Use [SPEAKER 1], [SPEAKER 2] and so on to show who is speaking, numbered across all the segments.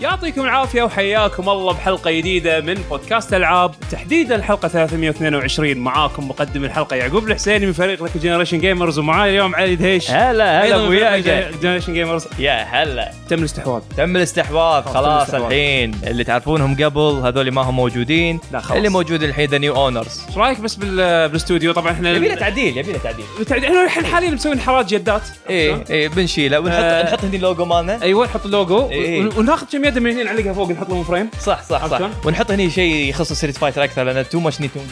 [SPEAKER 1] يعطيكم العافيه وحياكم الله بحلقه جديده من بودكاست العاب تحديدا الحلقه 322 معاكم مقدم الحلقه يعقوب الحسيني من فريق لك جنريشن جيمرز ومعاي اليوم علي دهيش
[SPEAKER 2] هلا هلا
[SPEAKER 1] أيضاً من فريق
[SPEAKER 2] وياك
[SPEAKER 1] جنريشن جيمرز
[SPEAKER 2] يا هلا
[SPEAKER 1] تم الاستحواذ
[SPEAKER 2] تم الاستحواذ
[SPEAKER 1] خلاص،
[SPEAKER 2] خلاص
[SPEAKER 1] تم الاستحواذ.
[SPEAKER 2] الحين اللي تعرفونهم قبل هذول ما هم موجودين
[SPEAKER 1] لا، خلاص.
[SPEAKER 2] اللي موجود الحين ذا نيو اونرز
[SPEAKER 1] ايش رايك بس بال- بالاستوديو طبعا احنا
[SPEAKER 2] يبي له تعديل يبي له تعديل
[SPEAKER 1] بالتعديل- احنا الحين حاليا مسويين حارات جدات
[SPEAKER 2] ايه ايه بنشيله ونحط
[SPEAKER 1] آه.
[SPEAKER 2] نحط هني اللوجو مالنا
[SPEAKER 1] ايوه نحط اللوجو
[SPEAKER 2] إيه.
[SPEAKER 1] ون- وناخذ كم يده من هنا نعلقها فوق نحط لهم فريم
[SPEAKER 2] صح صح
[SPEAKER 1] عرفت شلون؟
[SPEAKER 2] صح ونحط هني شيء يخص ستريت فايتر اكثر لان تو ماتش نينتندو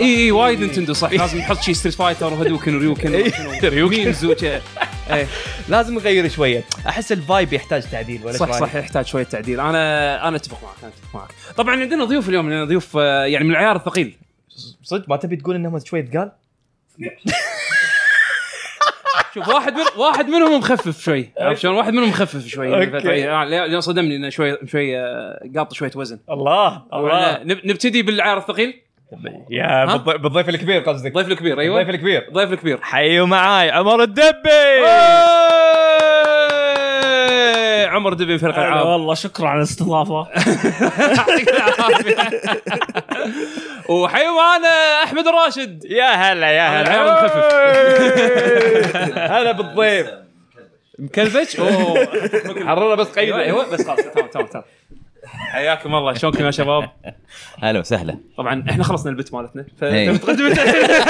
[SPEAKER 1] اي اي إيه، وايد نتندو صح لازم نحط شيء ستريت فايتر وهدوكن وريوكن إيه. ريوكن ايه
[SPEAKER 2] لازم نغير شويه احس الفايب يحتاج تعديل ولا إيش
[SPEAKER 1] صح
[SPEAKER 2] رأيك؟
[SPEAKER 1] صح يحتاج شويه تعديل انا انا اتفق معك انا اتفق معك طبعا عندنا ضيوف اليوم عندنا ضيوف آه، يعني من العيار الثقيل
[SPEAKER 2] صدق ما تبي تقول انهم شويه قال
[SPEAKER 1] شوف واحد من واحد منهم مخفف شوي عرفت شلون واحد منهم مخفف شوي يعني
[SPEAKER 2] أوكي.
[SPEAKER 1] فترة- يعني لأن صدمني انه شوي شوي آه، قاط شويه وزن
[SPEAKER 2] الله
[SPEAKER 1] طبعاً، آه، نب- نبتدي بالعيار الثقيل
[SPEAKER 2] يا
[SPEAKER 1] ها؟
[SPEAKER 2] بالض- بالضيف الكبير قصدك
[SPEAKER 1] الضيف الكبير
[SPEAKER 2] الضيف
[SPEAKER 1] ايوه
[SPEAKER 2] الكبير
[SPEAKER 1] الضيف الكبير
[SPEAKER 2] حيوا معاي عمر الدبي
[SPEAKER 1] إيه، عمر دبي من فريق
[SPEAKER 3] هلا
[SPEAKER 4] آه.
[SPEAKER 1] العاب
[SPEAKER 3] والله شكرا على الاستضافه
[SPEAKER 1] يعطيك العافيه وحي معانا احمد راشد
[SPEAKER 2] يا هلا يا
[SPEAKER 1] هلا.
[SPEAKER 2] هلا هلا بالضيف
[SPEAKER 1] مكلبش اوه
[SPEAKER 2] حرره بس
[SPEAKER 1] ايوه
[SPEAKER 2] قيد
[SPEAKER 1] ايوه بس خلاص تمام تمام تمام حياكم الله شلونكم يا شباب؟
[SPEAKER 4] هلا وسهلا
[SPEAKER 1] طبعا احنا خلصنا البت مالتنا
[SPEAKER 4] إيه.
[SPEAKER 1] فتقدم الاسئله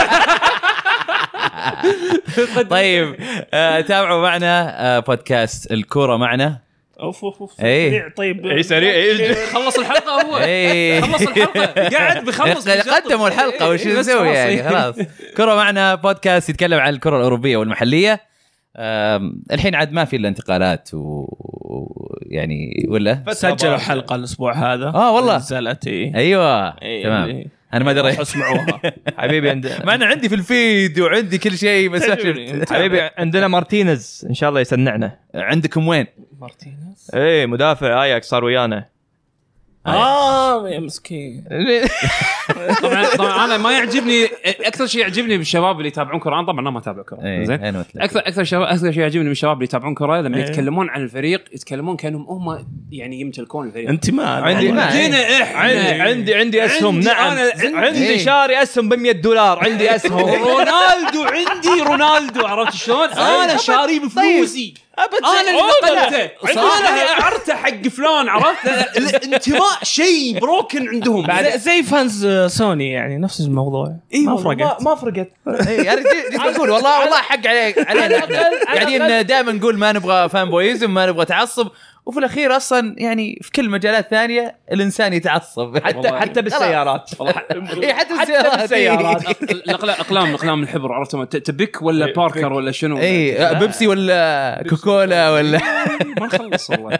[SPEAKER 4] طيب آه تابعوا معنا آه بودكاست الكوره معنا
[SPEAKER 3] اوف اوف اوف
[SPEAKER 4] إيه.
[SPEAKER 3] سريع طيب
[SPEAKER 2] اي سريع اي
[SPEAKER 1] خلص الحلقه هو
[SPEAKER 4] اي
[SPEAKER 1] خلص الحلقه قاعد بخلص إيه،
[SPEAKER 4] قدموا الحلقه وش نسوي يعني خلاص كره معنا بودكاست يتكلم عن الكره الاوروبيه والمحليه آم، الحين عاد ما في الا انتقالات ويعني ولا
[SPEAKER 3] سجلوا حلقه الاسبوع هذا
[SPEAKER 4] آه والله.
[SPEAKER 3] نزلت اي
[SPEAKER 4] ايوه
[SPEAKER 2] أيوة،
[SPEAKER 3] إيه،
[SPEAKER 4] تمام
[SPEAKER 3] إيه.
[SPEAKER 4] انا ما دريت
[SPEAKER 3] اسمعوها
[SPEAKER 2] حبيبي عند
[SPEAKER 4] مع انه عندي في الفيد وعندي كل شيء بس ما
[SPEAKER 3] تدري.
[SPEAKER 4] شفت.
[SPEAKER 2] حبيبي عندنا مارتينيز ان شاء الله يسنعنا
[SPEAKER 4] عندكم وين؟
[SPEAKER 3] مارتينيز
[SPEAKER 2] اي مدافع اياك صار ويانا
[SPEAKER 3] اه يا مسكين
[SPEAKER 2] إيه،
[SPEAKER 1] طبعا طبعا انا ما يعجبني اكثر شيء يعجبني بالشباب اللي يتابعون كره انا طبعا أنا ما اتابع كره
[SPEAKER 4] إيه،
[SPEAKER 1] زين
[SPEAKER 4] أنا مثلك.
[SPEAKER 1] اكثر اكثر شباب اكثر شيء يعجبني من الشباب اللي يتابعون كره لما
[SPEAKER 3] إيه.
[SPEAKER 1] يتكلمون عن الفريق يتكلمون كانهم هم يعني يمتلكون الفريق
[SPEAKER 3] انت ما
[SPEAKER 2] آه، عندي
[SPEAKER 4] ما-
[SPEAKER 1] جينا
[SPEAKER 2] عندي
[SPEAKER 1] احنا
[SPEAKER 2] عندي عندي اسهم
[SPEAKER 1] عندي
[SPEAKER 2] نعم
[SPEAKER 1] أنا- عندي-
[SPEAKER 4] إيه.
[SPEAKER 1] إيه.
[SPEAKER 2] عندي شاري اسهم ب 100 دولار عندي اسهم
[SPEAKER 1] رونالدو عندي رونالدو عرفت شلون؟
[SPEAKER 2] طيب.
[SPEAKER 1] انا شاريه بفلوسي
[SPEAKER 2] أبد
[SPEAKER 1] انا اللي
[SPEAKER 2] آه،
[SPEAKER 1] نقلته
[SPEAKER 4] صح.
[SPEAKER 1] انا اللي اعرته حق فلان عرفت؟ الانتماء شيء بروكن عندهم
[SPEAKER 3] زي- زي فانز آه، سوني يعني نفس الموضوع
[SPEAKER 4] إيه،
[SPEAKER 2] إيه
[SPEAKER 3] ما فرقت
[SPEAKER 2] ما فرقت
[SPEAKER 4] اي انا جيت- جيت بقول والله والله حق عليك علينا احنا قاعدين دائما نقول ما نبغى فان بويزم ما نبغى تعصب وفي الاخير اصلا يعني في كل مجالات ثانيه الانسان يتعصب
[SPEAKER 2] حتى حتى بالسيارات
[SPEAKER 4] إي، حتى بالسيارات.
[SPEAKER 1] إيه.
[SPEAKER 2] بالسيارات.
[SPEAKER 1] الاقلام اقلام اقلام الحبر عرفتهم ت- تبك
[SPEAKER 2] إيه،
[SPEAKER 1] ولا باركر ولا شنو؟
[SPEAKER 4] اي بيبسي إيه، ولا كوكولا ولا
[SPEAKER 1] ما نخلص والله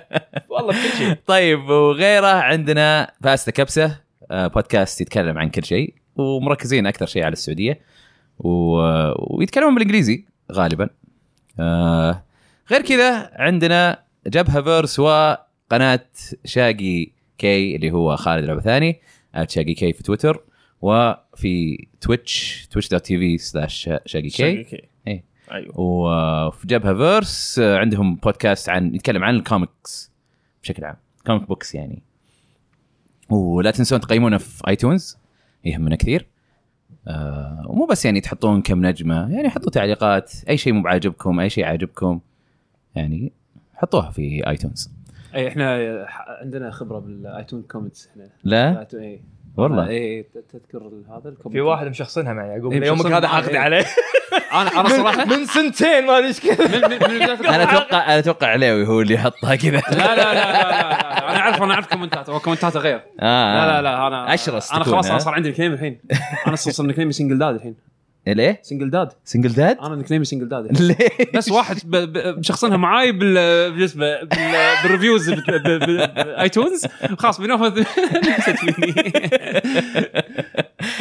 [SPEAKER 2] والله بكل شيء
[SPEAKER 4] طيب وغيره عندنا باستا كبسه آه، بودكاست يتكلم عن كل شيء ومركزين اكثر شيء على السعوديه و... ويتكلمون بالانجليزي غالبا آه، غير كذا عندنا جبهه فيرس وقناه شاقي كي اللي هو خالد العبثاني شاقي كي في تويتر وفي تويتش تويتش دوت تي في سلاش شاقي كي إيه.
[SPEAKER 3] ايوه
[SPEAKER 4] وفي جبهه فيرس آه، عندهم بودكاست عن يتكلم عن الكوميكس بشكل عام كوميك بوكس يعني ولا تنسون تقيمونا في ايتونز يهمنا كثير آه ومو بس يعني تحطون كم نجمه يعني حطوا تعليقات اي شيء مو بعاجبكم اي شيء عاجبكم يعني حطوها في ايتونز
[SPEAKER 1] اي احنا إيه، ح- عندنا خبره بالايتون كومنتس إيه. احنا
[SPEAKER 4] لا
[SPEAKER 1] اي
[SPEAKER 4] والله
[SPEAKER 1] اي آه، تذكر هذا الكومنت
[SPEAKER 2] في واحد مشخصنها معي يعقوب
[SPEAKER 1] إيه،
[SPEAKER 2] من يومك
[SPEAKER 1] مشخصنها
[SPEAKER 2] هذا
[SPEAKER 1] معي.
[SPEAKER 2] حاقد عليه
[SPEAKER 1] انا انا صراحه
[SPEAKER 2] من سنتين ما ادري ايش كذا
[SPEAKER 1] من من- من بداية
[SPEAKER 4] انا اتوقع انا اتوقع عليوي هو اللي حطها كذا
[SPEAKER 1] لا لا لا لا لا لا. انا اعرف انا اعرف كومنتاته هو كومنتاته غير
[SPEAKER 4] آه
[SPEAKER 1] لا لا لا انا
[SPEAKER 4] أشرس
[SPEAKER 1] انا
[SPEAKER 4] تكون،
[SPEAKER 1] خلاص انا
[SPEAKER 4] ها؟
[SPEAKER 1] صار عندي نكنيم الحين انا صار صار نكنيمي سنجل داد الحين
[SPEAKER 4] إيه، ليه؟
[SPEAKER 1] سنجل داد
[SPEAKER 4] سنجل داد؟
[SPEAKER 1] انا نكنيمي سنجل داد الحين.
[SPEAKER 4] ليه؟
[SPEAKER 1] بس واحد ب- ب- مشخصنها معاي بال بالنسبه بال- بالريفيوز بالايتونز خلاص بناخذ نكست فيني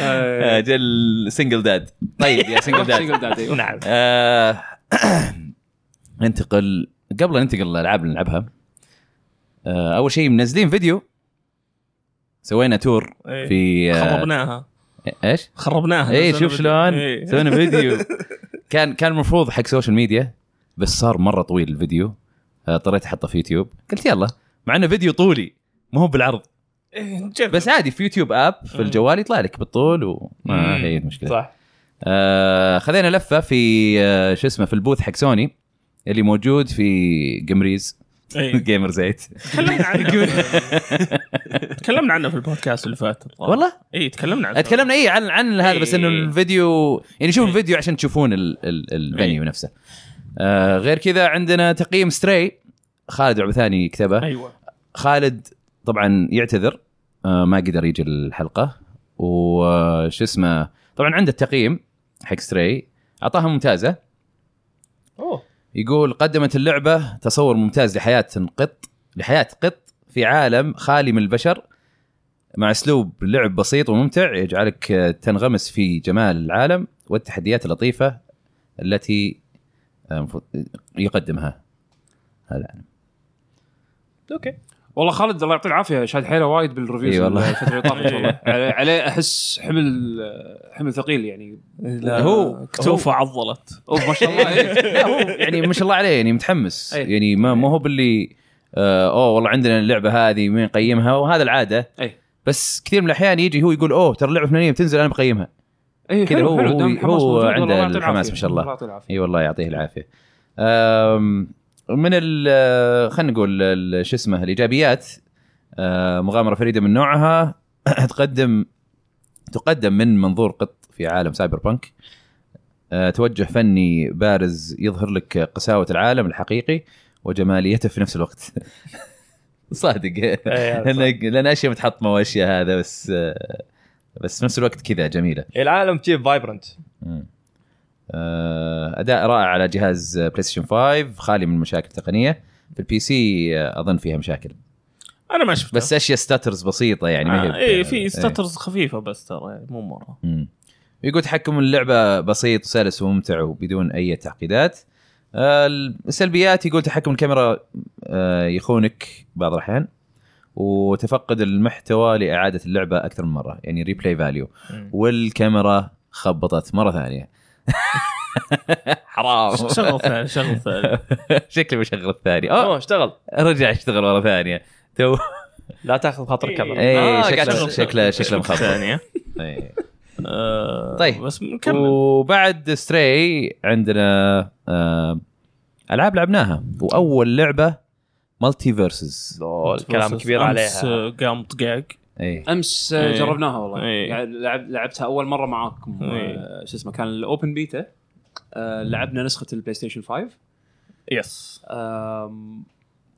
[SPEAKER 1] آه،
[SPEAKER 4] اجل سنجل داد طيب يا سنجل داد
[SPEAKER 1] سنجل داد أيوة.
[SPEAKER 3] نعم
[SPEAKER 4] آه، ننتقل قبل لا ننتقل للالعاب اللي نلعبها آه، اول شيء منزلين فيديو سوينا تور
[SPEAKER 3] إيه.
[SPEAKER 4] في آه،
[SPEAKER 3] خربناها
[SPEAKER 4] ايش؟
[SPEAKER 3] خربناها
[SPEAKER 4] اي
[SPEAKER 3] نزلنا
[SPEAKER 4] شوف
[SPEAKER 3] بال-
[SPEAKER 4] شلون
[SPEAKER 3] إيه.
[SPEAKER 4] سوينا فيديو كان كان المفروض حق سوشيال ميديا بس صار مره طويل الفيديو آه، اضطريت احطه في يوتيوب قلت يلا مع انه فيديو طولي ما هو بالعرض
[SPEAKER 3] بس
[SPEAKER 4] بس عادي في يوتيوب اب في
[SPEAKER 3] مم.
[SPEAKER 4] الجوال يطلع لك بالطول وما
[SPEAKER 3] إيه.
[SPEAKER 2] مم.
[SPEAKER 4] هي مشكله
[SPEAKER 3] صح
[SPEAKER 4] آه خذينا لفه في آه شو اسمه في البوث حق سوني اللي موجود في جمريز
[SPEAKER 3] إيه.
[SPEAKER 4] جيمر زيت
[SPEAKER 3] تكلمنا عنه تكلمنا عنه في البودكاست اللي فات الظاهر.
[SPEAKER 4] والله
[SPEAKER 3] اي تكلمنا عنه
[SPEAKER 4] تكلمنا اي عن عن هذا بس انه
[SPEAKER 3] إيه.
[SPEAKER 4] الفيديو يعني شوف
[SPEAKER 3] إيه.
[SPEAKER 4] الفيديو عشان تشوفون ال- ال- الفينيو نفسه آه غير كذا عندنا تقييم ستري خالد عبثاني كتبه
[SPEAKER 3] ايوه
[SPEAKER 4] خالد طبعا يعتذر آه، ما قدر يجي الحلقه وش اسمه طبعا عنده التقييم حق ستري اعطاها ممتازه
[SPEAKER 3] اوه
[SPEAKER 4] يقول قدمت اللعبه تصور ممتاز لحياه قط لحياه قط في عالم خالي من البشر مع اسلوب لعب بسيط وممتع يجعلك آه، تنغمس في جمال العالم والتحديات اللطيفه التي آه، المفروض يقدمها
[SPEAKER 3] اوكي
[SPEAKER 1] والله خالد الله يعطيه العافيه شاد حيله وايد بالريفيوز
[SPEAKER 4] إي والله.
[SPEAKER 1] الفتره اللي طافت
[SPEAKER 3] إي.
[SPEAKER 1] والله عليه- عليه احس حمل حمل ثقيل يعني
[SPEAKER 3] لا،
[SPEAKER 4] هو-
[SPEAKER 3] كتوفه عضلت
[SPEAKER 1] اوف ما شاء الله إي.
[SPEAKER 4] لا هو يعني ما شاء الله عليه يعني متحمس
[SPEAKER 1] أي.
[SPEAKER 4] يعني ما ما هو باللي آه اوه والله عندنا اللعبه هذه مين يقيمها وهذا العاده
[SPEAKER 1] أي.
[SPEAKER 4] بس كثير من الاحيان يجي هو يقول اوه ترى اللعبه فلانيه بتنزل انا بقيمها
[SPEAKER 1] اي
[SPEAKER 4] كذا
[SPEAKER 1] حلو،
[SPEAKER 4] هو-
[SPEAKER 1] حلو،
[SPEAKER 4] هو-
[SPEAKER 1] دام الحماس
[SPEAKER 4] هو
[SPEAKER 1] موجود، والله
[SPEAKER 4] عنده
[SPEAKER 1] الله يعطيه
[SPEAKER 4] الحماس
[SPEAKER 1] العافية.
[SPEAKER 4] ما شاء الله.
[SPEAKER 1] الله يعطيه العافيه
[SPEAKER 4] اي والله يعطيه العافيه آم، من ال آه، خلينا نقول ال- شو اسمه الايجابيات آه، مغامره فريده من نوعها تقدم تقدم من منظور قط في عالم سايبر بانك آه، توجه فني بارز يظهر لك قساوه العالم الحقيقي وجماليته في نفس الوقت صادق لان لان اشياء متحطمه واشياء هذا بس آه، بس في نفس الوقت كذا جميله
[SPEAKER 2] العالم كذي فايبرنت
[SPEAKER 4] مم. آه، اداء رائع على جهاز بلاي ستيشن 5 خالي من المشاكل التقنيه في البي سي آه، اظن فيها مشاكل
[SPEAKER 3] انا ما شفته
[SPEAKER 4] بس اشياء ستاترز بسيطه يعني ما هي-
[SPEAKER 3] آه، اي في ستاترز خفيفه بس ترى يعني مو مره
[SPEAKER 4] مم. يقول تحكم اللعبة بسيط وسلس وممتع وبدون أي تعقيدات آه، السلبيات يقول تحكم الكاميرا آه، يخونك بعض الأحيان وتفقد المحتوى لإعادة اللعبة أكثر من مرة يعني ريبلاي فاليو
[SPEAKER 2] مم.
[SPEAKER 4] والكاميرا خبطت مرة ثانية حرام
[SPEAKER 3] شغل ثاني شغل ثاني
[SPEAKER 4] شكلي بشغل الثاني أوه
[SPEAKER 2] اوه اشتغل
[SPEAKER 4] رجع اشتغل مرة ثانية تو
[SPEAKER 2] لا تاخذ خاطر الكاميرا
[SPEAKER 4] إيه،
[SPEAKER 2] آه،
[SPEAKER 4] شكله-
[SPEAKER 2] قاعد أشغل.
[SPEAKER 4] شكله- شكله مخبط.
[SPEAKER 3] ثانيه
[SPEAKER 4] إيه.
[SPEAKER 3] آه،
[SPEAKER 4] طيب.
[SPEAKER 3] بس نكمل
[SPEAKER 4] وبعد ستري عندنا آه العاب لعبناها واول لعبه مالتي فيرسز
[SPEAKER 2] لول، كلام كبير
[SPEAKER 3] أمس،
[SPEAKER 2] عليها
[SPEAKER 3] آه، قام طقاق
[SPEAKER 4] اي
[SPEAKER 1] امس
[SPEAKER 3] إي.
[SPEAKER 1] جربناها والله
[SPEAKER 3] إي.
[SPEAKER 1] يعني لعب لعبتها اول مره معاكم
[SPEAKER 3] إي.
[SPEAKER 1] آه، شو اسمه كان الاوبن بيتا آه، لعبنا نسخه البلاي ستيشن 5
[SPEAKER 3] يس
[SPEAKER 1] أم،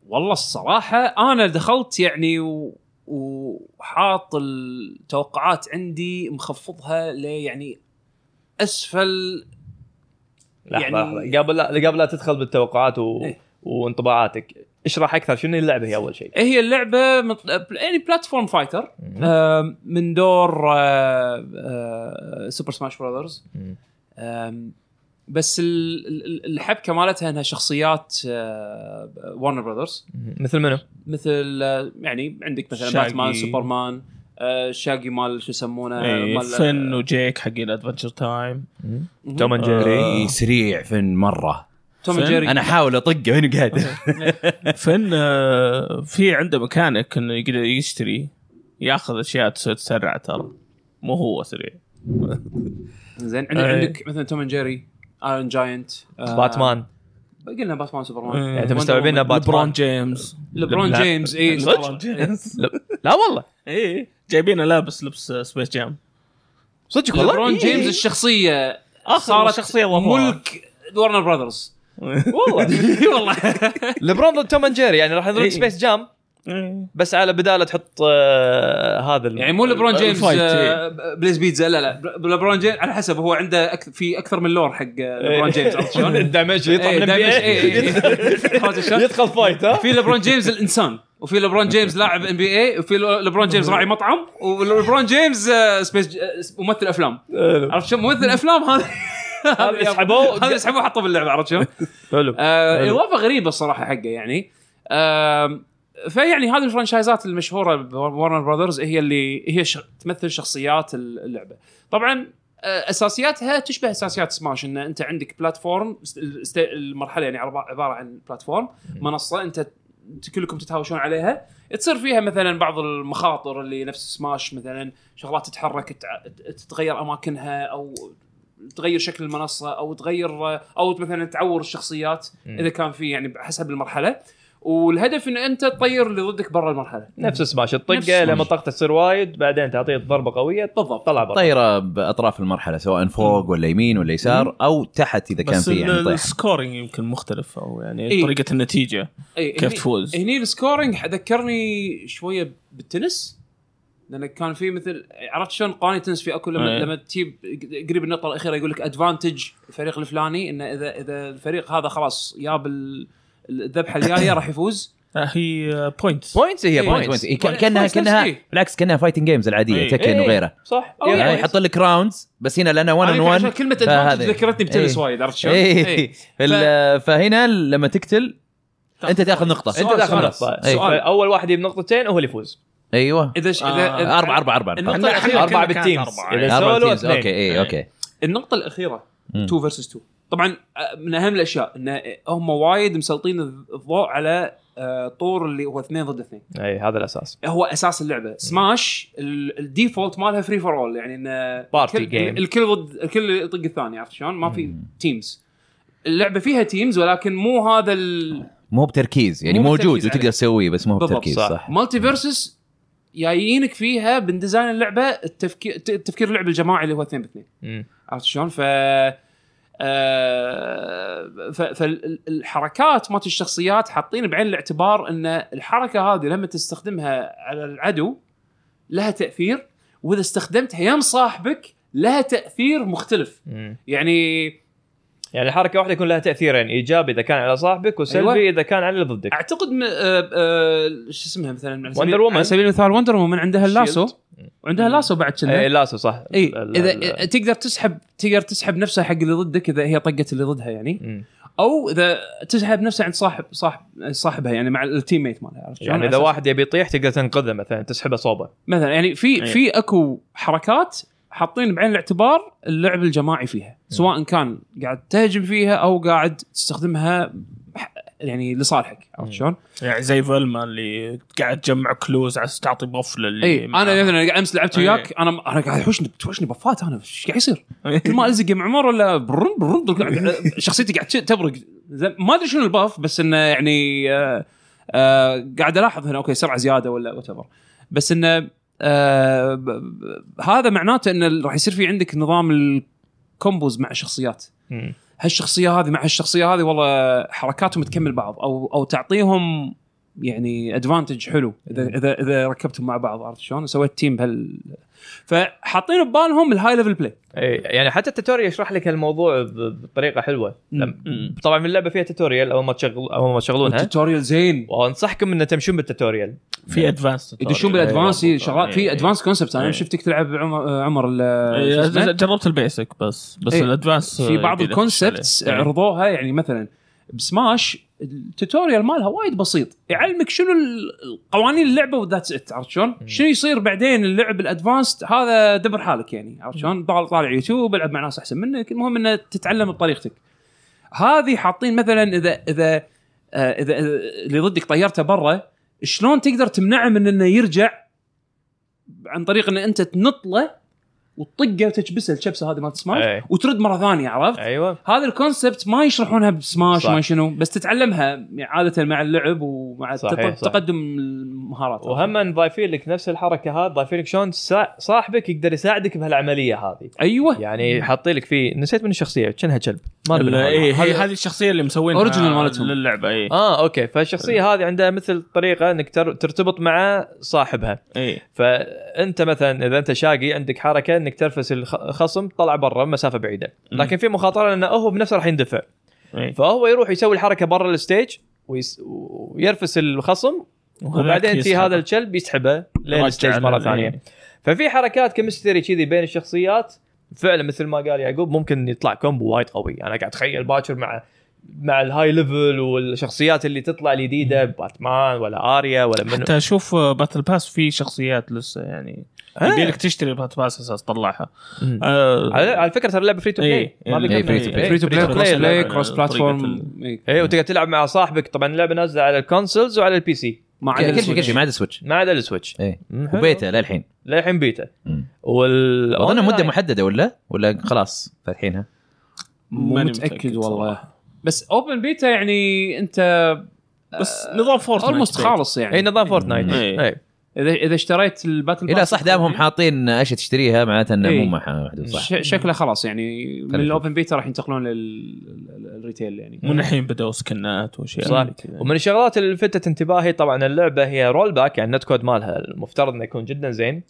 [SPEAKER 1] والله الصراحة أنا دخلت يعني و- وحاط التوقعات عندي مخفضها ل يعني أسفل
[SPEAKER 2] لحظة
[SPEAKER 1] يعني-
[SPEAKER 2] لحظة. قبل لا قبل لا تدخل بالتوقعات و...
[SPEAKER 1] إيه.
[SPEAKER 2] وانطباعاتك اشرح اكثر شنو اللعبه هي اول شيء
[SPEAKER 1] هي اللعبة مط- يعني بلاتفورم فايتر أم، من دور أه، أه، سوبر سماش براذرز أم، بس ال- ال- الحبكة مالتها انها شخصيات أه، ورنر براذرز
[SPEAKER 2] مثل منو؟
[SPEAKER 1] مثل آه، يعني عندك مثلا
[SPEAKER 3] شاقي.
[SPEAKER 1] باتمان سوبرمان آه، شاقي مال شو يسمونه
[SPEAKER 3] اي
[SPEAKER 1] آه، مال
[SPEAKER 3] إيه، فن وجيك حق الادفنشر تايم
[SPEAKER 1] مهم.
[SPEAKER 2] توم اند جيري
[SPEAKER 3] آه.
[SPEAKER 4] إيه. سريع فن مره
[SPEAKER 1] توم
[SPEAKER 3] فن.
[SPEAKER 1] جيري
[SPEAKER 4] انا احاول اطقه وين قادر
[SPEAKER 3] فن آه، في عنده مكانك انه يقدر يشتري ياخذ اشياء تس- تسرع ترى مو هو سريع
[SPEAKER 1] زين عندك,
[SPEAKER 3] إي.
[SPEAKER 1] عندك مثلا توم اند جيري ايرون جاينت آه،
[SPEAKER 2] باتمان
[SPEAKER 1] قلنا باتمان سوبرمان
[SPEAKER 3] إي.
[SPEAKER 2] يعني مستوعبين إنه باتمان.
[SPEAKER 3] لبرون جيمس
[SPEAKER 1] لبرون إيه،
[SPEAKER 2] لبلا-
[SPEAKER 1] جيمس اي
[SPEAKER 3] صدق؟
[SPEAKER 1] لبرون جيمس
[SPEAKER 2] لا والله
[SPEAKER 1] إيه.
[SPEAKER 3] اي جايبينه إيه. لابس لبس آه، سبيس جام
[SPEAKER 2] صدق والله
[SPEAKER 1] لبرون
[SPEAKER 2] إيه.
[SPEAKER 1] جيمس الشخصية
[SPEAKER 3] اخر
[SPEAKER 1] آه، صارت
[SPEAKER 3] شخصيه ضافوها
[SPEAKER 1] ملك ورنر براذرز
[SPEAKER 2] والله
[SPEAKER 1] والله
[SPEAKER 2] لبرون ضد توم اند جيري يعني راح
[SPEAKER 3] إيه.
[SPEAKER 2] يضرب سبيس جام
[SPEAKER 3] إي.
[SPEAKER 2] بس على بداله تحط آه، هذا ال-
[SPEAKER 1] يعني مو لبرون جيمس
[SPEAKER 3] الفايت،
[SPEAKER 1] آه،
[SPEAKER 2] إيه.
[SPEAKER 1] بليز بيتزا لا لا لبرون جيمس على حسب هو عنده أكثر في اكثر من لور حق آه،
[SPEAKER 2] إيه.
[SPEAKER 1] لبرون جيمس عرفت شلون؟
[SPEAKER 2] الدمج يطلع
[SPEAKER 1] إيه،
[SPEAKER 2] من
[SPEAKER 1] دايماً- إيه،
[SPEAKER 2] NBA.
[SPEAKER 1] إيه. عرفت شلون؟
[SPEAKER 2] يدخل فايت ها
[SPEAKER 1] في لبرون جيمس الانسان وفي لبرون جيمس لاعب ان بي اي وفي لبرون جيمس راعي مطعم ولبرون جيمس آه، سبيس ج- آه، ممثل افلام عرفت شلون؟ ممثل افلام هذا
[SPEAKER 2] هذا يسحبوه.
[SPEAKER 1] هذا يسحبوه حطوه باللعبه عرفت شلون؟
[SPEAKER 2] حلو
[SPEAKER 1] آه، اضافه غريبه الصراحه حقه يعني آم، فيعني هذه الفرنشايزات المشهوره بورنر براذرز هي اللي هي ش... تمثل شخصيات اللعبه طبعا آه، اساسياتها تشبه اساسيات سماش ان انت عندك بلاتفورم است- الست- المرحله يعني عبا- عباره عن بلاتفورم منصه انت كلكم تتهاوشون عليها تصير فيها مثلا بعض المخاطر اللي نفس سماش مثلا شغلات تتحرك تع- تتغير اماكنها او تغير شكل المنصه او تغير او مثلا تعور الشخصيات
[SPEAKER 2] مم.
[SPEAKER 1] اذا كان في يعني حسب المرحله والهدف ان انت تطير اللي ضدك برا المرحله
[SPEAKER 2] نفس
[SPEAKER 1] نفس
[SPEAKER 2] سماش الطقه
[SPEAKER 1] سماش.
[SPEAKER 2] لما طقته تصير وايد بعدين تعطيه ضربه قويه بالضبط طلع برا
[SPEAKER 4] طايره باطراف المرحله سواء فوق ولا يمين ولا يسار او تحت اذا كان
[SPEAKER 3] بس
[SPEAKER 4] في يعني
[SPEAKER 3] ال-
[SPEAKER 4] طيح
[SPEAKER 3] السكورينج يمكن مختلف او يعني
[SPEAKER 1] إيه.
[SPEAKER 3] طريقه النتيجه
[SPEAKER 1] أي
[SPEAKER 3] كيف
[SPEAKER 1] إيه، هني-
[SPEAKER 3] تفوز
[SPEAKER 1] هني السكورينج ذكرني شويه بالتنس لان كان في مثل عرفت شلون قوانين التنس في اكو لما
[SPEAKER 3] إيه.
[SPEAKER 1] لما تجيب قريب النقطه الاخيره يقول لك ادفانتج الفريق الفلاني انه اذا اذا الفريق هذا خلاص جاب ال- الذبحه الجايه راح يفوز
[SPEAKER 3] آه، هي بوينتس
[SPEAKER 4] بوينتس هي
[SPEAKER 1] إيه.
[SPEAKER 4] بوينتس إيه، كان-
[SPEAKER 1] بوينتس
[SPEAKER 4] كانها
[SPEAKER 1] نفس
[SPEAKER 4] كانها
[SPEAKER 1] إيه.
[SPEAKER 4] بالعكس كانها فايتنج جيمز العاديه
[SPEAKER 3] إيه.
[SPEAKER 4] تكن
[SPEAKER 2] إيه.
[SPEAKER 4] وغيره
[SPEAKER 2] صح
[SPEAKER 1] أو
[SPEAKER 2] يلا.
[SPEAKER 4] يعني
[SPEAKER 1] يعني
[SPEAKER 4] يحط لك راوندز بس هنا لانه 1
[SPEAKER 1] أنا
[SPEAKER 4] اون
[SPEAKER 1] يمكن
[SPEAKER 4] 1
[SPEAKER 1] عشان كلمه ادفانتج ذكرتني بتنس
[SPEAKER 4] إيه.
[SPEAKER 1] وايد عرفت شلون؟
[SPEAKER 4] اي فهنا لما تقتل انت تاخذ نقطه
[SPEAKER 1] سؤال-
[SPEAKER 2] انت تاخذ
[SPEAKER 1] سؤال-
[SPEAKER 2] نقطه
[SPEAKER 1] إيه. سؤال.
[SPEAKER 2] اول طيب. واحد يجيب نقطتين هو اللي يفوز
[SPEAKER 4] ايوه
[SPEAKER 1] اذا إذا-
[SPEAKER 3] آه،
[SPEAKER 1] إذا- إيه.
[SPEAKER 4] أربعة أربعة أربعة
[SPEAKER 1] النقطة
[SPEAKER 4] أربعة
[SPEAKER 1] الأخيرة
[SPEAKER 2] اربعه
[SPEAKER 3] كانت
[SPEAKER 2] بالتيمز
[SPEAKER 3] أربعة.
[SPEAKER 2] اذا
[SPEAKER 4] أربعة إيه،
[SPEAKER 2] سولو
[SPEAKER 4] teams.
[SPEAKER 2] اثنين
[SPEAKER 4] اوكي اي اوكي
[SPEAKER 1] النقطه الاخيره
[SPEAKER 4] مم.
[SPEAKER 1] 2 فيرسز 2 طبعا آه، من اهم الاشياء ان آه، هم وايد مسلطين الضوء على آه، طور اللي هو اثنين ضد اثنين
[SPEAKER 2] اي هذا الاساس
[SPEAKER 1] هو اساس اللعبه سماش ال- الديفولت مالها فري فور اول يعني انه
[SPEAKER 2] بارتي
[SPEAKER 1] الكل-
[SPEAKER 2] جيم
[SPEAKER 1] الكل ضد الكل يطق الثاني عرفت شلون؟ ما في تيمز اللعبه فيها تيمز ولكن مو هذا ال-
[SPEAKER 4] مو بتركيز يعني
[SPEAKER 1] مو
[SPEAKER 4] موجود
[SPEAKER 1] بتركيز عليه.
[SPEAKER 4] وتقدر تسويه بس مو
[SPEAKER 1] بالضبط،
[SPEAKER 4] بتركيز
[SPEAKER 2] صح.
[SPEAKER 4] صح
[SPEAKER 1] مالتي فيرسز جايينك فيها من ديزاين اللعبه التفكير التفكير اللعب الجماعي اللي هو اثنين باثنين
[SPEAKER 2] مم.
[SPEAKER 1] عرفت شلون؟ ف آه، ف- فالحركات مالت الشخصيات حاطين بعين الاعتبار ان الحركه هذه لما تستخدمها على العدو لها تاثير واذا استخدمتها يم صاحبك لها تاثير مختلف
[SPEAKER 2] مم.
[SPEAKER 1] يعني
[SPEAKER 2] يعني حركه واحده يكون لها تاثيرين ايجابي اذا كان على صاحبك وسلبي
[SPEAKER 1] أيوة.
[SPEAKER 2] أيوة. اذا كان على اللي ضدك
[SPEAKER 1] اعتقد م... آه، آه، شو اسمها مثلا على سبيل-
[SPEAKER 2] Wonder Woman.
[SPEAKER 1] على سبيل المثال وندر وومن عندها اللاسو
[SPEAKER 2] Shield.
[SPEAKER 1] وعندها لاسو بعد كنا
[SPEAKER 2] اي لاسو صح
[SPEAKER 1] اي
[SPEAKER 2] ال-
[SPEAKER 1] اذا
[SPEAKER 2] ال-
[SPEAKER 1] تقدر تسحب تقدر تسحب نفسها حق اللي ضدك اذا هي طقت اللي ضدها يعني
[SPEAKER 2] مم.
[SPEAKER 1] او اذا تسحب نفسها عند صاحب صاحب صاحبها يعني مع التيم ميت مالها عرفت شلون؟
[SPEAKER 2] يعني اذا
[SPEAKER 1] أساس-
[SPEAKER 2] واحد يبي يطيح تقدر تنقذه مثلا تسحبه صوبه
[SPEAKER 1] مثلا يعني في
[SPEAKER 3] أي.
[SPEAKER 1] في اكو حركات حاطين بعين الاعتبار اللعب الجماعي فيها سواء كان قاعد تهجم فيها او قاعد تستخدمها ح- يعني لصالحك عرفت شلون؟
[SPEAKER 3] يعني زي فيلما اللي قاعد تجمع كلوز عشان تعطي بوف للي
[SPEAKER 1] اي انا مثلا قاعد امس لعبت
[SPEAKER 3] أي.
[SPEAKER 1] وياك انا انا قاعد احوشني تحوشني بفات انا ايش قاعد يصير؟ كل ما الزق مع عمر ولا برم برم برم- شخصيتي قاعد تبرق زين، ما ادري شنو الباف بس انه يعني آه آه قاعد الاحظ هنا اوكي سرعه زياده ولا وات بس انه آه ب- ب- هذا معناته انه راح يصير في عندك نظام الكومبوز مع الشخصيات
[SPEAKER 2] مم.
[SPEAKER 1] هالشخصيه هذه مع هالشخصيه هذه والله حركاتهم تكمل بعض او او تعطيهم يعني ادفانتج حلو اذا اذا اذا ركبتهم مع بعض عرفت شلون؟ سويت تيم بهال فحاطين ببالهم الهاي ليفل بلاي
[SPEAKER 2] اي يعني حتى التوتوريال يشرح لك الموضوع ب- بطريقه حلوه لم-
[SPEAKER 1] إيه.
[SPEAKER 3] مم.
[SPEAKER 2] طبعا اللعبه فيها توتوريال اول ما تشغل اول ما تشغلونها
[SPEAKER 1] التوتوريال زين
[SPEAKER 2] وانصحكم ان تمشون بالتوتوريال
[SPEAKER 3] في ادفانس
[SPEAKER 1] يدشون بالادفانس
[SPEAKER 2] أيوة.
[SPEAKER 1] شغلات في
[SPEAKER 2] أيوة.
[SPEAKER 1] ادفانس كونسبت انا
[SPEAKER 3] أيوة.
[SPEAKER 1] شفتك تلعب عمر عمر ال- شو اسمه؟
[SPEAKER 3] إيه، جربت البيسك بس بس
[SPEAKER 1] إيه.
[SPEAKER 3] الادفانس
[SPEAKER 1] في بعض
[SPEAKER 3] جديد أخش عليه.
[SPEAKER 1] الكونسبتس
[SPEAKER 3] إيه.
[SPEAKER 1] عرضوها يعني مثلا بسماش التوتوريال مالها وايد بسيط يعلمك شنو ال- قوانين اللعبه وذاتس ات عرفت شلون؟ شنو يصير بعدين اللعب الادفانس هذا دبر حالك يعني عرفت شلون؟ طال- طالع يوتيوب العب مع ناس احسن منك المهم انه تتعلم بطريقتك. هذه حاطين مثلا اذا اذا آه، اذا إذا اللي ضدك طيرته برا شلون تقدر تمنعه من انه يرجع عن طريق ان انت تنط له وتطقه وتكبسه الشبسه هذه مالت سماش
[SPEAKER 2] أي.
[SPEAKER 1] وترد مره ثانيه عرفت؟
[SPEAKER 2] ايوه
[SPEAKER 1] هذا الكونسبت ما يشرحونها بسماش
[SPEAKER 2] صح.
[SPEAKER 1] ما شنو بس تتعلمها عاده مع اللعب ومع
[SPEAKER 2] صحيح،
[SPEAKER 1] التط-
[SPEAKER 2] صح.
[SPEAKER 1] تقدم المهارات
[SPEAKER 2] وهم إن ضايفين لك نفس الحركه هذه ضايفين لك شلون سا- صاحبك يقدر يساعدك بهالعمليه هذه
[SPEAKER 1] ايوه
[SPEAKER 2] يعني حاطين لك في نسيت من الشخصيه كانها كلب ما
[SPEAKER 3] ال-
[SPEAKER 2] نبي
[SPEAKER 3] إيه، هي
[SPEAKER 1] هذا-
[SPEAKER 3] هذه الشخصيه اللي مسوينها إيه.
[SPEAKER 1] Original مالتهم. آه.
[SPEAKER 3] للعبه اي
[SPEAKER 2] اه اوكي فالشخصيه هذه عندها مثل طريقه انك تر- ترتبط مع صاحبها
[SPEAKER 3] اي
[SPEAKER 2] فانت مثلا اذا انت شاقي عندك حركه انك ترفس الخ- الخصم طلع برا مسافه بعيده لكن في مخاطره انه هو بنفسه راح يندفع فهو يروح يسوي الحركه برا الستيج ويس... ويرفس الخصم وبعدين في هذا الكلب يسحبه
[SPEAKER 3] يرجع
[SPEAKER 2] للستيج مره
[SPEAKER 3] لل-
[SPEAKER 2] ثانيه ففي حركات كمستري كذي بين الشخصيات فعلا مثل ما قال يعقوب ممكن يطلع كومبو وايد قوي انا قاعد اتخيل باكر مع مع الهاي ليفل والشخصيات اللي تطلع الجديده باتمان ولا اريا ولا من
[SPEAKER 3] آه، حتى اشوف باتل باس في شخصيات لسه يعني
[SPEAKER 2] آه.
[SPEAKER 3] يبي لك تشتري البات باس اساس تطلعها
[SPEAKER 2] مم.
[SPEAKER 3] آه،
[SPEAKER 2] على على فكره ترى اللعبه فري تو بلاي
[SPEAKER 3] إيه. إيه،
[SPEAKER 4] free to play.
[SPEAKER 1] فري تو بلاي
[SPEAKER 3] free to play.
[SPEAKER 1] كروس بلاي كروس
[SPEAKER 3] طريقة
[SPEAKER 1] بلاتفورم
[SPEAKER 2] اي إيه، وتقدر تلعب مع صاحبك طبعا اللعبه نازله على الكونسولز وعلى البي سي
[SPEAKER 1] ما عدا
[SPEAKER 4] كل شيء كل
[SPEAKER 1] السويتش.
[SPEAKER 4] شيء ما عدا سويتش
[SPEAKER 2] ما عدا السويتش
[SPEAKER 4] ايه
[SPEAKER 2] مم، حلو.
[SPEAKER 4] وبيتا للحين
[SPEAKER 2] للحين بيتا
[SPEAKER 4] مم.
[SPEAKER 2] وال
[SPEAKER 4] اظن مده
[SPEAKER 2] أونلاين.
[SPEAKER 4] محدده ولا ولا خلاص فاتحينها
[SPEAKER 1] مو
[SPEAKER 3] ماني
[SPEAKER 1] متاكد
[SPEAKER 3] متأكد
[SPEAKER 1] والله
[SPEAKER 3] صراحة.
[SPEAKER 1] بس اوبن بيتا يعني انت
[SPEAKER 3] بس نظام فورتنايت
[SPEAKER 2] آه،
[SPEAKER 1] اولموست خالص
[SPEAKER 2] اي
[SPEAKER 1] يعني
[SPEAKER 2] إيه، نظام فورتنايت
[SPEAKER 3] إيه.
[SPEAKER 2] إيه.
[SPEAKER 1] اذا اذا اشتريت الباتل
[SPEAKER 4] اذا
[SPEAKER 1] باس
[SPEAKER 4] صح دامهم حاطين اشياء تشتريها معناته انه
[SPEAKER 1] إيه.
[SPEAKER 4] مو مح- محدود صح
[SPEAKER 1] ش- شكله خلاص يعني من
[SPEAKER 4] خلي
[SPEAKER 1] الاوبن بيتا راح ينتقلون للريتيل يعني
[SPEAKER 3] من الحين بداوا سكنات واشياء
[SPEAKER 2] صح.
[SPEAKER 3] زي كذا.
[SPEAKER 2] ومن الشغلات اللي لفتت انتباهي طبعا اللعبه هي رول باك يعني النت كود مالها المفترض انه يكون جدا زين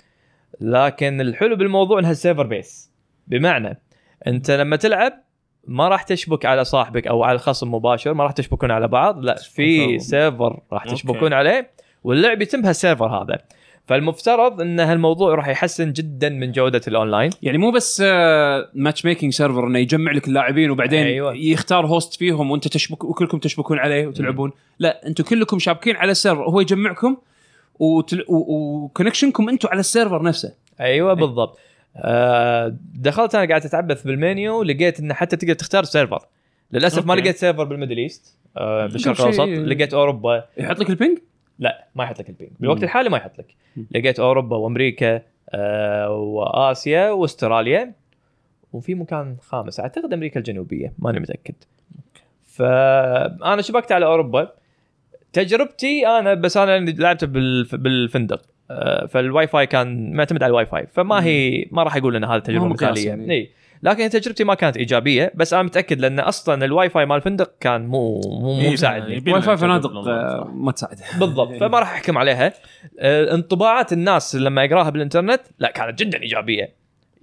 [SPEAKER 2] لكن الحلو بالموضوع انها سيرفر بيس بمعنى انت لما تلعب ما راح تشبك على صاحبك او على الخصم مباشر ما راح تشبكون على بعض لا في
[SPEAKER 3] تفضل.
[SPEAKER 2] سيرفر راح
[SPEAKER 3] أوكي.
[SPEAKER 2] تشبكون عليه واللعب يتم هالسيرفر هذا فالمفترض ان هالموضوع راح يحسن جدا من جوده الاونلاين
[SPEAKER 1] يعني مو بس آه، ماتش ميكنج سيرفر انه يجمع لك اللاعبين وبعدين
[SPEAKER 2] أيوة.
[SPEAKER 1] أيوة. يختار هوست فيهم وانت تشبك وكلكم تشبكون عليه وتلعبون لا انتم كلكم شابكين على السيرفر هو يجمعكم وتل... و... وكونكشنكم انتم على السيرفر نفسه
[SPEAKER 2] ايوه بالضبط آه، دخلت انا قاعد اتعبث بالمنيو لقيت انه حتى تقدر تختار سيرفر للاسف ما
[SPEAKER 3] أوكي.
[SPEAKER 2] لقيت سيرفر بالميدل ايست آه، بالشرق
[SPEAKER 1] شيء-
[SPEAKER 2] الاوسط لقيت اوروبا
[SPEAKER 1] يحط لك البينج
[SPEAKER 2] لا ما يحط لك البينج
[SPEAKER 1] مم.
[SPEAKER 2] بالوقت الحالي ما يحط لك
[SPEAKER 1] مم.
[SPEAKER 2] لقيت اوروبا وامريكا آه، واسيا واستراليا وفي مكان خامس اعتقد امريكا الجنوبيه ماني متاكد فانا شبكت على اوروبا تجربتي انا بس انا لعبت بالف- بالفندق آه، فالواي فاي كان معتمد على الواي فاي فما هي ما راح اقول ان هذا تجربه
[SPEAKER 1] ما هو مقياس
[SPEAKER 2] مثاليه
[SPEAKER 1] يعني.
[SPEAKER 2] إي. لكن تجربتي ما كانت ايجابيه بس انا متاكد لان اصلا الواي فاي مال الفندق كان مو مو مو
[SPEAKER 3] إيه،
[SPEAKER 2] مساعدني
[SPEAKER 3] يبينا
[SPEAKER 1] واي فاي
[SPEAKER 3] نجرب
[SPEAKER 1] فنادق
[SPEAKER 3] نظام.
[SPEAKER 1] آه، ما تساعد
[SPEAKER 2] بالضبط فما راح احكم عليها آه، انطباعات الناس لما اقراها بالانترنت لا كانت جدا ايجابيه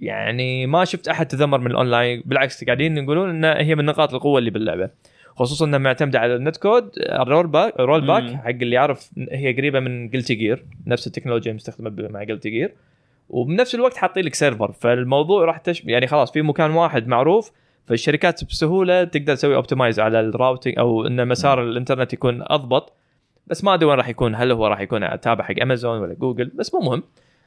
[SPEAKER 2] يعني ما شفت احد تذمر من الاونلاين بالعكس قاعدين يقولون ان هي من نقاط القوه اللي باللعبه خصوصا انها معتمده على النت كود آه، الرول باك الرول باك
[SPEAKER 3] مم.
[SPEAKER 2] حق اللي يعرف هي قريبه من جلتي جير نفس التكنولوجيا المستخدمه ب- مع جلتي جير وبنفس الوقت حاطين لك سيرفر فالموضوع راح تش... يعني خلاص في مكان واحد معروف فالشركات بسهوله تقدر تسوي اوبتمايز على الراوتنج او ان مسار الانترنت يكون اضبط بس ما ادري وين راح يكون هل هو راح يكون تابع حق امازون ولا جوجل بس مو مهم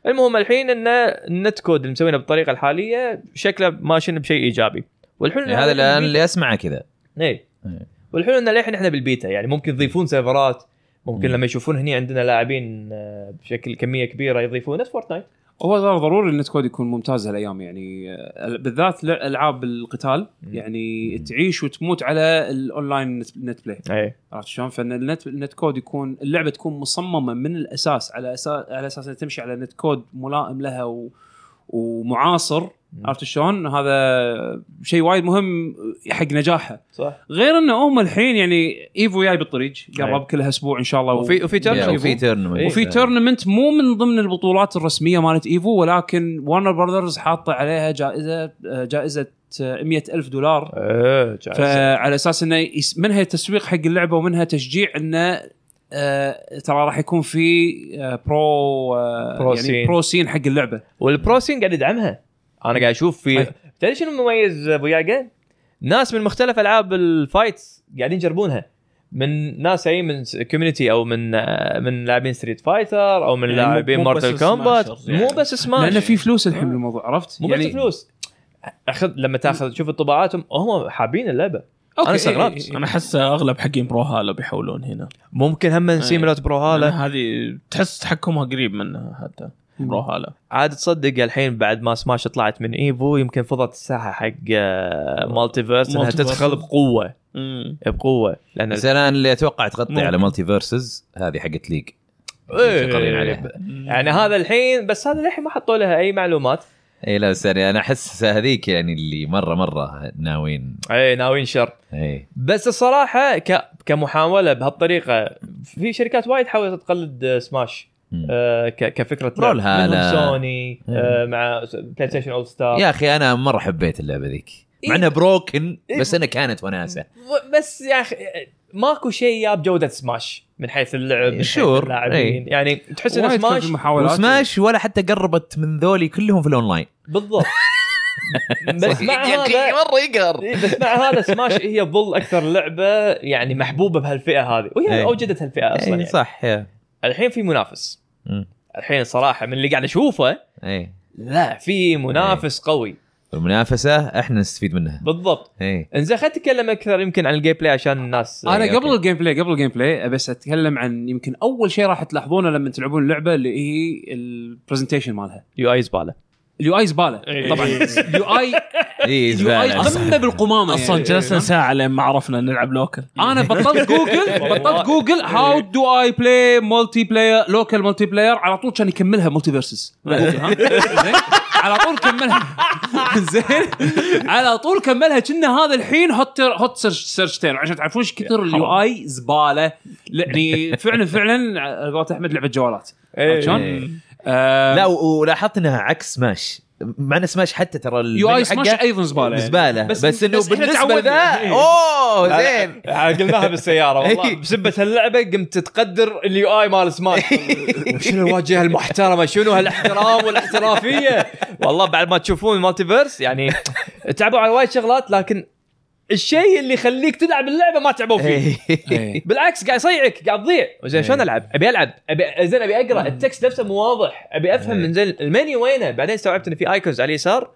[SPEAKER 2] المهم الحين ان النت كود اللي مسوينه بالطريقه الحاليه شكله ماشيين بشيء ايجابي والحلو إن
[SPEAKER 4] يعني إيه، هذا
[SPEAKER 2] إحنا
[SPEAKER 4] اللي-
[SPEAKER 2] بالبيتا-
[SPEAKER 4] اللي اسمعه كذا
[SPEAKER 2] إيه.
[SPEAKER 4] إيه.
[SPEAKER 2] والحلو ان الحين احنا بالبيتا يعني ممكن يضيفون سيرفرات ممكن
[SPEAKER 4] مم.
[SPEAKER 2] لما يشوفون هني عندنا لاعبين آه، بشكل كميه كبيره يضيفون نفس فورتنايت
[SPEAKER 1] هو ضر- ضروري النت كود يكون ممتاز هالايام يعني آه، بالذات ل- العاب القتال يعني تعيش وتموت على الاونلاين نت- نت بلاي
[SPEAKER 4] إيه.
[SPEAKER 2] اي
[SPEAKER 1] عرفت شلون؟ فان النت النت كود يكون اللعبه تكون مصممه من الاساس على اساس على اساس انها تمشي على نت كود ملائم لها و... ومعاصر عرفت شلون؟ هذا شيء وايد مهم حق نجاحها،
[SPEAKER 2] صح
[SPEAKER 1] غير انه هم الحين يعني ايفو جاي بالطريق قرب كلها اسبوع ان شاء الله و-
[SPEAKER 2] إيه. وفي وفي إيه.
[SPEAKER 4] يا،
[SPEAKER 2] ترن
[SPEAKER 4] يعني وفي تورنمنت
[SPEAKER 1] إيه. وفي تورنمنت مو من ضمن البطولات الرسميه مالت ايفو ولكن وارنر براذرز حاطه عليها جائزه جائزه 100 ألف دولار
[SPEAKER 2] ايه جايز.
[SPEAKER 1] فعلى اساس انه يس- منها تسويق حق اللعبه ومنها تشجيع انه آه، ترى راح يكون في آه، برو آه،
[SPEAKER 2] برو
[SPEAKER 1] يعني
[SPEAKER 2] سين.
[SPEAKER 1] برو سين حق اللعبه
[SPEAKER 2] والبروسين قاعد يدعمها انا قاعد اشوف في
[SPEAKER 1] أي.
[SPEAKER 2] تدري شنو مميز ابو يعقوب؟ ناس من مختلف العاب الفايتس قاعدين يجربونها من ناس جايين من كوميونتي او من آه، من لاعبين ستريت فايتر او من
[SPEAKER 3] يعني مو-
[SPEAKER 2] لاعبين
[SPEAKER 3] مو
[SPEAKER 2] مورتال
[SPEAKER 3] بس
[SPEAKER 2] كومبات
[SPEAKER 3] سماشرز يعني.
[SPEAKER 2] مو بس سماش
[SPEAKER 1] لان في فلوس الحين بالموضوع عرفت؟ يعني
[SPEAKER 2] مو بس فلوس اخذ لما تاخذ تشوف انطباعاتهم هم حابين اللعبه
[SPEAKER 1] إيه،
[SPEAKER 2] أنا استغربت.
[SPEAKER 1] إي- إي- إي.
[SPEAKER 3] انا احس اغلب حقين برو هالا بيحولون هنا
[SPEAKER 2] ممكن هم
[SPEAKER 3] أي. نعم.
[SPEAKER 2] سيمولات برو هاله
[SPEAKER 3] لأن هذه تحس تحكمها قريب منها حتى برو هالا
[SPEAKER 2] عاد تصدق الحين بعد ما سماش طلعت من ايفو يمكن فضت الساحه حق آه، مالتيفيرس انها
[SPEAKER 3] مالتيفيرس.
[SPEAKER 2] تدخل بقوه
[SPEAKER 3] مم.
[SPEAKER 2] بقوه لان
[SPEAKER 4] بس انا اللي اتوقع تغطي
[SPEAKER 3] ممكن.
[SPEAKER 4] على مالتي فيرسز هذه حقت ليج
[SPEAKER 2] إيه.
[SPEAKER 4] شغالين عليها
[SPEAKER 2] يعني هذا الحين بس هذا الحين ما حطوا لها اي معلومات
[SPEAKER 4] اي لا بس يعني انا احس هذيك يعني اللي مره مره ناويين
[SPEAKER 2] اي إيه، ناويين شر
[SPEAKER 4] اي
[SPEAKER 2] بس الصراحه ك... كمحاوله بهالطريقه في شركات وايد حاولت تقلد آه، سماش
[SPEAKER 4] مم.
[SPEAKER 2] آه ك... كفكره
[SPEAKER 4] رول
[SPEAKER 2] لعب.
[SPEAKER 4] هالة.
[SPEAKER 2] منهم سوني
[SPEAKER 4] مم.
[SPEAKER 2] آه مع س- بلاي ستيشن اول
[SPEAKER 1] آه.
[SPEAKER 2] ستار
[SPEAKER 4] يا اخي انا مره حبيت اللعبه ذيك
[SPEAKER 2] إيه.
[SPEAKER 4] مع انها بروكن
[SPEAKER 2] إيه.
[SPEAKER 4] بس انا كانت وناسه
[SPEAKER 2] و- بس يا اخي آه، ماكو شيء جاب جوده سماش من حيث اللعب من حيث
[SPEAKER 4] شور. إيه.
[SPEAKER 2] اللاعبين يعني تحس ان
[SPEAKER 1] وايد إيه، كان
[SPEAKER 2] سماش
[SPEAKER 1] في محاولات
[SPEAKER 4] وسماش ولا حتى قربت من ذولي كلهم في الاونلاين
[SPEAKER 2] بالضبط بس مع
[SPEAKER 4] يا أخي
[SPEAKER 2] هذا
[SPEAKER 4] مره يقهر
[SPEAKER 2] إيه، بس مع هذا سماش هي تظل اكثر لعبه يعني محبوبه بهالفئه هذه وهي
[SPEAKER 4] إيه.
[SPEAKER 1] آه،
[SPEAKER 2] اوجدت هالفئه اصلا
[SPEAKER 4] إيه،
[SPEAKER 2] يعني.
[SPEAKER 4] صح يا.
[SPEAKER 2] الحين في منافس
[SPEAKER 4] مم.
[SPEAKER 2] الحين صراحه من اللي قاعد اشوفه
[SPEAKER 4] اي
[SPEAKER 2] لا في منافس
[SPEAKER 4] إيه.
[SPEAKER 2] قوي
[SPEAKER 4] المنافسه احنا نستفيد منها
[SPEAKER 2] بالضبط
[SPEAKER 4] اي
[SPEAKER 2] انزين خلينا نتكلم اكثر يمكن عن الجيم بلاي عشان الناس
[SPEAKER 1] انا
[SPEAKER 4] أوكي.
[SPEAKER 1] قبل الجيم بلاي قبل الجيم بلاي بس اتكلم عن يمكن اول شيء راح تلاحظونه لما تلعبون اللعبه اللي هي البرزنتيشن مالها
[SPEAKER 2] يو اي زباله
[SPEAKER 1] اليو اي زباله طبعا اليو اي
[SPEAKER 4] اي
[SPEAKER 1] اليو اي
[SPEAKER 4] زبالة.
[SPEAKER 1] قمه بالقمامه
[SPEAKER 3] اصلا
[SPEAKER 2] إيه.
[SPEAKER 1] يعني.
[SPEAKER 3] جلسنا ساعه لين ما عرفنا نلعب لوكل
[SPEAKER 1] انا
[SPEAKER 4] إيه.
[SPEAKER 1] بطلت جوجل بطلت جوجل هاو دو اي بلاي مولتي بلاير لوكال مولتي بلاير على طول كان يكملها مولتي فيرسز
[SPEAKER 4] إيه.
[SPEAKER 1] على طول كملها زين على طول كملها كنا هذا الحين هوت هوت سيرش سيرشتين عشان تعرفون ايش كثر اليو اي زباله يعني آه، فعلا فعلا على قولة احمد لعبه جوالات عرفت شلون؟ آه،
[SPEAKER 4] إيه. لا و- ولاحظت انها عكس سماش مع ان سماش حتى ترى
[SPEAKER 1] يو اي سماش ايضا زباله يعني.
[SPEAKER 4] زباله
[SPEAKER 1] بس-
[SPEAKER 4] بس, بس انه
[SPEAKER 1] بس إحنا
[SPEAKER 4] بالنسبه
[SPEAKER 1] تعودنا.
[SPEAKER 4] لذا
[SPEAKER 1] إيه.
[SPEAKER 4] اوه زين
[SPEAKER 2] آه، قلناها بالسياره والله
[SPEAKER 4] إي.
[SPEAKER 2] بسبه هاللعبه إيه. قمت تقدر اليو اي مال سماش
[SPEAKER 4] إيه.
[SPEAKER 2] شنو الواجهه المحترمه شنو هالاحترام والاحترافيه والله بعد ما تشوفون المالتيفيرس يعني تعبوا على وايد شغلات لكن الشيء اللي يخليك تلعب اللعبه ما تعبوا فيه
[SPEAKER 1] إيه.
[SPEAKER 2] بالعكس قاعد يصيعك قاعد تضيع زين شلون العب؟ ابي العب ابي زين ابي اقرا التكست نفسه مو واضح ابي افهم من زين المنيو وينه بعدين استوعبت ان في ايكونز على اليسار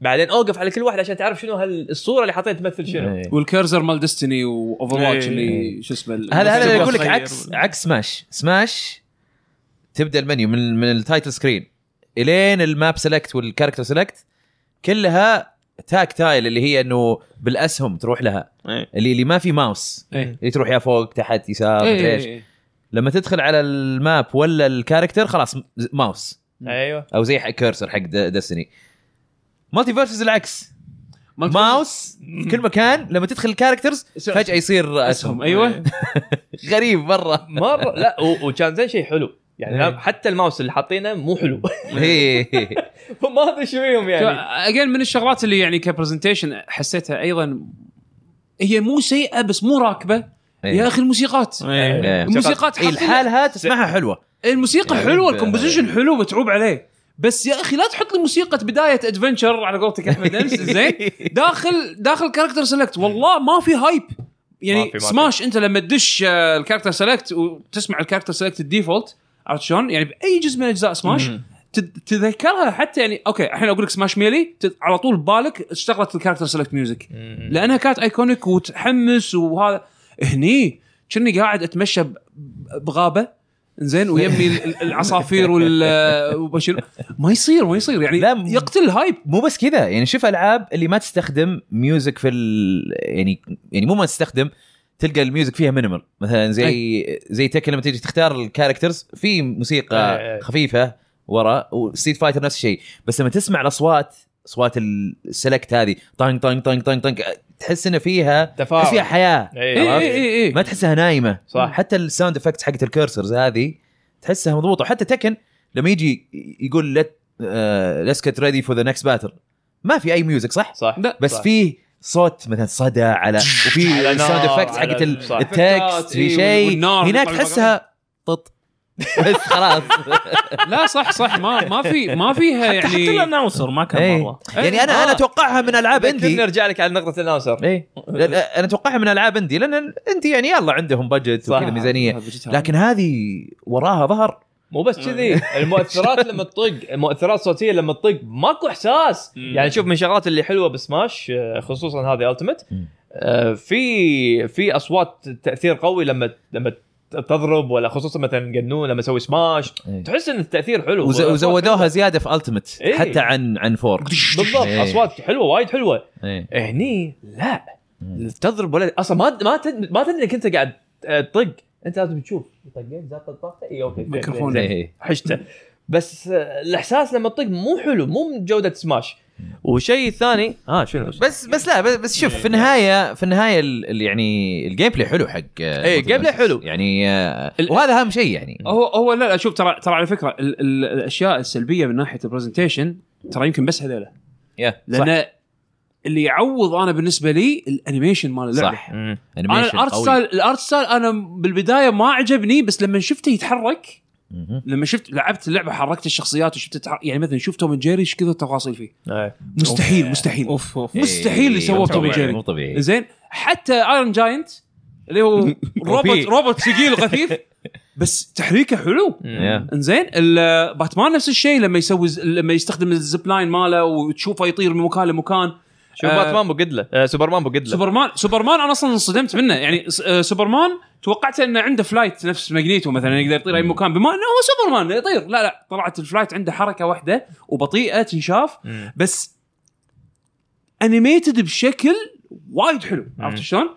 [SPEAKER 2] بعدين اوقف على كل واحد عشان تعرف شنو هالصوره اللي حاطينها تمثل شنو
[SPEAKER 4] إيه.
[SPEAKER 1] والكيرزر مال ديستني واوفر واتش
[SPEAKER 3] إيه.
[SPEAKER 1] اللي شو اسمه ال-
[SPEAKER 4] هذا هذا
[SPEAKER 3] بس
[SPEAKER 4] اللي
[SPEAKER 3] تبغى
[SPEAKER 4] اقول لك
[SPEAKER 3] تغير
[SPEAKER 4] عكس
[SPEAKER 3] ولا-
[SPEAKER 4] عكس سماش سماش تبدا المنيو من من التايتل سكرين الين الماب سيلكت والكاركتر سيلكت كلها تاك تايل اللي هي انه بالاسهم تروح لها
[SPEAKER 3] إيه.
[SPEAKER 4] اللي اللي ما في ماوس
[SPEAKER 1] إيه.
[SPEAKER 4] اللي تروح يا فوق تحت يسار مدري ايش
[SPEAKER 1] إيه.
[SPEAKER 4] لما تدخل على الماب ولا الكاركتر خلاص م- ماوس
[SPEAKER 2] ايوه
[SPEAKER 4] او زي كيرسر حق ديستني مالتي فيرسز العكس ماوس في كل مكان لما تدخل الكاركترز
[SPEAKER 1] يصير
[SPEAKER 4] فجاه يصير
[SPEAKER 1] اسهم
[SPEAKER 4] اسهم
[SPEAKER 1] ايوه
[SPEAKER 4] غريب مره
[SPEAKER 2] مره لا و- وكان زين شيء حلو يعني حتى الماوس اللي حاطينه مو حلو
[SPEAKER 4] إيه.
[SPEAKER 2] ما ادري شو فيهم يعني
[SPEAKER 1] اجين من الشغلات اللي يعني كبرزنتيشن حسيتها ايضا هي مو سيئه بس مو راكبه
[SPEAKER 4] إيه.
[SPEAKER 1] يا اخي الموسيقات
[SPEAKER 4] إيه.
[SPEAKER 1] الموسيقات
[SPEAKER 4] إيه،
[SPEAKER 1] حاطين-
[SPEAKER 4] لحالها تسمعها حلوه
[SPEAKER 1] الموسيقى
[SPEAKER 4] يعني
[SPEAKER 1] حلوه
[SPEAKER 4] ب-
[SPEAKER 1] الكومبوزيشن حلو متعوب عليه بس يا اخي لا تحط لي موسيقى بدايه ادفنشر على قولتك احمد امس زين داخل داخل كاركتر سيلكت والله ما في هايب يعني
[SPEAKER 2] ما في- ما في.
[SPEAKER 1] سماش انت لما تدش آه، الكاركتر سيلكت وتسمع الكاركتر سيلكت الديفولت عرفت شلون؟ يعني باي جزء من اجزاء سماش تت- تتذكرها حتى يعني اوكي الحين اقول لك سماش ميلي تت- على طول ببالك اشتغلت الكاركتر سيلكت ميوزك لانها كانت ايكونيك وتحمس وهذا هني كني قاعد اتمشى ب- بغابه زين ويمي ال- ال- العصافير وال وبشير ما يصير ما يصير يعني
[SPEAKER 4] لا، م-
[SPEAKER 1] يقتل الهايب
[SPEAKER 4] مو بس كذا يعني شوف العاب اللي ما تستخدم ميوزك في ال... يعني يعني مو ما تستخدم تلقى الميوزك فيها مينيمال مثلا زي زي تك لما تيجي تختار الكاركترز في
[SPEAKER 2] إيه،
[SPEAKER 4] موسيقى
[SPEAKER 2] إيه.
[SPEAKER 4] خفيفه ورا وستيت فايتر نفس الشيء بس لما تسمع الاصوات اصوات السلكت هذه طنج طنج طنج طنج طنج تحس ان فيها تحس فيها
[SPEAKER 2] تفاعل
[SPEAKER 4] حياه
[SPEAKER 2] إيه،
[SPEAKER 1] اي
[SPEAKER 2] عرفت؟
[SPEAKER 1] اي اي
[SPEAKER 4] ما تحسها نايمه
[SPEAKER 2] صح.
[SPEAKER 4] حتى الساوند افكت حقت الكيرسرز هذه تحسها مضبوطه وحتى تكن لما يجي يقول آه، لت ليتس كت ريدي فور ذا نكست باتل ما في اي ميوزك صح؟
[SPEAKER 2] صح
[SPEAKER 1] لا،
[SPEAKER 4] بس
[SPEAKER 2] صح.
[SPEAKER 4] فيه صوت مثلا صدى على
[SPEAKER 2] على
[SPEAKER 4] وفي
[SPEAKER 2] نار،
[SPEAKER 4] ساوند افكت
[SPEAKER 2] على
[SPEAKER 4] حقت ال-
[SPEAKER 2] صح.
[SPEAKER 4] التكست في
[SPEAKER 1] إيه،
[SPEAKER 4] شيء
[SPEAKER 1] والنار
[SPEAKER 4] هناك
[SPEAKER 1] يطلع
[SPEAKER 4] تحسها طط بس خلاص
[SPEAKER 1] لا صح صح ما ما في ما فيها
[SPEAKER 3] حتى حتى
[SPEAKER 1] يعني
[SPEAKER 3] الاناونسر ما كان
[SPEAKER 4] إيه.
[SPEAKER 3] مره
[SPEAKER 4] يعني انا
[SPEAKER 2] آه.
[SPEAKER 4] انا اتوقعها من العاب
[SPEAKER 2] ذكرني
[SPEAKER 4] اندي
[SPEAKER 2] نرجع لك على نقطه الناصر
[SPEAKER 4] ايه لا- لا، انا اتوقعها من العاب اندي لان اندي يعني يلا عندهم بادجت
[SPEAKER 2] صح.
[SPEAKER 4] وكذا ميزانيه لكن هذه وراها ظهر
[SPEAKER 2] مو بس كذي المؤثرات لما تطق المؤثرات الصوتيه لما تطق ماكو احساس
[SPEAKER 3] مم.
[SPEAKER 2] يعني شوف من الشغلات اللي حلوه بسماش آه، خصوصا هذه التمت
[SPEAKER 4] مم.
[SPEAKER 2] في في اصوات تاثير قوي لما لما تضرب ولا خصوصا مثلا قنون لما اسوي سماش
[SPEAKER 4] إيه.
[SPEAKER 2] تحس ان التاثير حلو
[SPEAKER 4] وز...
[SPEAKER 2] والأصوات
[SPEAKER 4] وزودوها زياده في التمت
[SPEAKER 2] إيه.
[SPEAKER 4] حتى عن عن فور
[SPEAKER 2] حلوة. بالضبط
[SPEAKER 4] إيه.
[SPEAKER 2] اصوات حلوه وايد حلوه
[SPEAKER 4] إيه.
[SPEAKER 2] هني لا تضرب ولا اصلا ما ما تد- ما تدري انك انت قاعد آه، تطق انت لازم تشوف طقيت زاد طقطقته اي اوكي زين، زين،
[SPEAKER 1] ميكروفون.
[SPEAKER 2] زين.
[SPEAKER 4] إيه.
[SPEAKER 2] حشته بس آه، الاحساس لما تطق مو حلو مو من جوده سماش والشيء الثاني اه شنو
[SPEAKER 4] بس بس لا بس, بس شوف
[SPEAKER 2] يعني
[SPEAKER 4] في النهايه في النهايه ال... ال- يعني الجيم بلاي حلو حق اي
[SPEAKER 2] الجيم بلاي إيه، حلو.
[SPEAKER 4] يعني آه،
[SPEAKER 1] ال-
[SPEAKER 4] وهذا اهم شيء يعني
[SPEAKER 1] هو هو لا لا شوف ترى ترى على فكره ال ال الاشياء السلبيه من ناحيه البرزنتيشن ترى يمكن بس هذيلا
[SPEAKER 4] يا صح
[SPEAKER 1] لان اللي يعوض انا بالنسبه لي الانيميشن مال اللعبه
[SPEAKER 4] صح
[SPEAKER 2] مم.
[SPEAKER 1] انا
[SPEAKER 4] Animation
[SPEAKER 1] الارت
[SPEAKER 4] قوي.
[SPEAKER 1] ستايل الارت ستايل انا بالبدايه ما عجبني بس لما شفته يتحرك
[SPEAKER 4] مهم.
[SPEAKER 1] لما شفت لعبت اللعبه حركت الشخصيات وشفت تتحرك يعني مثلا شفت توم أند جيري ايش كثر تفاصيل فيه
[SPEAKER 2] إيه.
[SPEAKER 1] مستحيل مستحيل
[SPEAKER 3] اوف اوف
[SPEAKER 1] مستحيل اللي
[SPEAKER 4] إيه،
[SPEAKER 1] سووه
[SPEAKER 4] مو
[SPEAKER 1] بتوم
[SPEAKER 4] طبيعي،
[SPEAKER 1] جيري.
[SPEAKER 4] مو طبيعي
[SPEAKER 1] زين حتى ايرون جاينت اللي هو روبوت روبوت ثقيل غثيث بس تحريكه حلو
[SPEAKER 4] يا.
[SPEAKER 1] انزين ال- باتمان نفس الشيء لما يسوي ز- لما يستخدم الزب لاين ماله وتشوفه يطير من مكان لمكان
[SPEAKER 2] شوف
[SPEAKER 1] آه.
[SPEAKER 2] باتمان بقد له آه، سوبرمان بقد له
[SPEAKER 1] سوبرمان سوبرمان انا اصلا انصدمت منه يعني س- آه، سوبرمان توقعت انه عنده فلايت نفس ماجنيتو مثلا يقدر يطير اي مكان بما انه هو سوبرمان يطير لا لا طلعت الفلايت عنده حركه واحده وبطيئه تنشاف
[SPEAKER 2] مم.
[SPEAKER 1] بس انيميتد بشكل وايد حلو عرفت شلون؟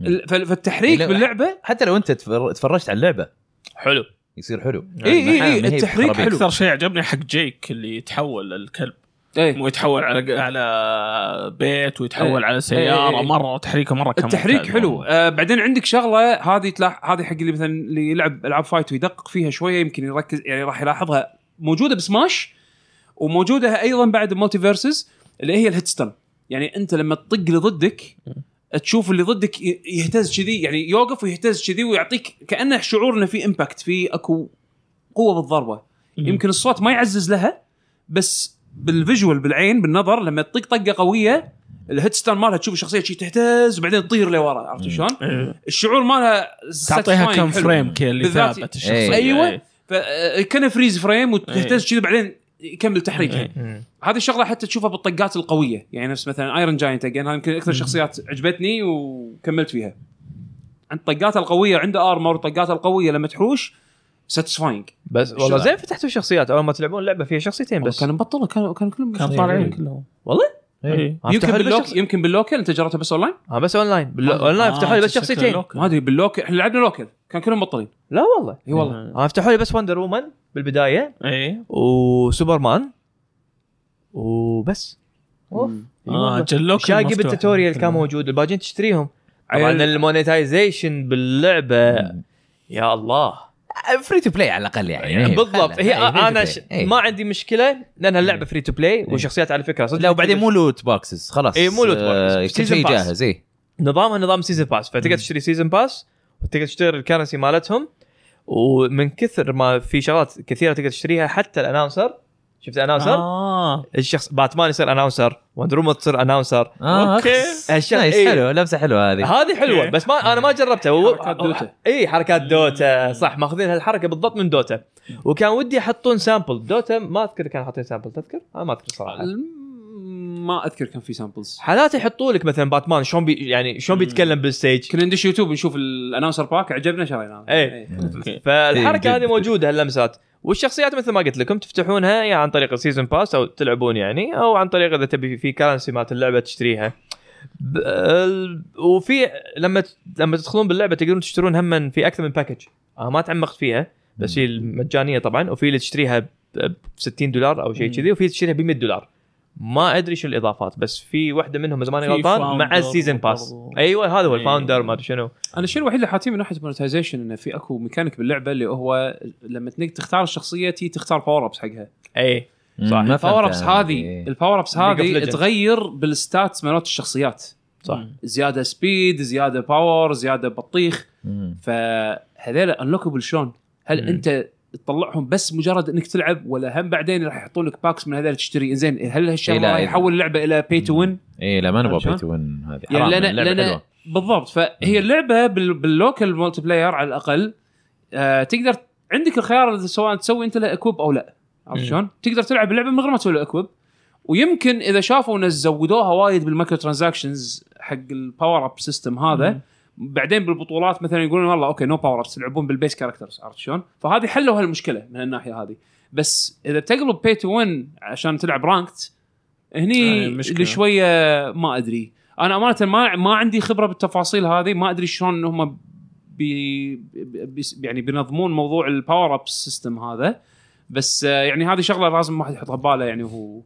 [SPEAKER 1] ال- فال- فالتحريك
[SPEAKER 4] لا،
[SPEAKER 1] باللعبه
[SPEAKER 4] حتى لو انت تفر- تفرجت على اللعبه
[SPEAKER 2] حلو
[SPEAKER 4] يصير حلو
[SPEAKER 2] إيه،
[SPEAKER 1] إي إي
[SPEAKER 4] ما-
[SPEAKER 1] إي،
[SPEAKER 4] ما هي
[SPEAKER 1] التحريك
[SPEAKER 4] بخرابيط.
[SPEAKER 1] حلو.
[SPEAKER 3] اكثر شيء عجبني حق جيك اللي يتحول الكلب
[SPEAKER 1] ايه
[SPEAKER 3] مو يتحول على على بيت ويتحول
[SPEAKER 1] إيه.
[SPEAKER 3] على
[SPEAKER 1] إيه،
[SPEAKER 3] سياره
[SPEAKER 1] إيه.
[SPEAKER 3] مره وتحريكه مره كان
[SPEAKER 1] التحريك
[SPEAKER 3] ممتاز
[SPEAKER 1] حلو
[SPEAKER 3] والله.
[SPEAKER 1] آه بعدين عندك شغله هذه تلاح هذه حق اللي مثلا اللي يلعب العاب فايت ويدقق فيها شويه يمكن يركز يعني راح يلاحظها موجوده بسماش وموجوده ايضا بعد المالتي فيرسز اللي هي الهيدستون يعني انت لما تطق اللي ضدك تشوف اللي ضدك ي- يهتز كذي يعني يوقف ويهتز كذي ويعطيك كانه شعور انه في امباكت في اكو قوه بالضربه
[SPEAKER 3] مم.
[SPEAKER 1] يمكن الصوت ما يعزز لها بس بالفيجوال بالعين بالنظر لما تطق طقه قويه الهيدستان مالها تشوف الشخصيه شي تهتز وبعدين تطير لورا عرفت شلون؟
[SPEAKER 3] إيه.
[SPEAKER 1] الشعور مالها
[SPEAKER 3] تعطيها
[SPEAKER 1] satisfying
[SPEAKER 3] كم
[SPEAKER 1] حلو.
[SPEAKER 3] فريم كذا اللي
[SPEAKER 1] بالذات-
[SPEAKER 3] ثابت الشخصيه
[SPEAKER 1] أيوة.
[SPEAKER 3] إيه.
[SPEAKER 1] ف- كان فريز فريم وتهتز كذي بعدين يكمل تحريكها
[SPEAKER 3] إيه.
[SPEAKER 2] مم.
[SPEAKER 1] هذه الشغله حتى تشوفها بالطقات القويه يعني نفس مثلا ايرون جاينت اجين هذه يمكن اكثر شخصيات عجبتني وكملت فيها عند طقاته القويه عنده ارمر وطقاته القويه لما تحوش ساتيسفاينج
[SPEAKER 2] بس والله زين فتحتوا شخصيات اول ما تلعبون لعبه فيها شخصيتين بس
[SPEAKER 1] كانوا مبطلوا كانوا كانوا كلهم
[SPEAKER 3] كانوا طالعين كلهم
[SPEAKER 2] والله؟
[SPEAKER 3] إيه.
[SPEAKER 2] آه،
[SPEAKER 1] يمكن
[SPEAKER 2] فتحوا لي بس
[SPEAKER 1] باللوك
[SPEAKER 2] شخص-
[SPEAKER 1] يمكن باللوكل انت جربتها بس اونلاين؟
[SPEAKER 2] اه بس اونلاين بال- اونلاين
[SPEAKER 3] آه،
[SPEAKER 2] فتحوا لي بس
[SPEAKER 3] شكله
[SPEAKER 2] شخصيتين
[SPEAKER 3] لوك.
[SPEAKER 1] ما ادري باللوكل احنا لعبنا لوكل كان كلهم مبطلين
[SPEAKER 2] لا والله
[SPEAKER 1] اي والله
[SPEAKER 2] آه، فتحوا لي بس وندر وومن بالبدايه
[SPEAKER 1] أيوة.
[SPEAKER 3] ايه
[SPEAKER 2] وسوبرمان وبس أوف.
[SPEAKER 1] مم.
[SPEAKER 3] اه جلوك
[SPEAKER 2] شاقب
[SPEAKER 3] مفتوح.
[SPEAKER 2] التوتوريال كان موجود الباجين تشتريهم طبعا
[SPEAKER 1] عيل-
[SPEAKER 2] المونيتايزيشن باللعبه يا الله
[SPEAKER 4] فري تو بلاي على الاقل يعني إيه،
[SPEAKER 2] بالضبط
[SPEAKER 4] خلها.
[SPEAKER 2] هي
[SPEAKER 4] إيه، free to
[SPEAKER 2] انا
[SPEAKER 4] play.
[SPEAKER 2] ش-
[SPEAKER 4] إيه.
[SPEAKER 2] ما عندي مشكله لانها اللعبه فري تو بلاي وشخصيات على فكره صدق
[SPEAKER 4] لا وبعدين مو لوت بوكسز خلاص
[SPEAKER 2] إيه، مو loot boxes.
[SPEAKER 4] آه، كل
[SPEAKER 2] Season
[SPEAKER 4] شيء
[SPEAKER 2] pass.
[SPEAKER 4] جاهز اي
[SPEAKER 2] نظامها نظام سيزون باس فتقدر تشتري سيزون باس وتقدر تشتري الكرنسي مالتهم ومن كثر ما في شغلات كثيره تقدر تشتريها حتى الاناونسر شفت الاناونسر آه.
[SPEAKER 3] اه
[SPEAKER 2] الشخص باتمان يصير اناونسر وندر وومن تصير اناونسر
[SPEAKER 3] اوكي
[SPEAKER 4] نايس
[SPEAKER 2] هالشغ- إيه.
[SPEAKER 4] حلو لمسه حلوه هذه
[SPEAKER 2] هذه حلوه
[SPEAKER 3] أوكي.
[SPEAKER 2] بس ما انا ما جربتها و...
[SPEAKER 1] إيه. حركات دوتا.
[SPEAKER 2] اي حركات دوتا صح ماخذين هالحركه بالضبط من دوتا وكان ودي يحطون سامبل دوتا ما اذكر كانوا حاطين سامبل تذكر؟ انا ما اذكر صراحه
[SPEAKER 1] الم- ما اذكر كان في سامبلز
[SPEAKER 2] حالات يحطوا لك مثلا باتمان شلون بي يعني شلون بيتكلم بالستيج
[SPEAKER 1] كنا ندش يوتيوب نشوف الانونسر باك عجبنا شريناه
[SPEAKER 2] إيه. فالحركه
[SPEAKER 4] إيه،
[SPEAKER 2] هذه
[SPEAKER 4] جد.
[SPEAKER 2] موجوده هاللمسات والشخصيات مثل ما قلت لكم تفتحونها يا عن طريق السيزون باس او تلعبون يعني او عن طريق اذا تبي في كرنسي مالت اللعبه تشتريها ب- ال- وفي لما ت- لما تدخلون باللعبه تقدرون تشترون هم في اكثر من باكج أنا ما تعمقت فيها بس في المجانيه طبعا وفي اللي تشتريها ب ب 60 دولار او شيء كذي وفي اللي تشتريها ب 100 دولار ما ادري شو الاضافات بس في واحده منهم إذا ماني
[SPEAKER 3] في
[SPEAKER 2] غلطان مع
[SPEAKER 3] founder
[SPEAKER 2] السيزون باس
[SPEAKER 3] برضو.
[SPEAKER 2] ايوه هذا هو
[SPEAKER 3] إيه.
[SPEAKER 2] الفاوندر ما ادري شنو
[SPEAKER 1] انا الشيء الوحيد اللي حاطيه من ناحيه مونتايزيشن انه في اكو ميكانيك باللعبه اللي هو لما تنك تختار الشخصيه تي تختار باور ابس حقها
[SPEAKER 3] إيه.
[SPEAKER 2] اي صح.
[SPEAKER 4] ما فهمت
[SPEAKER 1] الباور ابس
[SPEAKER 4] أنا.
[SPEAKER 1] هذه
[SPEAKER 4] إيه.
[SPEAKER 1] الباور ابس
[SPEAKER 2] League of
[SPEAKER 1] هذه
[SPEAKER 2] Legends.
[SPEAKER 1] تغير بالستاتس مالت الشخصيات
[SPEAKER 2] صح
[SPEAKER 1] زياده سبيد زياده باور زياده بطيخ
[SPEAKER 4] مم.
[SPEAKER 1] فهذول انلوكبل شلون؟ هل
[SPEAKER 2] مم.
[SPEAKER 1] مم. انت تطلعهم بس مجرد انك تلعب ولا هم بعدين راح يحطون لك باكس من هذول تشتري زين هل هالشيء
[SPEAKER 4] إيه لا،
[SPEAKER 1] راح
[SPEAKER 4] إيه.
[SPEAKER 1] يحول اللعبه الى باي تو وين؟
[SPEAKER 4] اي إيه، لا ما نبغى
[SPEAKER 1] عشان؟
[SPEAKER 4] بي تو وين هذه
[SPEAKER 1] يعني
[SPEAKER 4] حرام
[SPEAKER 1] لنا
[SPEAKER 4] اللعبة
[SPEAKER 1] لنا
[SPEAKER 4] حلوة.
[SPEAKER 1] بالضبط فهي اللعبه بال- باللوكال مالتي بلاير على الاقل آه تقدر عندك الخيار سواء تسوي انت له اكوب او لا عرفت
[SPEAKER 2] مم.
[SPEAKER 1] شلون؟ تقدر تلعب اللعبه من غير ما تسوي له اكوب ويمكن اذا شافوا ان زودوها وايد بالمايكرو ترانزاكشنز حق الباور اب سيستم هذا بعدين بالبطولات مثلا يقولون والله اوكي نو باور ابس تلعبون بالبيس كاركترز عرفت شلون؟ فهذه حلوا هالمشكله من الناحيه هذه بس اذا تقلب بي تو وين عشان تلعب رانكت هني
[SPEAKER 3] آه، مشكلة.
[SPEAKER 1] اللي شويه ما ادري انا امانه ما ما عندي خبره بالتفاصيل هذه ما ادري شلون هم بي بي يعني بينظمون موضوع الباور اب سيستم هذا بس آه، يعني هذه شغله لازم الواحد يحطها بباله يعني وهو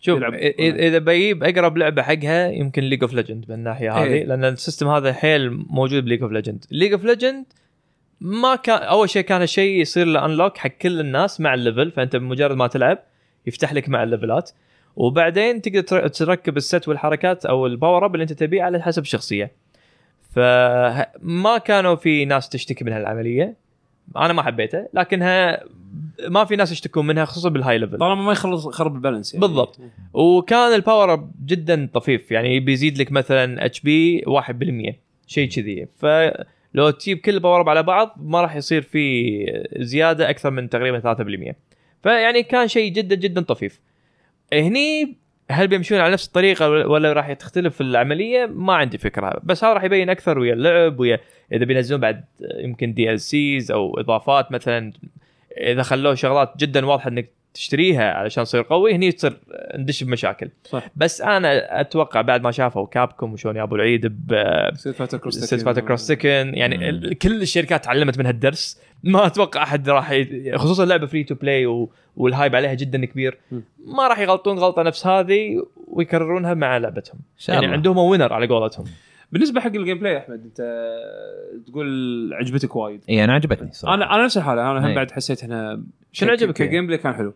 [SPEAKER 2] شوف
[SPEAKER 1] يلعب.
[SPEAKER 2] إذا- اذا بجيب اقرب لعبه حقها يمكن ليج اوف ليجند من الناحيه هذه
[SPEAKER 1] إيه.
[SPEAKER 2] لان السيستم هذا حيل موجود بليج اوف ليجند ليج اوف ليجند ما كان اول شيء كان الشيء يصير له انلوك حق كل الناس مع الليفل فانت بمجرد ما تلعب يفتح لك مع الليفلات وبعدين تقدر تر- تركب الست والحركات او الباور اب اللي انت تبيه على حسب الشخصيه فما كانوا في ناس تشتكي من هالعمليه انا ما حبيتها لكنها ما في ناس يشتكون منها خصوصا بالهاي ليفل
[SPEAKER 1] طالما ما يخلص يخرب البالانس يعني
[SPEAKER 2] بالضبط وكان الباور اب جدا طفيف يعني بيزيد لك مثلا اتش بي 1% شيء كذي ف لو تجيب كل البوارب على بعض ما راح يصير في زياده اكثر من تقريبا 3% فيعني كان شيء جدا جدا طفيف هني هل بيمشون على نفس الطريقه ولا- ولا راح تختلف العمليه ما عندي فكره بس هذا راح يبين اكثر ويا اللعب ويا اذا بينزلون بعد يمكن دي ال سيز او اضافات مثلا اذا خلوه شغلات جدا واضحه انك تشتريها علشان تصير قوي هني تصير ندش بمشاكل
[SPEAKER 1] صح.
[SPEAKER 2] بس انا اتوقع بعد ما شافوا كابكم وشون يا ابو العيد ب
[SPEAKER 1] ستريت فايتر كروس تكن.
[SPEAKER 2] سيلفات كروس تكن
[SPEAKER 4] مم.
[SPEAKER 2] يعني ال- كل الشركات تعلمت منها الدرس ما اتوقع احد راح ي... خصوصا لعبه فري تو بلاي والهايب عليها جدا كبير
[SPEAKER 1] مم.
[SPEAKER 2] ما راح يغلطون غلطه نفس هذه ويكررونها مع لعبتهم
[SPEAKER 4] ان شاء
[SPEAKER 2] يعني
[SPEAKER 4] الله
[SPEAKER 2] عندهم وينر على قولتهم
[SPEAKER 1] بالنسبه حق الجيم بلاي يا احمد انت تقول عجبتك وايد
[SPEAKER 4] اي انا إيه، عجبتني صراحه
[SPEAKER 1] انا انا نفس الحاله انا هم
[SPEAKER 4] إي.
[SPEAKER 1] بعد حسيت انا
[SPEAKER 2] إيه. شنو عجبك يعني؟ فيها؟
[SPEAKER 1] الجيم بلاي كان حلو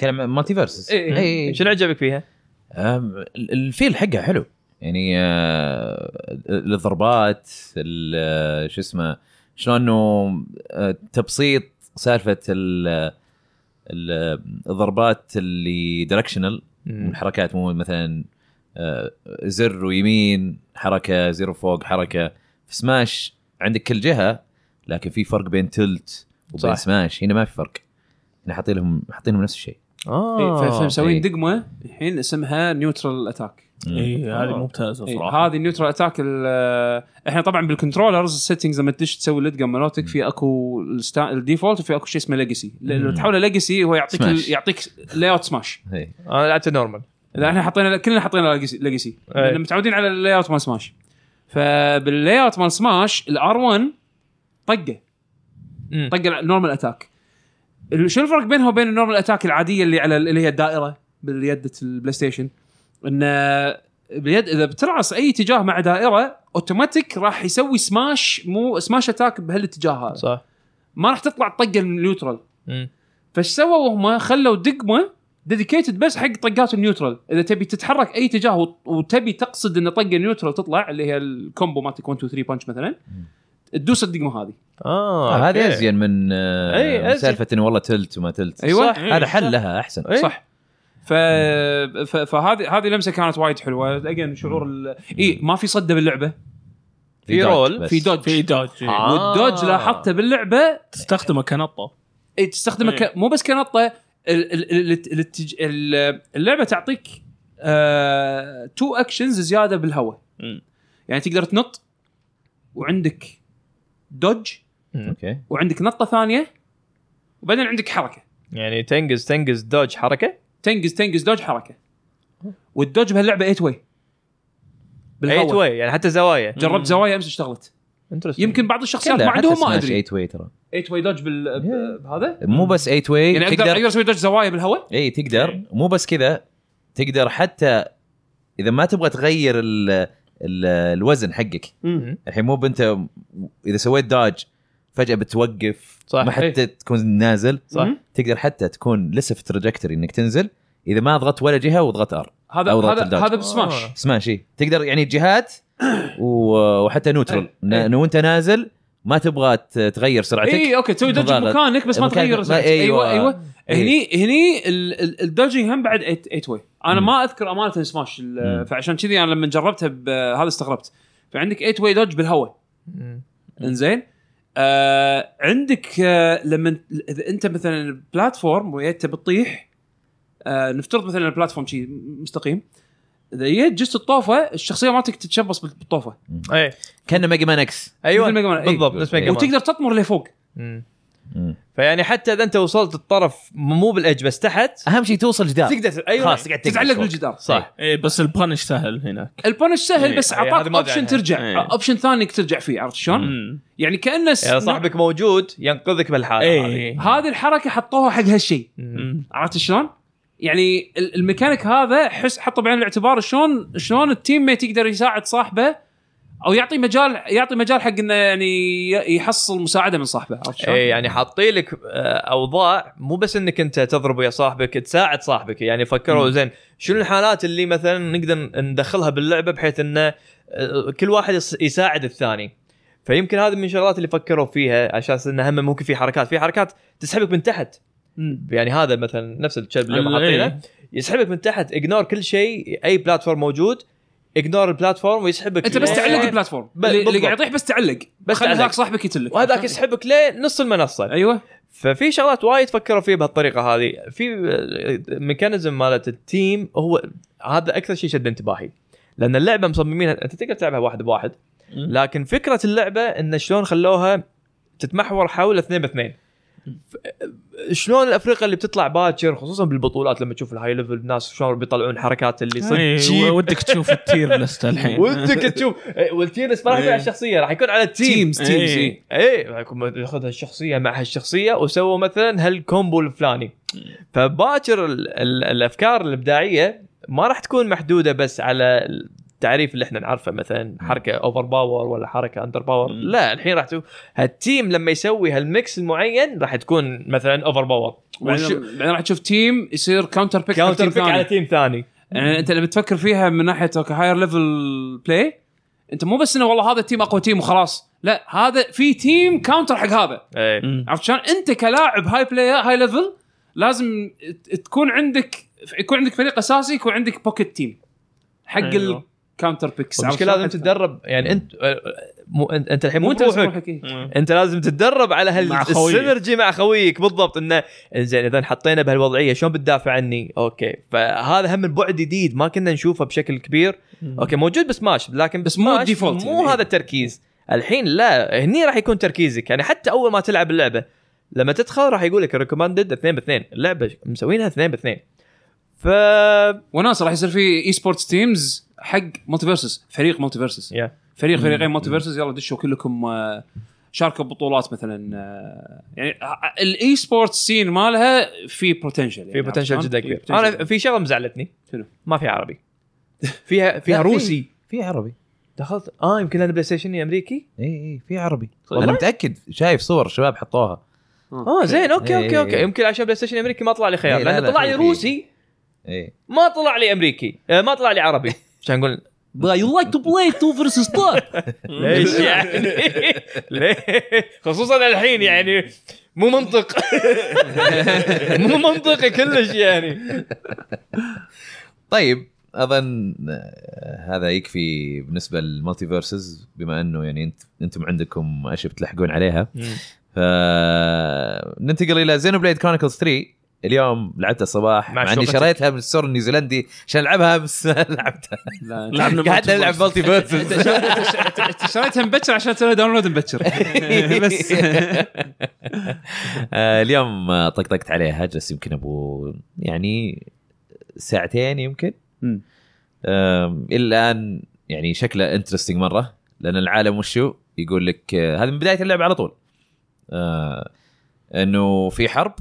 [SPEAKER 4] كلام مالتي فيرس
[SPEAKER 1] إي إي.
[SPEAKER 2] إيه.
[SPEAKER 4] إيه.
[SPEAKER 2] شنو عجبك فيها؟
[SPEAKER 4] أم، الفيل حقها حلو يعني آه، الضربات ال- آه، شو اسمه شلون انه آه، تبسيط سالفه ال- آه، ال- الضربات اللي دايركشنال الحركات مو مثلا آه، زر ويمين حركه زر فوق حركه في سماش عندك كل جهه لكن في فرق بين تلت وبين
[SPEAKER 2] صح.
[SPEAKER 4] سماش هنا ما في فرق هنا حاطين لهم حاطين لهم نفس الشيء إيه.
[SPEAKER 1] إي، إيه، ف-
[SPEAKER 2] اه
[SPEAKER 1] فمسوين
[SPEAKER 4] إي.
[SPEAKER 1] دقمه الحين اسمها نيوترال اتاك
[SPEAKER 3] اي هذه
[SPEAKER 2] آه.
[SPEAKER 3] ممتازه
[SPEAKER 1] إيه،
[SPEAKER 3] صراحه
[SPEAKER 1] هذه النيوترال اتاك ال- احنا طبعا بالكنترولرز السيتنجز لما تدش تسوي اللدقه مالتك في اكو الستا- الديفولت وفي اكو شيء اسمه ليجسي لو
[SPEAKER 4] مم.
[SPEAKER 1] تحوله ليجسي هو يعطيك ال-
[SPEAKER 4] Smash.
[SPEAKER 1] يعطيك لاي اوت سماش
[SPEAKER 4] إي.
[SPEAKER 2] انا لعبت نورمال
[SPEAKER 1] لا احنا حطينا كلنا حطينا ليجسي لان
[SPEAKER 2] أي.
[SPEAKER 1] متعودين على اللاي اوت مال سماش فباللاي اوت مال سماش الار 1 طقه
[SPEAKER 2] مم.
[SPEAKER 1] طق النورمال اتاك ال- شو الفرق بينها وبين النورمال اتاك العاديه اللي على ال- اللي هي الدائره باليد البلاي ستيشن ان باليد اذا بترعص اي اتجاه مع دائره اوتوماتيك راح يسوي سماش مو سماش اتاك بهالاتجاه هذا
[SPEAKER 2] صح
[SPEAKER 1] ما راح تطلع الطقه النيوترال
[SPEAKER 2] مم.
[SPEAKER 1] فايش سووا هم خلوا دقمه ديديكيتد بس حق طقات النيوترال اذا تبي تتحرك اي اتجاه وت- وتبي تقصد ان طقه نيوترال تطلع اللي هي الكومبو مالتك 1 2 3 بانش مثلا تدوس الدقمه هذه
[SPEAKER 2] اه
[SPEAKER 4] آه، هذه
[SPEAKER 2] أوكي.
[SPEAKER 4] ازين من آه،
[SPEAKER 2] إي،
[SPEAKER 1] إيه،
[SPEAKER 2] أزين.
[SPEAKER 4] سالفه انه والله تلت وما تلت
[SPEAKER 1] أيوة. إيه.
[SPEAKER 2] صح.
[SPEAKER 4] هذا حل إيه. لها احسن
[SPEAKER 2] إي.
[SPEAKER 1] صح ف... ف... فهذه هذه لمسه كانت وايد حلوه اجين شعور ال... اي ما في صده باللعبه
[SPEAKER 2] في
[SPEAKER 4] دوج
[SPEAKER 2] رول،
[SPEAKER 4] بس.
[SPEAKER 1] في دوج
[SPEAKER 3] في دوج إيه.
[SPEAKER 2] آه.
[SPEAKER 1] والدوج لاحظته باللعبه
[SPEAKER 3] تستخدمه كنطه
[SPEAKER 1] إي، إيه، تستخدمه ك... مو بس كنطه ال... ال... ال... الاتج... ال- اللعبه تعطيك آه... تو اكشنز زياده بالهواء
[SPEAKER 3] مم.
[SPEAKER 1] يعني تقدر تنط وعندك دوج
[SPEAKER 4] اوكي
[SPEAKER 1] وعندك نطه ثانيه وبعدين عندك حركه
[SPEAKER 2] يعني تنقز تنقز دوج حركه
[SPEAKER 1] تنقز تنقز دوج حركه والدوج بهاللعبه 8 واي
[SPEAKER 2] 8 واي يعني حتى زوايا
[SPEAKER 1] جربت زوايا امس اشتغلت
[SPEAKER 2] Interesting.
[SPEAKER 1] يمكن بعض الشخصيات
[SPEAKER 4] كلها،
[SPEAKER 1] ما
[SPEAKER 4] حتى
[SPEAKER 1] عندهم ما
[SPEAKER 4] سماش
[SPEAKER 1] ادري
[SPEAKER 4] 8 واي ترى
[SPEAKER 1] 8 واي دوج بال ب- بهذا
[SPEAKER 4] مو بس 8 واي
[SPEAKER 1] يعني اقدر
[SPEAKER 4] إيه، تقدر
[SPEAKER 1] اقدر اسوي دوج زوايا بالهواء
[SPEAKER 4] اي إيه،
[SPEAKER 2] إيه.
[SPEAKER 4] تقدر مو بس كذا تقدر حتى اذا ما تبغى تغير ال ال الوزن حقك الحين مو بنت اذا سويت داج فجاه بتوقف
[SPEAKER 2] صح. إيه.
[SPEAKER 4] ما حتى تكون نازل
[SPEAKER 2] صح.
[SPEAKER 4] تقدر حتى تكون لسه في تراجكتوري انك تنزل اذا ما ضغطت ولا جهه وضغطت ار
[SPEAKER 1] هذا
[SPEAKER 4] أو رات
[SPEAKER 1] هذا
[SPEAKER 4] الدوج.
[SPEAKER 1] هذا بسماش
[SPEAKER 2] آه.
[SPEAKER 4] سماش إيه. تقدر يعني جهات و- وحتى نوترال
[SPEAKER 1] إيه. إيه.
[SPEAKER 4] ن- وانت نازل ما تبغى ت- تغير سرعتك
[SPEAKER 1] اي
[SPEAKER 2] إيه.
[SPEAKER 1] اوكي إيه، تسوي دوج
[SPEAKER 4] مضغط.
[SPEAKER 1] بمكانك بس ما
[SPEAKER 4] مكانك-
[SPEAKER 1] تغير
[SPEAKER 4] ما-
[SPEAKER 1] سرعتك. ايوه
[SPEAKER 4] أيوة.
[SPEAKER 1] ايوه
[SPEAKER 4] إيه.
[SPEAKER 1] هني هني ال- ال- الدوجينج هم بعد 8 واي انا ما اذكر امانه سماش ال-
[SPEAKER 4] مم.
[SPEAKER 1] فعشان كذي انا لما جربتها ب- هذا استغربت فعندك 8 واي دوج بالهواء
[SPEAKER 2] مم.
[SPEAKER 1] انزين آه عندك آه لما اذا انت مثلا بلاتفورم ويت بتطيح آه نفترض مثلا البلاتفورم شيء مستقيم اذا جيت جست الطوفه الشخصيه مالتك تتشبص بال- بالطوفه
[SPEAKER 2] اي
[SPEAKER 4] كانه ميجا مان اكس
[SPEAKER 2] ايوه
[SPEAKER 1] مثل ميجا مان، إي.
[SPEAKER 2] إيه. بالضبط نفس
[SPEAKER 4] إيه.
[SPEAKER 2] ميجا مان
[SPEAKER 1] وتقدر تطمر لفوق
[SPEAKER 2] مم.
[SPEAKER 4] مم.
[SPEAKER 2] فيعني حتى اذا انت وصلت الطرف مو بالاج بس تحت
[SPEAKER 4] اهم شيء توصل جدار
[SPEAKER 2] تقدر ايوه
[SPEAKER 4] آه. خلاص تقعد تقلص
[SPEAKER 1] أيوة. تتعلق
[SPEAKER 4] فوق.
[SPEAKER 1] بالجدار
[SPEAKER 2] صح
[SPEAKER 3] اي إيه، بس البانش سهل هناك
[SPEAKER 1] البونش سهل
[SPEAKER 3] إي،
[SPEAKER 1] بس
[SPEAKER 2] إي،
[SPEAKER 1] اعطاك
[SPEAKER 2] إيه، هذه ما أدري
[SPEAKER 1] اوبشن
[SPEAKER 2] عنها. إيه.
[SPEAKER 1] ترجع
[SPEAKER 3] إي.
[SPEAKER 1] اوبشن ثاني انك ترجع فيه عرفت شلون؟
[SPEAKER 3] مم.
[SPEAKER 1] يعني كانه س-
[SPEAKER 2] يعني صاحبك موجود ينقذك بالحاله
[SPEAKER 3] إيه.
[SPEAKER 2] آه، هذه.
[SPEAKER 1] هذه الحركه حطوها حق هالشيء
[SPEAKER 2] مم.
[SPEAKER 3] مم.
[SPEAKER 1] عرفت شلون؟ يعني ال- الميكانيك هذا حس حطه بعين الاعتبار شلون شلون التيم ميت يقدر يساعد صاحبه او يعطي مجال يعطي مجال حق انه يعني ي- يحصل مساعده من صاحبه عرفت شلون؟
[SPEAKER 2] اي يعني حاطين لك آه، اوضاع مو بس انك انت تضرب ويا صاحبك تساعد صاحبك يعني فكروا زين شنو الحالات اللي مثلا نقدر ندخلها باللعبه بحيث انه آه، كل واحد يس- يساعد الثاني فيمكن هذه من الشغلات اللي فكروا فيها عشان انه هم ممكن في حركات في حركات تسحبك من تحت
[SPEAKER 1] مم.
[SPEAKER 2] يعني هذا مثلا نفس الكلب اللي هم
[SPEAKER 3] ال- إيه.
[SPEAKER 2] حاطينه يسحبك من تحت اجنور كل شيء اي بلاتفورم موجود اجنور البلاتفورم ويسحبك
[SPEAKER 1] انت بس
[SPEAKER 2] لين-
[SPEAKER 1] تعلق البلاتفورم
[SPEAKER 2] إيه، ب-
[SPEAKER 1] اللي اللي
[SPEAKER 2] بالضبط.
[SPEAKER 1] قاعد يطيح بس تعلق
[SPEAKER 2] بس
[SPEAKER 1] بس خلي
[SPEAKER 2] تعلق.
[SPEAKER 1] ذاك صاحبك يتلك
[SPEAKER 2] وهذاك يسحبك لنص المنصه
[SPEAKER 1] ايوه
[SPEAKER 2] ففي شغلات وايد فكروا فيها بهالطريقه هذه في ميكانيزم مالت التيم هو هذا اكثر شيء شد انتباهي لان اللعبه مصممينها انت تقدر تلعبها واحد بواحد لكن فكره اللعبه ان شلون خلوها تتمحور حول اثنين باثنين ف- آه، شلون الافريقيا اللي بتطلع باكر خصوصا بالبطولات لما تشوف الهاي ليفل الناس شلون بيطلعون حركات اللي
[SPEAKER 3] إيه،
[SPEAKER 2] صدق
[SPEAKER 3] ودك تشوف التير لست الحين
[SPEAKER 2] ودك تشوف إيه، والتيرس ما راح يكون على الشخصيه راح يكون على التيم
[SPEAKER 1] تيمز تيمز
[SPEAKER 3] إيه.
[SPEAKER 1] إيه.
[SPEAKER 2] ايه يكون ياخذ هالشخصيه مع هالشخصيه وسووا مثلا هالكومبو الفلاني فباكر ال- ال- الافكار الابداعيه ما راح تكون محدوده بس على التعريف اللي احنا نعرفه مثلا حركه اوفر باور ولا حركه اندر باور
[SPEAKER 3] مم.
[SPEAKER 2] لا الحين راح تكون هالتيم لما يسوي هالميكس المعين راح تكون مثلا اوفر باور
[SPEAKER 1] بعدين بعدين راح تشوف تيم يصير كاونتر بيك على
[SPEAKER 2] كاونتر
[SPEAKER 1] تيم
[SPEAKER 2] بيك على
[SPEAKER 1] ثاني
[SPEAKER 2] تيم ثاني
[SPEAKER 1] يعني انت لما تفكر فيها من ناحيه اوكي هاير ليفل بلاي انت مو بس انه والله هذا التيم اقوى تيم وخلاص لا هذا في تيم كاونتر حق هذا
[SPEAKER 2] ايه
[SPEAKER 1] عرفت شلون؟ انت كلاعب هاي بلاير هاي ليفل لازم ت- تكون عندك يكون عندك فريق اساسي يكون عندك بوكيت تيم حق
[SPEAKER 3] أيوه.
[SPEAKER 1] الكاونتر بيكس
[SPEAKER 2] المشكله لازم تتدرب يعني انت مو انت أنت الحين مو
[SPEAKER 1] انت
[SPEAKER 2] بروحك
[SPEAKER 1] بروحك
[SPEAKER 2] انت لازم تتدرب على
[SPEAKER 3] مع خويك.
[SPEAKER 2] هالسينرجي مع خويك بالضبط انه زين اذا حطينا بهالوضعيه شلون بتدافع عني؟ اوكي فهذا هم البعد جديد ما كنا نشوفه بشكل كبير اوكي موجود بسماش لكن
[SPEAKER 1] بس مو
[SPEAKER 2] بسماش
[SPEAKER 1] الديفولت
[SPEAKER 2] مو
[SPEAKER 1] يعني.
[SPEAKER 2] هذا التركيز الحين لا هني راح يكون تركيزك يعني حتى اول ما تلعب اللعبه لما تدخل راح يقول لك ريكومندد اثنين باثنين اللعبه مسوينها اثنين باثنين ف
[SPEAKER 1] وناس راح يصير في اي سبورتس تيمز حق مالتيفيرسس فريق مالتيفيرسس
[SPEAKER 2] Yeah.
[SPEAKER 1] فريق فريقين مالتيفيرسس يلا دشوا كلكم آه، شاركوا ببطولات مثلا آه، يعني آه، الاي سبورتس سين مالها في يعني بوتنشل
[SPEAKER 2] في بوتنشل جدا كبير انا
[SPEAKER 1] انا
[SPEAKER 2] في شغله مزعلتني
[SPEAKER 1] شنو؟
[SPEAKER 2] ما في عربي فيها فيها
[SPEAKER 4] لا،
[SPEAKER 2] روسي
[SPEAKER 4] في عربي
[SPEAKER 2] دخلت اه يمكن انا بلاي ستيشن امريكي
[SPEAKER 4] اي اي إيه، في عربي
[SPEAKER 2] والله؟
[SPEAKER 4] انا متاكد شايف صور شباب حطوها
[SPEAKER 2] اه زين اوكي
[SPEAKER 4] إيه.
[SPEAKER 2] اوكي اوكي يمكن عشان بلاي ستيشن امريكي ما طلع لي خيار
[SPEAKER 4] إيه، لا،
[SPEAKER 2] لان
[SPEAKER 4] لا،
[SPEAKER 2] طلع لي
[SPEAKER 4] في- في.
[SPEAKER 2] روسي
[SPEAKER 4] اي
[SPEAKER 2] ما طلع لي امريكي آه، ما طلع لي عربي عشان نقول
[SPEAKER 1] يو لايك تو بلاي تو فيرسس
[SPEAKER 2] ليش يعني ليه خصوصا الحين يعني مو منطق مو منطقي كلش يعني
[SPEAKER 4] طيب اظن آه، هذا يكفي بالنسبه للمالتيفيرسز بما انه يعني انت انتم عندكم اشياء بتلحقون عليها ف ننتقل الى زينو بليد كرونيكلز 3 اليوم لعبتها الصباح
[SPEAKER 2] مع
[SPEAKER 4] مع اني
[SPEAKER 2] شوقتك.
[SPEAKER 4] شريتها من السور النيوزيلندي عشان العبها امس لعبتها
[SPEAKER 3] لعبنا
[SPEAKER 4] قعدت العب مالتي فيرسز
[SPEAKER 1] شريتها مبكر عشان تسوي داونلود مبكر بس
[SPEAKER 4] آه، اليوم آه، طقطقت عليها جلست يمكن ابو يعني ساعتين يمكن
[SPEAKER 1] مم.
[SPEAKER 4] آم، الى الان يعني شكله انترستنج مره لان العالم وشو يقول لك آه، هذا من بدايه اللعبه على طول آه، انه في حرب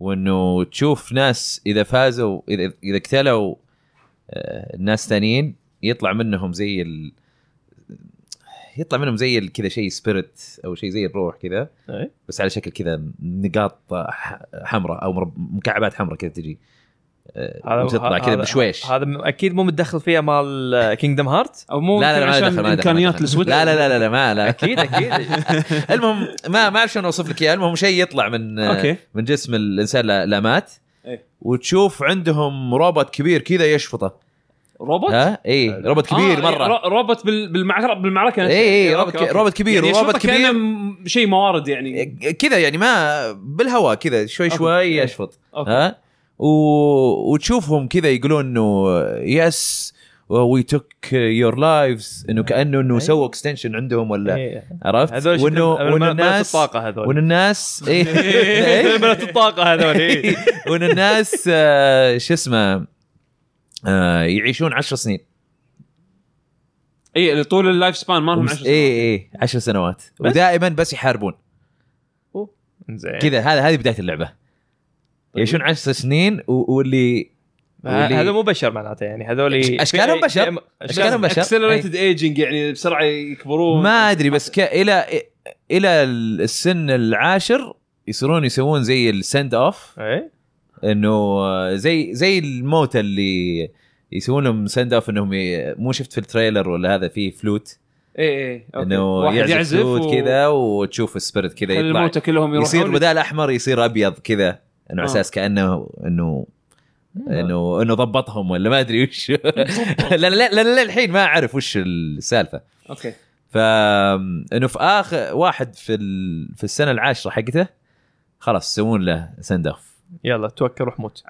[SPEAKER 4] وانه تشوف ناس اذا فازوا اذا اذا اقتلوا آه، ناس ثانيين يطلع منهم زي ال... يطلع منهم زي ال- كذا شيء سبيريت او شيء زي الروح كذا
[SPEAKER 2] إيه.
[SPEAKER 4] بس على شكل كذا نقاط ح- حمراء او مرب- مكعبات حمراء كذا تجي آه، تطلع كذا بشويش
[SPEAKER 2] هذا م- اكيد مو متدخل فيها مال كينجدم هارت
[SPEAKER 1] او مو
[SPEAKER 4] لا لا لا ما
[SPEAKER 1] عشان
[SPEAKER 4] دخل ما دخل ما
[SPEAKER 1] امكانيات
[SPEAKER 4] دخل.
[SPEAKER 1] السويتش
[SPEAKER 4] لا لا لا لا ما لا
[SPEAKER 2] اكيد اكيد
[SPEAKER 4] المهم ما ما اعرف شلون اوصف لك اياه المهم شيء يطلع من
[SPEAKER 3] اوكي
[SPEAKER 4] من جسم الانسان لا, لا مات
[SPEAKER 1] إيه.
[SPEAKER 4] وتشوف عندهم روبوت كبير كذا يشفطه
[SPEAKER 1] روبوت
[SPEAKER 4] ها اي روبوت كبير
[SPEAKER 1] آه،
[SPEAKER 4] مره
[SPEAKER 1] رو- روبوت بال- يعني، بالمعركه بالمعركه
[SPEAKER 4] اي اي روبوت ك- روبوت كبير روبوت كبير
[SPEAKER 1] يعني شيء موارد يعني
[SPEAKER 4] كذا يعني ما بالهواء كذا شوي
[SPEAKER 1] أوكي.
[SPEAKER 4] شوي
[SPEAKER 1] إيه.
[SPEAKER 4] يشفط
[SPEAKER 1] أوكي.
[SPEAKER 4] ها و... وتشوفهم كذا يقولون انه يس وي توك يور لايفز
[SPEAKER 1] إيه.
[SPEAKER 4] انه كانه انه سووا اكستنشن عندهم ولا
[SPEAKER 2] إيه.
[SPEAKER 4] عرفت
[SPEAKER 2] هذول شكلهم-
[SPEAKER 4] وانه
[SPEAKER 2] ملأت
[SPEAKER 4] وانه الناس
[SPEAKER 2] الطاقه هذول
[SPEAKER 4] وانه الناس إيه. إيه.
[SPEAKER 2] ملأت الطاقه هذول إيه.
[SPEAKER 4] وان الناس آه، شو اسمه آه، يعيشون 10 سنين
[SPEAKER 1] اي إيه، طول اللايف سبان مالهم
[SPEAKER 4] ومس-
[SPEAKER 1] 10
[SPEAKER 4] اي اي 10 سنوات ودائما بس إيه. يحاربون
[SPEAKER 2] زين
[SPEAKER 4] كذا هذا هذه بدايه اللعبه يعيشون 10 سنين و- واللي واللي-
[SPEAKER 2] هذا مو بشر معناته يعني هذول
[SPEAKER 4] أشكالهم
[SPEAKER 2] في-
[SPEAKER 4] بشر.
[SPEAKER 2] في-
[SPEAKER 4] أشكالهم بشر.
[SPEAKER 1] اكسلريتد ايجنج يعني بسرعه يكبرون
[SPEAKER 4] إيه. ما ادري بس ك... الى الى السن العاشر يصيرون يسوون زي السند اوف
[SPEAKER 2] إيه.
[SPEAKER 4] انه آه، زي زي الموتى اللي يسوون لهم سند اوف انهم ي... مو شفت في التريلر ولا هذا في فلوت
[SPEAKER 1] اي اي إيه، أوكي.
[SPEAKER 4] انه
[SPEAKER 1] واحد
[SPEAKER 4] يعزف, فلوت
[SPEAKER 1] و-
[SPEAKER 4] كذا وتشوف السبيرت كذا
[SPEAKER 1] خلي
[SPEAKER 4] يطلع
[SPEAKER 1] الموتى كلهم يروحون
[SPEAKER 4] يصير بدال احمر يصير ابيض كذا انه على
[SPEAKER 1] آه.
[SPEAKER 4] اساس كانه انه انه انه ضبطهم ولا ما ادري وش لان لأن- لأن للحين ما اعرف وش السالفه
[SPEAKER 1] اوكي
[SPEAKER 4] ف انه في اخر واحد في ال... في السنه العاشره حقته خلاص يسوون له سند اوف
[SPEAKER 2] يلا توكل روح موت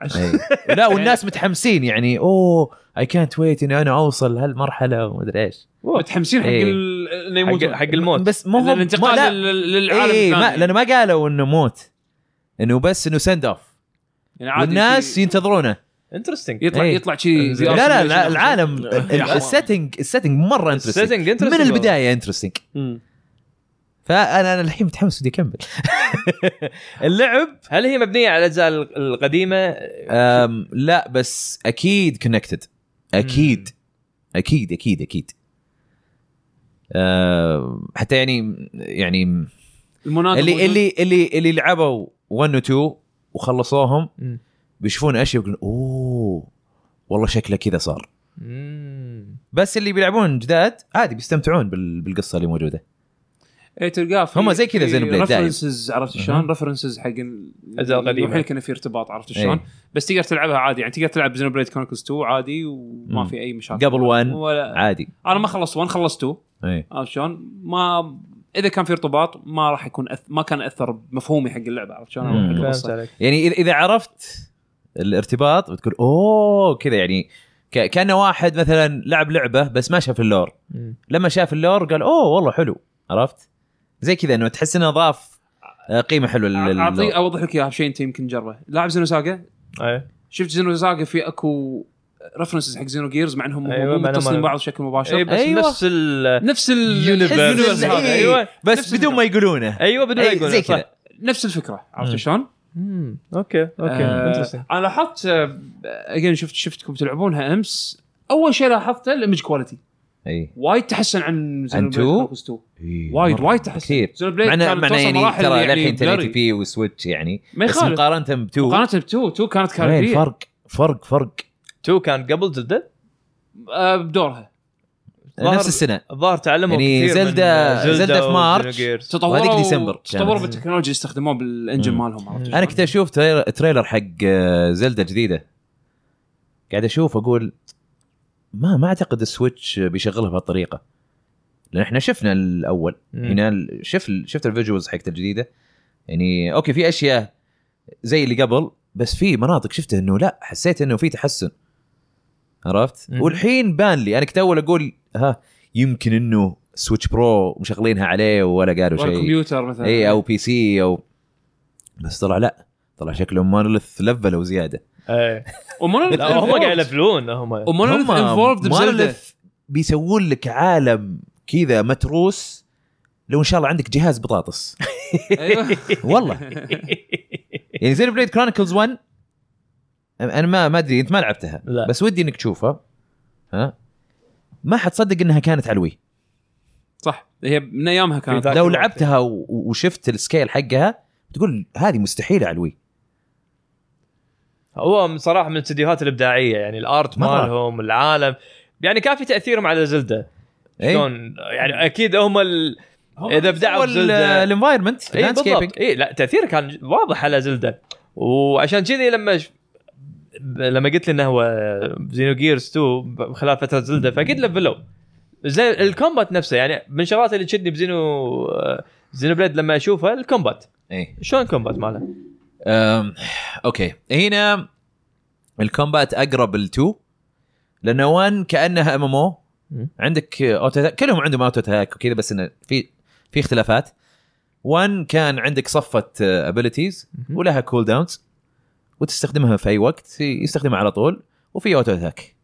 [SPEAKER 4] لا والناس متحمسين يعني اوه اي كانت ويت اني انا اوصل لهالمرحله ومدري ايش
[SPEAKER 1] متحمسين حق
[SPEAKER 4] إيه.
[SPEAKER 1] ال- انه
[SPEAKER 2] حق,
[SPEAKER 1] يموتون
[SPEAKER 2] حق الموت
[SPEAKER 4] بس مو هم ما-
[SPEAKER 1] الانتقال
[SPEAKER 4] لا
[SPEAKER 1] لل- للعالم
[SPEAKER 4] اي إي، إيه، ما
[SPEAKER 1] الثاني.
[SPEAKER 4] لانه ما قالوا انه موت انه بس انه سند اوف
[SPEAKER 1] يعني عادي
[SPEAKER 4] والناس
[SPEAKER 1] شي-
[SPEAKER 4] ينتظرونه
[SPEAKER 2] انترستنج
[SPEAKER 1] يطلع
[SPEAKER 4] إيه.
[SPEAKER 1] يطلع شي زي
[SPEAKER 4] لا
[SPEAKER 1] Arsenal
[SPEAKER 4] لا
[SPEAKER 1] شي
[SPEAKER 4] الع-
[SPEAKER 1] داخل.
[SPEAKER 4] العالم ال-
[SPEAKER 1] يا حرام.
[SPEAKER 4] السيتنج السيتنج مره انترستنج من البدايه انترستنج
[SPEAKER 1] مم.
[SPEAKER 4] فانا انا الحين متحمس ودي اكمل آه. اللعب
[SPEAKER 2] هل هي مبنيه على الاجزاء ال- القديمه
[SPEAKER 4] أم لا بس اكيد كونكتد اكيد اكيد اكيد اكيد أم، حتى يعني يعني
[SPEAKER 1] المناطق
[SPEAKER 4] اللي
[SPEAKER 1] موجود.
[SPEAKER 4] اللي اللي اللي لعبوا 1 و 2 وخلصوهم
[SPEAKER 2] مم.
[SPEAKER 4] بيشوفون اشياء يقولون اوه والله شكله كذا صار
[SPEAKER 2] مم.
[SPEAKER 4] بس اللي بيلعبون جداد عادي بيستمتعون بال- بالقصه اللي موجوده
[SPEAKER 1] اي إيه، تلقاه في-
[SPEAKER 4] هم زي كذا
[SPEAKER 1] في
[SPEAKER 4] Xenoblade دايم.
[SPEAKER 1] references عرفت شلون؟ رفرنسز حق ال-
[SPEAKER 2] الأجزاء القديمة.
[SPEAKER 1] الوحيد كان في ارتباط عرفت
[SPEAKER 4] إيه.
[SPEAKER 1] شلون؟ بس تقدر تلعبها عادي يعني تقدر تلعب زينو بليد كونكوست 2 عادي وما
[SPEAKER 4] مم.
[SPEAKER 1] في اي مشاكل
[SPEAKER 4] قبل 1
[SPEAKER 1] ولا
[SPEAKER 4] عادي إيه.
[SPEAKER 1] انا ما خلصت 1 خلصت 2
[SPEAKER 4] اي
[SPEAKER 1] عرفت شلون؟ ما اذا كان في ارتباط ما راح يكون أث... ما كان اثر بمفهومي حق اللعبه عرفت شلون؟
[SPEAKER 4] مم.
[SPEAKER 1] أو حق
[SPEAKER 2] فهمت
[SPEAKER 1] القصه
[SPEAKER 2] عليك
[SPEAKER 4] يعني إذا- اذا عرفت الارتباط بتقول اوه كذا يعني ك- كانه واحد مثلا لعب لعبه بس ما شاف اللور
[SPEAKER 2] مم.
[SPEAKER 4] لما شاف اللور قال اوه والله حلو عرفت زي كذا انه تحس انه ضاف آه، قيمه حلوه لل-
[SPEAKER 1] اعطي
[SPEAKER 4] للور.
[SPEAKER 1] اوضح لك اياها بشيء انت يمكن تجربه لاعب زينو ساجا
[SPEAKER 2] أي.
[SPEAKER 1] شفت زينو ساجا في اكو رفرنسز حق زينو جيرز مع انهم
[SPEAKER 2] أيوة،
[SPEAKER 1] مو
[SPEAKER 2] مع إنهم-
[SPEAKER 1] متصلين ببعض بشكل
[SPEAKER 2] اي
[SPEAKER 1] مباشر
[SPEAKER 2] إيه، بس
[SPEAKER 4] أيوة.
[SPEAKER 2] نفس ال
[SPEAKER 1] نفس ال-
[SPEAKER 2] Universe. أيوة.
[SPEAKER 1] اليونيفرس هذا،
[SPEAKER 4] إيه.
[SPEAKER 1] ايوه
[SPEAKER 4] بس
[SPEAKER 1] نفس
[SPEAKER 4] بدون ما يقولونه
[SPEAKER 2] ايوه بدون
[SPEAKER 4] أي،
[SPEAKER 2] يقول
[SPEAKER 4] إيه، زي
[SPEAKER 2] صح.
[SPEAKER 4] كذا.
[SPEAKER 1] نفس الفكره عرفت
[SPEAKER 4] مم.
[SPEAKER 1] شلون؟
[SPEAKER 2] مم. اوكي اوكي
[SPEAKER 1] آه
[SPEAKER 2] انترستنج
[SPEAKER 1] انا لاحظت اجين شفت شفتكم تلعبونها امس اول شيء لاحظته الايمج كواليتي
[SPEAKER 4] اي
[SPEAKER 1] وايد تحسن عن
[SPEAKER 4] عن
[SPEAKER 1] Xenoblade
[SPEAKER 4] two؟
[SPEAKER 1] Chronicles 2 وايد
[SPEAKER 4] إيه. مرة
[SPEAKER 1] وايد تحسن
[SPEAKER 4] كثير
[SPEAKER 1] Xenoblade
[SPEAKER 4] معنا
[SPEAKER 1] كانت
[SPEAKER 4] معنا
[SPEAKER 1] توصل
[SPEAKER 4] يعني
[SPEAKER 1] مراحل
[SPEAKER 4] ترى للحين 1080
[SPEAKER 1] blurry.
[SPEAKER 4] بي وسويتش يعني
[SPEAKER 1] ما
[SPEAKER 4] بس
[SPEAKER 1] يخالف
[SPEAKER 4] مقارنه ب 2
[SPEAKER 1] مقارنه ب 2 2 كانت
[SPEAKER 4] وين
[SPEAKER 1] كارثيه
[SPEAKER 4] فرق فرق فرق
[SPEAKER 2] 2 كان قبل زلدة
[SPEAKER 1] آه، بدورها
[SPEAKER 2] ظهر-
[SPEAKER 4] نفس السنه
[SPEAKER 2] الظاهر تعلموا
[SPEAKER 4] يعني
[SPEAKER 2] كثير من آه،
[SPEAKER 4] زلدة- زلدة في
[SPEAKER 2] و
[SPEAKER 4] مارش.
[SPEAKER 2] Xenogears.
[SPEAKER 1] تطوروا
[SPEAKER 4] وهذيك ديسمبر كانت.
[SPEAKER 1] تطوروا بالتكنولوجيا استخدموها بالانجن
[SPEAKER 4] مم.
[SPEAKER 1] مالهم عرفت
[SPEAKER 4] انا كنت اشوف تريلر, تريلر حق آه، زلدة جديده قاعد اشوف اقول ما ما اعتقد السويتش بيشغلها بهالطريقه لان احنا شفنا الاول
[SPEAKER 2] مم.
[SPEAKER 4] هنا ال- شف يعني شفت الفيجوالز حقت الجديده يعني اوكي في اشياء زي اللي قبل بس في مناطق شفته انه لا حسيت انه في تحسن عرفت
[SPEAKER 2] مم.
[SPEAKER 4] والحين بان لي انا كنت اول اقول ها يمكن انه سويتش برو مشغلينها عليه ولا قالوا
[SPEAKER 1] ولا
[SPEAKER 4] شيء إيه.
[SPEAKER 1] كمبيوتر مثلا
[SPEAKER 4] اي او بي سي او بس طلع لا طلع شكلهم مونوليث لفلوا زياده
[SPEAKER 2] إيه.
[SPEAKER 1] ومونوليث
[SPEAKER 2] لا هم قاعد يلفلون هم
[SPEAKER 1] ومونوليث
[SPEAKER 4] هم
[SPEAKER 1] انفولفد بزلده
[SPEAKER 4] Monolith بيسوون لك عالم كذا متروس لو ان شاء الله عندك جهاز بطاطس
[SPEAKER 1] ايوه
[SPEAKER 4] والله يعني زي بليد كرونيكلز 1 انا ما ما ادري انت ما لعبتها
[SPEAKER 2] لا.
[SPEAKER 4] بس ودي انك تشوفها ها ما حتصدق انها كانت على الوي
[SPEAKER 1] صح هي من ايامها كانت
[SPEAKER 2] ذاك
[SPEAKER 4] لو
[SPEAKER 2] الوقت.
[SPEAKER 4] لعبتها و- وشفت السكيل حقها تقول هذه مستحيله على الوي
[SPEAKER 2] هو صراحه من الاستديوهات الابداعيه يعني الارت
[SPEAKER 4] مرة.
[SPEAKER 2] مالهم العالم يعني كان في تاثيرهم على زلدة
[SPEAKER 4] إيه؟
[SPEAKER 2] شلون يعني اكيد هم ال... اذا ابدعوا بزلدة
[SPEAKER 4] الانفايرمنت
[SPEAKER 2] اي إيه، بالضبط اي لا تاثيره كان واضح على زلدة وعشان كذي لما ش... لما قلت لي انه هو زينو جيرز 2 ب- خلال فتره زلدة فاكيد لفلوا زي الكومبات نفسه يعني من الشغلات اللي تشدني بزينو زينو بليد لما اشوفها الكومبات
[SPEAKER 4] اي
[SPEAKER 2] شلون الكومبات ماله؟
[SPEAKER 4] أم، اوكي هنا الكومبات اقرب ل2 لانه 1 كانها ام ام او
[SPEAKER 2] مم.
[SPEAKER 4] عندك اوتو أتاك- كلهم عندهم اوتو تاك وكذا بس انه في في اختلافات 1 كان عندك صفه ابيلتيز ولها كول داونز وتستخدمها في اي وقت يستخدمها على طول وفي اوتو اتاك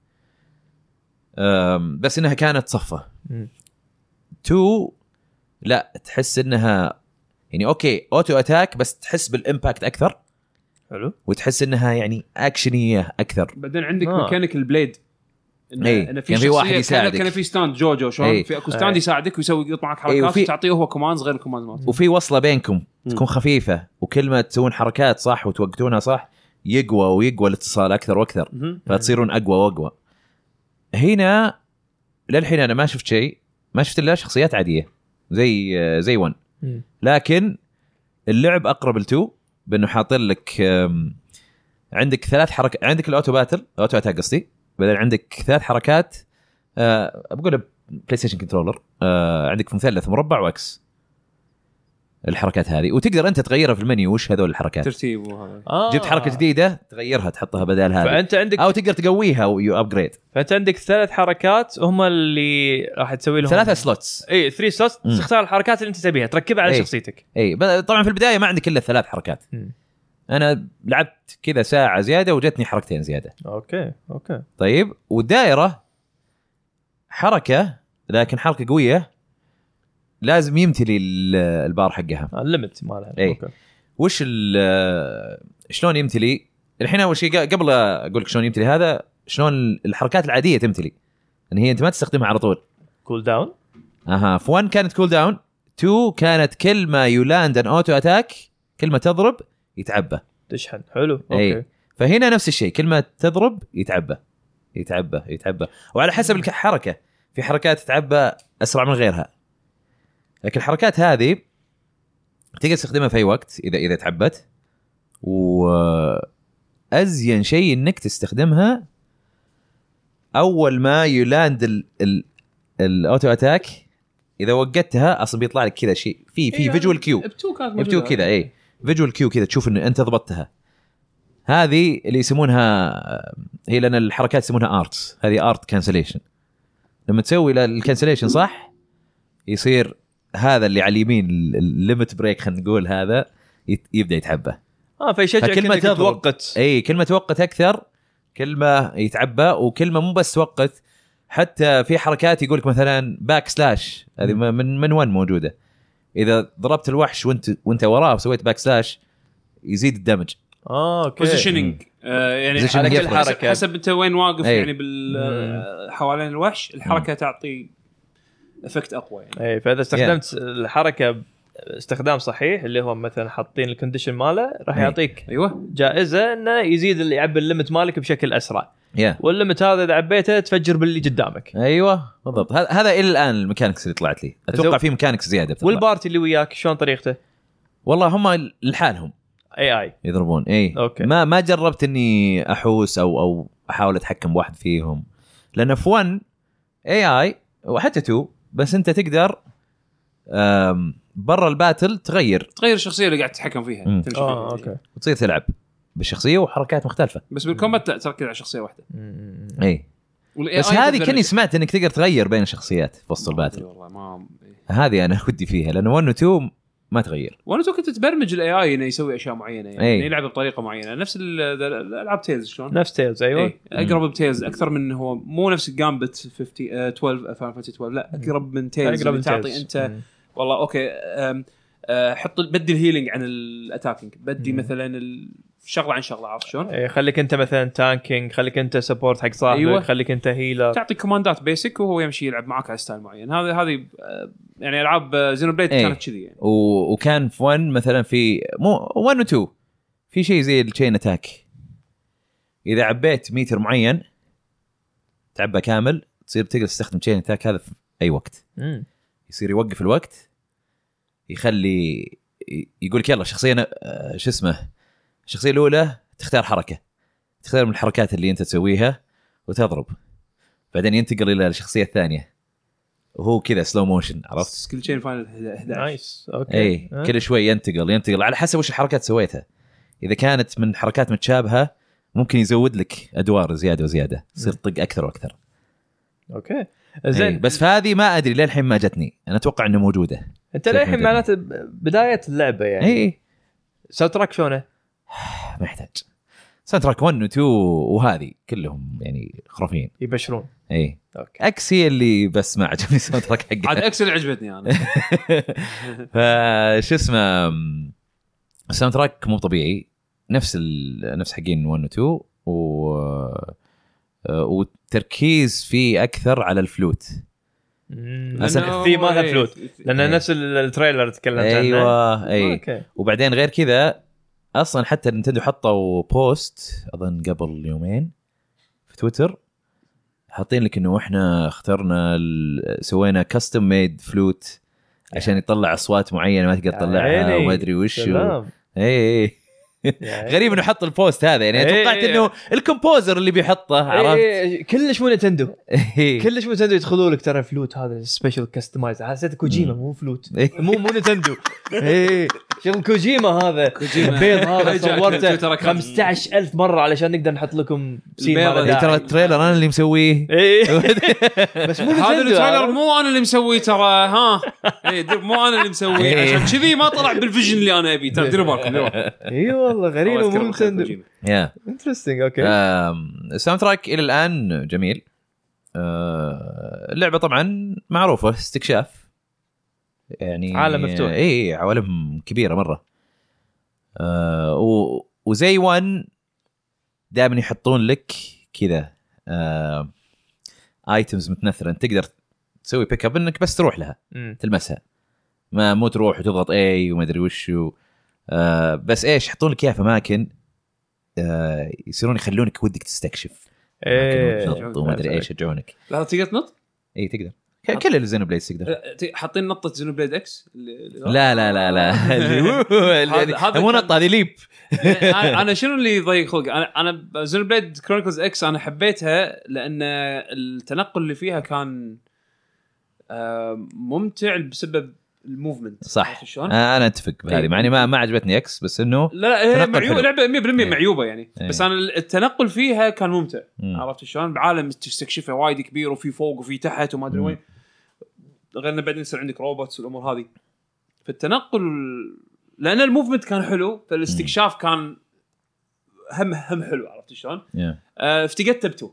[SPEAKER 4] أم، بس انها كانت صفه
[SPEAKER 2] مم.
[SPEAKER 4] 2 لا تحس انها يعني اوكي اوتو اتاك بس تحس بالامباكت اكثر
[SPEAKER 2] حلو
[SPEAKER 4] وتحس انها يعني اكشنيه اكثر
[SPEAKER 1] بعدين عندك
[SPEAKER 2] آه.
[SPEAKER 1] آه. ميكانيكال بليد
[SPEAKER 4] إيه، كان في
[SPEAKER 1] شخصية
[SPEAKER 4] واحد يساعدك.
[SPEAKER 1] كان, كان في ستاند جوجو شلون
[SPEAKER 4] إيه.
[SPEAKER 1] في اكو
[SPEAKER 2] إيه.
[SPEAKER 1] ستاند يساعدك ويسوي يقط معك حركات
[SPEAKER 4] إيه، وفي-
[SPEAKER 1] وفي... تعطيه هو كوماندز غير الكوماندز مالته
[SPEAKER 4] وفي وصله بينكم تكون خفيفه وكل ما تسوون حركات صح وتوقتونها صح يقوى ويقوى الاتصال اكثر واكثر
[SPEAKER 1] مهم.
[SPEAKER 4] فتصيرون اقوى واقوى هنا للحين انا ما شفت شيء ما شفت الا شخصيات عاديه زي زي ون
[SPEAKER 2] مم.
[SPEAKER 4] لكن اللعب اقرب لتو بانه حاطين لك أم، عندك ثلاث حركات عندك الاوتو باتل اوتو اتاك قصدي بعدين عندك ثلاث حركات آه بقول بلاي ستيشن كنترولر آه عندك مثلث مربع واكس الحركات هذه وتقدر انت تغيرها في المنيو وش هذول الحركات
[SPEAKER 1] ترتيب وهذا
[SPEAKER 2] آه.
[SPEAKER 4] جبت حركه جديده تغيرها تحطها بدال هذه
[SPEAKER 2] فانت عندك
[SPEAKER 4] او تقدر تقويها ويو ابجريد
[SPEAKER 2] فانت عندك ثلاث حركات هم اللي راح تسوي لهم
[SPEAKER 4] ثلاثه سلوتس
[SPEAKER 2] اي 3 سلوت
[SPEAKER 4] مم.
[SPEAKER 2] تختار الحركات اللي انت تبيها تركبها على
[SPEAKER 4] إيه.
[SPEAKER 2] شخصيتك
[SPEAKER 4] اي ب- طبعا في البدايه ما عندك الا ثلاث حركات
[SPEAKER 2] مم.
[SPEAKER 4] انا لعبت كذا ساعه زياده وجتني حركتين زياده
[SPEAKER 2] اوكي اوكي
[SPEAKER 4] طيب والدائره حركه لكن حركه قويه لازم يمتلي ال- البار حقها
[SPEAKER 2] الليمت آه، مالها
[SPEAKER 4] إيه.
[SPEAKER 2] اوكي
[SPEAKER 4] وش ال- شلون يمتلي الحين اول شيء ق- قبل اقول لك شلون يمتلي هذا شلون الحركات العاديه تمتلي ان هي انت ما تستخدمها على طول
[SPEAKER 2] كول داون
[SPEAKER 4] اها في 1 كانت كول داون 2 كانت كل ما يلاند ان اوتو اتاك كل ما تضرب يتعبى
[SPEAKER 2] تشحن حلو
[SPEAKER 4] إيه.
[SPEAKER 2] اوكي
[SPEAKER 4] فهنا نفس الشيء كل ما تضرب يتعبى يتعبى يتعبى وعلى حسب الحركه في حركات تتعبى اسرع من غيرها لكن الحركات هذه تقدر تستخدمها في اي وقت اذا اذا تعبت وازين شيء انك تستخدمها اول ما يلاند ال ال الاوتو اتاك اذا وقتها اصلا بيطلع لك كذا شيء في
[SPEAKER 1] إيه،
[SPEAKER 4] في
[SPEAKER 1] يعني
[SPEAKER 4] فيجوال كيو
[SPEAKER 1] ابتو كانت موجودة.
[SPEAKER 4] يبدو كذا اي فيجوال كيو كذا تشوف ان انت ضبطتها هذه اللي يسمونها آه، هي لان الحركات يسمونها ارتس هذه ارت كانسليشن لما تسوي ل- الكانسليشن صح يصير هذا اللي على اليمين الليمت بريك خلينا نقول هذا يت- يبدا يتعبى
[SPEAKER 2] اه فيشجعك
[SPEAKER 4] فكلمة إيه.
[SPEAKER 2] انك
[SPEAKER 4] تضرب.
[SPEAKER 2] توقت
[SPEAKER 4] اي كل ما توقت اكثر كل ما يتعبى وكل ما مو بس توقت حتى في حركات يقولك مثلا باك سلاش هذه م- من من وين موجوده اذا ضربت الوحش وانت وانت وراه وسويت باك سلاش يزيد الدمج
[SPEAKER 2] اه اوكي
[SPEAKER 1] بوزيشننج آه، يعني
[SPEAKER 4] Positioning إيه.
[SPEAKER 1] على كل
[SPEAKER 4] يفرق.
[SPEAKER 1] حسب- حسب انت وين واقف
[SPEAKER 4] أي.
[SPEAKER 1] يعني بال آه، حوالين الوحش الحركه تعطي افكت اقوى يعني
[SPEAKER 2] اي فاذا إيه، استخدمت الحركه استخدام صحيح اللي هو مثلا حاطين الكونديشن ماله راح
[SPEAKER 4] إيه.
[SPEAKER 2] يعطيك
[SPEAKER 1] ايوه
[SPEAKER 2] جائزه انه يزيد اللي يعبي الليمت مالك بشكل اسرع
[SPEAKER 4] يا
[SPEAKER 2] والليمت هذا اذا عبيته تفجر باللي قدامك
[SPEAKER 4] ايوه بالضبط هذا هذا الى الان الميكانكس اللي طلعت لي اتوقع
[SPEAKER 2] زو-
[SPEAKER 4] في ميكانكس زياده بتطلع.
[SPEAKER 2] والبارتي اللي وياك شلون طريقته؟
[SPEAKER 4] والله هم لحالهم
[SPEAKER 2] اي اي
[SPEAKER 4] يضربون اي
[SPEAKER 2] أوكي.
[SPEAKER 4] ما ما جربت اني احوس او او احاول اتحكم بواحد فيهم لان في 1 اي اي وحتى 2 بس انت تقدر أم، برا الباتل تغير
[SPEAKER 1] تغير الشخصيه اللي قاعد تتحكم فيها
[SPEAKER 4] مم.
[SPEAKER 1] تمشي
[SPEAKER 2] اه
[SPEAKER 1] فيها.
[SPEAKER 2] اوكي
[SPEAKER 4] وتصير تلعب بالشخصيه وحركات مختلفه
[SPEAKER 1] بس بالكومبات لا تركز على شخصيه واحده
[SPEAKER 4] اي
[SPEAKER 1] وال
[SPEAKER 4] إيه، بس
[SPEAKER 1] AI
[SPEAKER 4] هذه
[SPEAKER 1] تقدر-
[SPEAKER 4] كني سمعت انك تقدر تغير بين الشخصيات في وسط
[SPEAKER 1] ما أدري
[SPEAKER 4] الباتل
[SPEAKER 1] والله ما إيه.
[SPEAKER 4] هذه انا ودي فيها لان 1 و 2 ما تغير
[SPEAKER 1] وانا تو كنت تبرمج الاي اي انه يسوي اشياء معينه يعني
[SPEAKER 4] أي.
[SPEAKER 1] أي. يلعب بطريقه معينه نفس ال- الالعاب تيلز شلون؟
[SPEAKER 2] نفس تيلز
[SPEAKER 4] أيوة. إيه.
[SPEAKER 2] ايوه
[SPEAKER 1] أي. اقرب بتيلز اكثر من هو مو نفس الجامبت 50 آه، 12 فاينل 12 لا اقرب من تيلز اقرب
[SPEAKER 2] اقرب من
[SPEAKER 1] تعطي
[SPEAKER 2] Tales.
[SPEAKER 1] انت
[SPEAKER 2] مم.
[SPEAKER 1] والله اوكي أم، أه، حط بدي الهيلينج عن الاتاكينج بدي
[SPEAKER 2] مم.
[SPEAKER 1] مثلا ال- شغله عن شغله عرفت
[SPEAKER 4] أه.
[SPEAKER 1] شلون؟
[SPEAKER 2] إيه، خليك انت مثلا تانكينج خليك انت سبورت حق صاحبك أيوة.
[SPEAKER 1] أيوة.
[SPEAKER 2] خليك انت هيلر
[SPEAKER 1] تعطي كوماندات بيسك وهو يمشي يلعب معك على ستايل معين هذا هذه أه، يعني العاب زينو بليد
[SPEAKER 4] أي.
[SPEAKER 1] كانت كذي يعني
[SPEAKER 4] و... وكان في 1 مثلا في مو 1 و 2 في شيء زي التشين اتاك اذا عبيت ميتر معين تعبى كامل تصير تقدر تستخدم تشين اتاك هذا في اي وقت
[SPEAKER 2] مم.
[SPEAKER 4] يصير يوقف الوقت يخلي ي- يقول لك يلا شخصيه ن- آه، شو اسمه الشخصيه الاولى تختار حركه تختار من الحركات اللي انت تسويها وتضرب بعدين ينتقل الى الشخصيه الثانيه وهو كذا سلو موشن عرفت
[SPEAKER 1] سكيل تشين فاينل 11
[SPEAKER 2] نايس اوكي
[SPEAKER 4] اي
[SPEAKER 2] ها؟
[SPEAKER 4] إيه. كل شوي ينتقل ينتقل على حسب وش الحركات سويتها اذا كانت من حركات متشابهه ممكن يزود لك ادوار زياده وزياده يصير طق اكثر واكثر
[SPEAKER 2] اوكي
[SPEAKER 4] زين
[SPEAKER 2] نعم. زين
[SPEAKER 4] إيه. بس فهذه ما ادري للحين ما جتني انا اتوقع انه موجوده
[SPEAKER 2] انت للحين معناته ب- بدايه اللعبه يعني
[SPEAKER 4] اي اي
[SPEAKER 2] ساوند تراك شلونه؟
[SPEAKER 4] ما يحتاج ساوند تراك 1 و 2 وهذه كلهم يعني خرافيين
[SPEAKER 2] يبشرون
[SPEAKER 4] اي
[SPEAKER 2] اوكي
[SPEAKER 4] اكس هي اللي بس ما عجبني الساوند تراك
[SPEAKER 1] عاد
[SPEAKER 4] حقها
[SPEAKER 1] اكس اللي عجبتني انا
[SPEAKER 4] فشو اسمه م، الساوند تراك مو طبيعي نفس ال... نفس حقين 1 و 2 و وتركيز فيه اكثر على الفلوت أصلاً
[SPEAKER 1] لأنه-
[SPEAKER 2] الثيم مالها
[SPEAKER 1] إيه.
[SPEAKER 2] فلوت لان
[SPEAKER 4] إيه.
[SPEAKER 2] نفس ال- التريلر تكلمت عنه
[SPEAKER 4] ايوه اي
[SPEAKER 2] اوكي
[SPEAKER 4] وبعدين غير كذا اصلا حتى نينتندو حطوا بوست اظن قبل يومين في تويتر حاطين لك انه احنا اخترنا ال- سوينا كاستم ميد فلوت عشان يطلع اصوات معينه ما تقدر
[SPEAKER 2] يا
[SPEAKER 4] تطلعها
[SPEAKER 2] عيني.
[SPEAKER 4] وما ادري وش و...
[SPEAKER 2] سلام إيه،
[SPEAKER 4] اي اي إيه، غريب انه حط البوست هذا يعني
[SPEAKER 2] إيه.
[SPEAKER 4] توقعت انه الكومبوزر اللي بيحطه عرفت
[SPEAKER 2] إيه، كلش مو نتندو
[SPEAKER 4] إيه.
[SPEAKER 2] كلش مو نتندو يدخلوا لك ترى فلوت هذا سبيشل كستمايز حسيت كوجيما مو فلوت
[SPEAKER 4] إيه.
[SPEAKER 2] مو مو نتندو اي شغل إيه، كوجيما هذا البيض هذا
[SPEAKER 1] رجع
[SPEAKER 2] صورته
[SPEAKER 1] كمبيوتر كان.
[SPEAKER 2] 15000 مره علشان نقدر نحط لكم سين
[SPEAKER 1] البيضة
[SPEAKER 2] مال
[SPEAKER 1] دي
[SPEAKER 4] إيه،
[SPEAKER 2] داعي.
[SPEAKER 4] ترى التريلر انا اللي مسويه
[SPEAKER 2] إيه. بس مو
[SPEAKER 1] هذا
[SPEAKER 2] نتندو
[SPEAKER 1] التريلر
[SPEAKER 2] عرفت؟
[SPEAKER 1] مو انا اللي مسويه ترى ها إيه، دير- مو انا اللي مسويه
[SPEAKER 4] إيه.
[SPEAKER 1] عشان كذي ما طلع بالفيجن اللي انا ابيه ترى ديروا بالكم ديروا بالكم.
[SPEAKER 2] اي إيه والله غريب
[SPEAKER 1] الله
[SPEAKER 2] مو
[SPEAKER 1] يذكره بالخير
[SPEAKER 2] نتندو
[SPEAKER 1] كوجيما.
[SPEAKER 4] يا
[SPEAKER 2] انترستنج
[SPEAKER 4] آه.
[SPEAKER 2] اوكي
[SPEAKER 4] آم، الساوند تراك الى الان جميل آه، اللعبه طبعا معروفه استكشاف يعني
[SPEAKER 2] عالم مفتوح.
[SPEAKER 4] اي عوالم كبيره مره آه، و- وزي وان دائما يحطون لك كذا ايتمز متنثره انت تقدر تسوي بيك اب انك بس تروح لها
[SPEAKER 2] مم.
[SPEAKER 4] تلمسها ما مو تروح وتضغط اي وما ادري وش و... آه بس ايش يحطون لك اياها في اماكن آه يصيرون يخلونك ودك تستكشف
[SPEAKER 2] إيه.
[SPEAKER 4] أماكن وتنط وما ادري ايش يشجعونك
[SPEAKER 1] لا تقدر تنط
[SPEAKER 4] اي تقدر ك- كل الزينو بليدز تقدر
[SPEAKER 1] لا، ت- حاطين نطه زينو بليد اكس
[SPEAKER 4] لا لا لا لا
[SPEAKER 1] هذا- هذا
[SPEAKER 4] هذه مو
[SPEAKER 1] كان-
[SPEAKER 4] نطه هذه ليب
[SPEAKER 1] انا إيه، أنا شنو اللي يضيق خلقي انا انا زينو بليد كرونيكلز اكس انا حبيتها لان التنقل اللي فيها كان آم، ممتع بسبب الموفمنت
[SPEAKER 4] صح.
[SPEAKER 1] عرفت شلون؟
[SPEAKER 4] آه انا اتفق بهذه مع اني ما ما عجبتني اكس بس انه
[SPEAKER 1] إيه. لا لا هي
[SPEAKER 4] تنقل
[SPEAKER 1] معيوبه
[SPEAKER 4] حلو.
[SPEAKER 1] لعبه 100%
[SPEAKER 4] إيه.
[SPEAKER 1] معيوبه يعني
[SPEAKER 4] إيه.
[SPEAKER 1] بس انا التنقل فيها كان ممتع
[SPEAKER 4] مم.
[SPEAKER 1] عرفت شلون؟ بعالم تستكشفه وايد كبير وفي فوق وفي تحت وما ادري
[SPEAKER 4] مم.
[SPEAKER 1] وين غير انه بعدين يصير عندك روبوتس والامور هذه فالتنقل لان الموفمنت كان حلو فالاستكشاف كان هم هم حلو عرفت شلون؟
[SPEAKER 4] يا.
[SPEAKER 1] آه، افتقدته بتو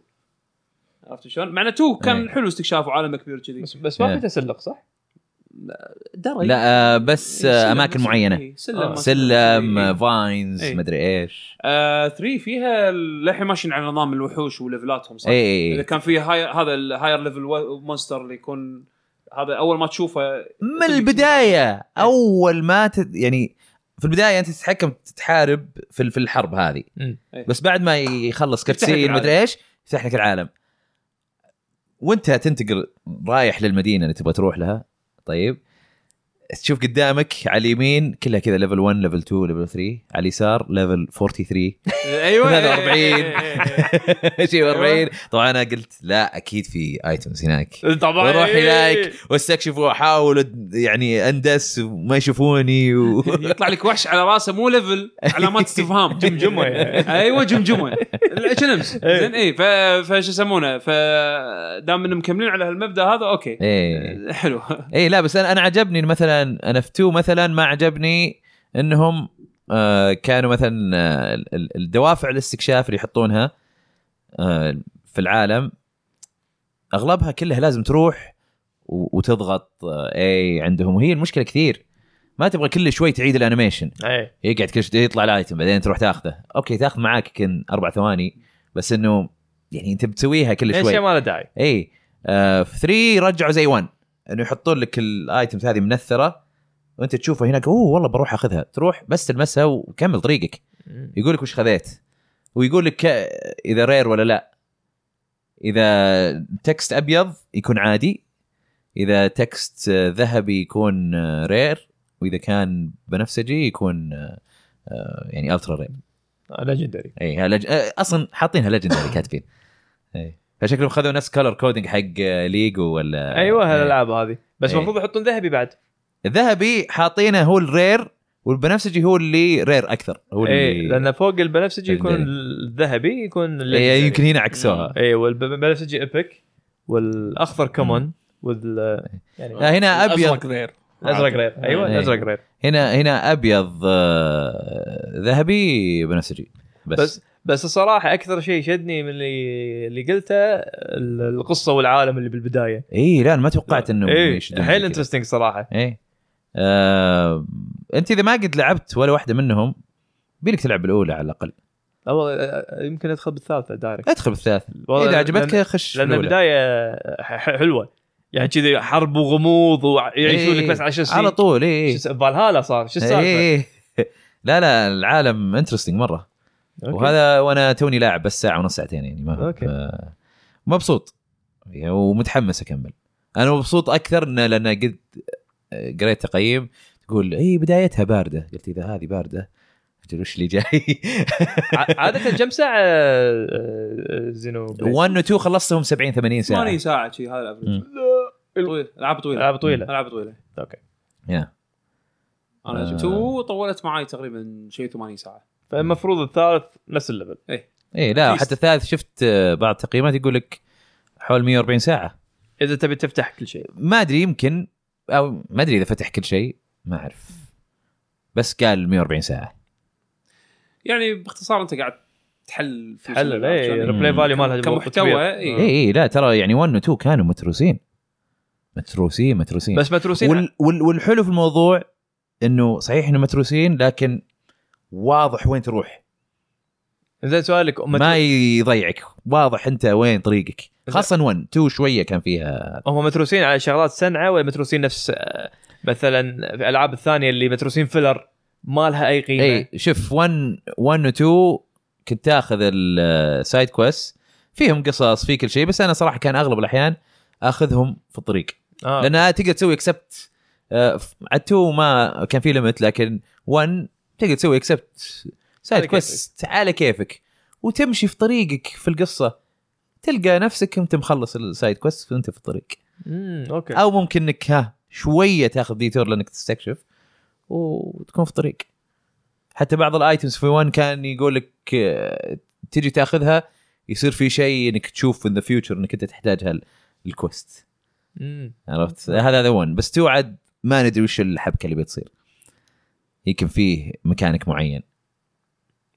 [SPEAKER 1] عرفت شون؟ مع ان تو كان
[SPEAKER 4] إيه.
[SPEAKER 1] حلو استكشافه وعالم كبير كذي
[SPEAKER 2] بس بس ما
[SPEAKER 4] إيه.
[SPEAKER 2] في تسلق صح؟
[SPEAKER 1] درج
[SPEAKER 4] لا آه بس
[SPEAKER 1] سلم-
[SPEAKER 4] آه اماكن
[SPEAKER 1] سلم-
[SPEAKER 4] معينه
[SPEAKER 1] طيب. إيه، سلم
[SPEAKER 2] آه.
[SPEAKER 1] ما- إيه.
[SPEAKER 4] سلم آه. فاينز
[SPEAKER 1] إيه.
[SPEAKER 4] مدري ايش
[SPEAKER 1] 3 فيها للحين ماشيين على نظام الوحوش وليفلاتهم صح؟
[SPEAKER 4] اي اي
[SPEAKER 1] اذا
[SPEAKER 4] إي.
[SPEAKER 1] كان في هاي هذا الهاير ليفل مونستر اللي يكون هذا اول ما تشوفه
[SPEAKER 4] من البدايه
[SPEAKER 1] إيه.
[SPEAKER 4] اول ما تت... يعني في البدايه انت تتحكم تحارب في ال- في الحرب هذه
[SPEAKER 2] مم.
[SPEAKER 1] إيه.
[SPEAKER 4] بس بعد ما يخلص
[SPEAKER 1] يفتح لك
[SPEAKER 4] كاتسين
[SPEAKER 1] العالم.
[SPEAKER 4] مدري ايش يفتح لك العالم وانت تنتقل رايح للمدينه اللي تبغى تروح لها طيب تشوف قدامك على اليمين كلها كذا ليفل 1 ليفل 2 ليفل 3 على اليسار ليفل 43
[SPEAKER 1] ايوه
[SPEAKER 4] هذا
[SPEAKER 1] إيه،
[SPEAKER 4] 40 شيء
[SPEAKER 1] أيوة.
[SPEAKER 4] 40 طبعا انا قلت لا اكيد في ايتمز هناك
[SPEAKER 2] طبعا
[SPEAKER 4] واروح هناك واستكشف واحاول أد- يعني اندس وما يشوفوني و...
[SPEAKER 1] يطلع لك وحش على راسه مو ليفل علامات استفهام
[SPEAKER 2] جمجمة.
[SPEAKER 1] ايوه جمجمه شنمس زين اي ف- فش يسمونه فدام انهم مكملين على هالمبدا هذا اوكي
[SPEAKER 4] ايه
[SPEAKER 1] حلو
[SPEAKER 4] ايه لا بس انا انا عجبني إن مثلا انا في 2 مثلا ما عجبني انهم آه كانوا مثلا آه ال- ال- الدوافع الاستكشاف اللي يحطونها آه في العالم اغلبها كلها لازم تروح و- وتضغط آه اي عندهم وهي المشكله كثير ما تبغى كل شوي تعيد الانيميشن
[SPEAKER 2] ايه
[SPEAKER 4] يقعد كل شوي يطلع الايتم بعدين تروح تاخذه اوكي تاخذ معاك يمكن اربع ثواني بس انه يعني انت بتسويها كل شوي
[SPEAKER 2] شيء ما له داعي
[SPEAKER 4] اي آه في 3 رجعوا زي 1 انه يحطون لك الايتمز هذه منثره وانت تشوفها هناك اوه والله بروح اخذها تروح بس تلمسها وكمل طريقك يقول لك وش خذيت ويقول لك ك- اذا رير ولا لا اذا تكست ابيض يكون عادي اذا تكست آه، ذهبي يكون آه، رير واذا كان بنفسجي يكون آه، آه، يعني الترا رير
[SPEAKER 2] آه، ليجندري
[SPEAKER 4] اي ها لج... آه، اصلا حاطينها ليجندري كاتبين اي فشكلهم خذوا نفس كلر كودينج حق آه، ليجو ولا
[SPEAKER 2] ايوه
[SPEAKER 4] إيه.
[SPEAKER 2] هالالعاب هذه بس
[SPEAKER 4] إيه.
[SPEAKER 2] المفروض يحطون ذهبي بعد
[SPEAKER 4] الذهبي حاطينه هو الرير والبنفسجي هو اللي رير اكثر هو اللي
[SPEAKER 2] اي لان إيه، فوق البنفسجي يكون
[SPEAKER 4] ليجندري.
[SPEAKER 2] الذهبي يكون
[SPEAKER 4] إيه، يمكن هنا عكسوها
[SPEAKER 2] اي والبنفسجي ايبك والاخضر كمان وال يعني
[SPEAKER 4] آه، هنا ابيض
[SPEAKER 3] الازرق غير
[SPEAKER 2] الازرق غير ايوه
[SPEAKER 4] إيه.
[SPEAKER 2] الازرق غير
[SPEAKER 4] هنا هنا ابيض آه، ذهبي بنفسجي بس,
[SPEAKER 2] بس
[SPEAKER 4] بس
[SPEAKER 2] بس الصراحه اكثر شيء شدني من اللي اللي قلته ال- القصه والعالم اللي بالبدايه
[SPEAKER 4] اي إيه، لا أنا ما توقعت انه
[SPEAKER 2] اي
[SPEAKER 4] يشدوني
[SPEAKER 2] إيه، حيل
[SPEAKER 4] كذا.
[SPEAKER 2] انترستنج صراحه
[SPEAKER 4] ايه آه، انت اذا ما قد لعبت ولا واحده منهم بيلك تلعب بالاولى على الاقل
[SPEAKER 2] اول آه، يمكن ادخل بالثالثه دايركت
[SPEAKER 4] ادخل بالثالثه اذا عجبتك خش
[SPEAKER 2] لان
[SPEAKER 4] بالأولى.
[SPEAKER 2] البدايه آه، ح- ح- حلوه يعني كذي حرب وغموض ويعيشون
[SPEAKER 4] إيه.
[SPEAKER 2] لك بس 10 سنين
[SPEAKER 4] على طول إيه، اي
[SPEAKER 2] شو اسمه؟ فالهالا صار شو السالفه؟
[SPEAKER 4] اي إيه. لا لا العالم انترستنج مره
[SPEAKER 2] أوكي.
[SPEAKER 4] وهذا وانا توني لاعب بس ساعه ونص ساعتين يعني ما
[SPEAKER 2] أوكي.
[SPEAKER 4] ف- مبسوط ومتحمس اكمل انا مبسوط اكثر إنه لان إيه، قد قريت تقييم تقول اي بدايتها بارده قلت اذا هذه بارده اجل وش اللي جاي
[SPEAKER 2] ع- عاده كم ساعه آه، زينو بليد؟
[SPEAKER 4] 1 و 2 خلصتهم 70 80
[SPEAKER 1] 80
[SPEAKER 4] ساعه
[SPEAKER 1] ساعه شي هذا الافرج
[SPEAKER 4] مم.
[SPEAKER 1] طويل العاب طويله
[SPEAKER 2] العاب طويله
[SPEAKER 1] العاب طويله
[SPEAKER 2] اوكي
[SPEAKER 4] يا. آه.
[SPEAKER 1] انا 2 طولت معي تقريبا شيء 80 ساعه
[SPEAKER 2] فالمفروض الثالث نفس الليفل
[SPEAKER 4] اي إيه، لا
[SPEAKER 1] At least.
[SPEAKER 4] حتى الثالث شفت آه، بعض التقييمات يقول لك حول 140 ساعه
[SPEAKER 2] اذا تبي تفتح كل شيء
[SPEAKER 4] ما ادري يمكن او ما ادري اذا فتح كل شيء ما اعرف بس قال 140 ساعه
[SPEAKER 1] يعني باختصار انت قاعد تحل في
[SPEAKER 4] إيه،
[SPEAKER 2] تحلل اي
[SPEAKER 1] شغلة.
[SPEAKER 2] الريبلاي فاليو إيه، مالها
[SPEAKER 1] كمحتوى
[SPEAKER 2] كبير.
[SPEAKER 1] اي
[SPEAKER 4] اي اي لا ترى يعني 1 و 2 كانوا متروسين متروسين متروسين
[SPEAKER 2] بس متروسين
[SPEAKER 4] وال وال والحلو في الموضوع انه صحيح انه متروسين لكن واضح وين تروح
[SPEAKER 2] زين سؤالك
[SPEAKER 4] ما يضيعك واضح انت وين طريقك خاصه 1 2 شويه كان فيها
[SPEAKER 2] هم متروسين على شغلات صنعه ولا متروسين نفس آه، مثلا في الالعاب الثانيه اللي متروسين فيلر ما لها اي قيمه
[SPEAKER 4] اي إيه، شوف 1 1 و 2 كنت تاخذ السايد كويست فيهم قصص في كل شيء بس انا صراحه كان اغلب الاحيان اخذهم في الطريق
[SPEAKER 2] آه.
[SPEAKER 4] لانها تقدر تسوي اكسبت على 2 ما كان في ليمت لكن 1 تقدر تسوي اكسبت سايد
[SPEAKER 2] على كيفك.
[SPEAKER 4] كويست على كيفك وتمشي في طريقك في القصه تلقى نفسك انت مخلص السايد كويست وانت في الطريق
[SPEAKER 2] امم اوكي
[SPEAKER 4] او ممكن انك ها شويه تاخذ ديتور لانك تستكشف وتكون في طريق حتى بعض الايتمز في 1 كان يقول لك آه، تجي تاخذها يصير في شيء انك تشوف ان ذا فيوتشر انك انت تحتاجها الكوست
[SPEAKER 2] مم.
[SPEAKER 4] عرفت هذا هذا 1 بس 2 عاد ما ندري وش الحبكه اللي بتصير يمكن فيه مكانك معين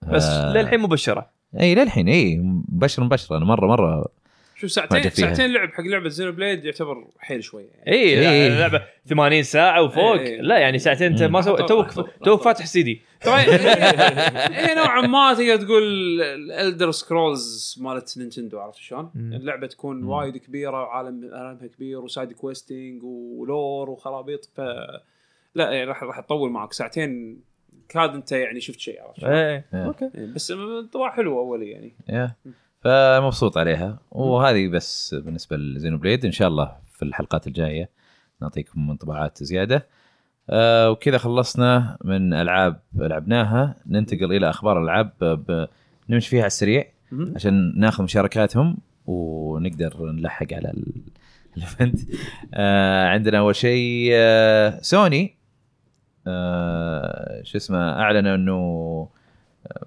[SPEAKER 2] بس للحين مبشره
[SPEAKER 4] اي للحين اي مبشر مبشر انا مره مره
[SPEAKER 1] شوف
[SPEAKER 4] ما
[SPEAKER 1] ساعتين
[SPEAKER 4] جا فيها.
[SPEAKER 1] ساعتين لعب حق لعبه زينو بليد يعتبر حيل شويه يعني.
[SPEAKER 2] اي
[SPEAKER 4] إي.
[SPEAKER 2] لعبه 80 ساعه وفوق
[SPEAKER 1] إي، إي.
[SPEAKER 2] لا يعني ساعتين انت
[SPEAKER 4] مم.
[SPEAKER 2] ما سو...
[SPEAKER 1] أحضر،
[SPEAKER 2] توك
[SPEAKER 1] أحضر، أحضر.
[SPEAKER 2] توك فاتح سي دي
[SPEAKER 1] طبعا هي نوعا إيه، ما تقدر تقول الالدر سكرولز مالت نينتندو عرفت شلون؟
[SPEAKER 2] مم.
[SPEAKER 1] اللعبه تكون
[SPEAKER 4] مم.
[SPEAKER 1] وايد كبيره وعالم عالمها كبير وسايد كويستنج ولور وخرابيط ف لا يعني راح راح تطول معك ساعتين كاد انت يعني شفت شيء عرفت شلون؟
[SPEAKER 2] اي
[SPEAKER 4] إيه.
[SPEAKER 2] اوكي
[SPEAKER 1] بس طبعا حلو اولي يعني
[SPEAKER 4] يا. فمبسوط عليها وهذه بس بالنسبه لزينو بليد ان شاء الله في الحلقات الجايه نعطيكم انطباعات زياده آه وكذا خلصنا من العاب لعبناها ننتقل الى اخبار العاب ب- نمشي فيها على السريع
[SPEAKER 1] مهم.
[SPEAKER 4] عشان ناخذ مشاركاتهم ونقدر نلحق على ال- الايفنت آه عندنا اول شيء آه سوني آه شو اسمه اعلنوا انه آه،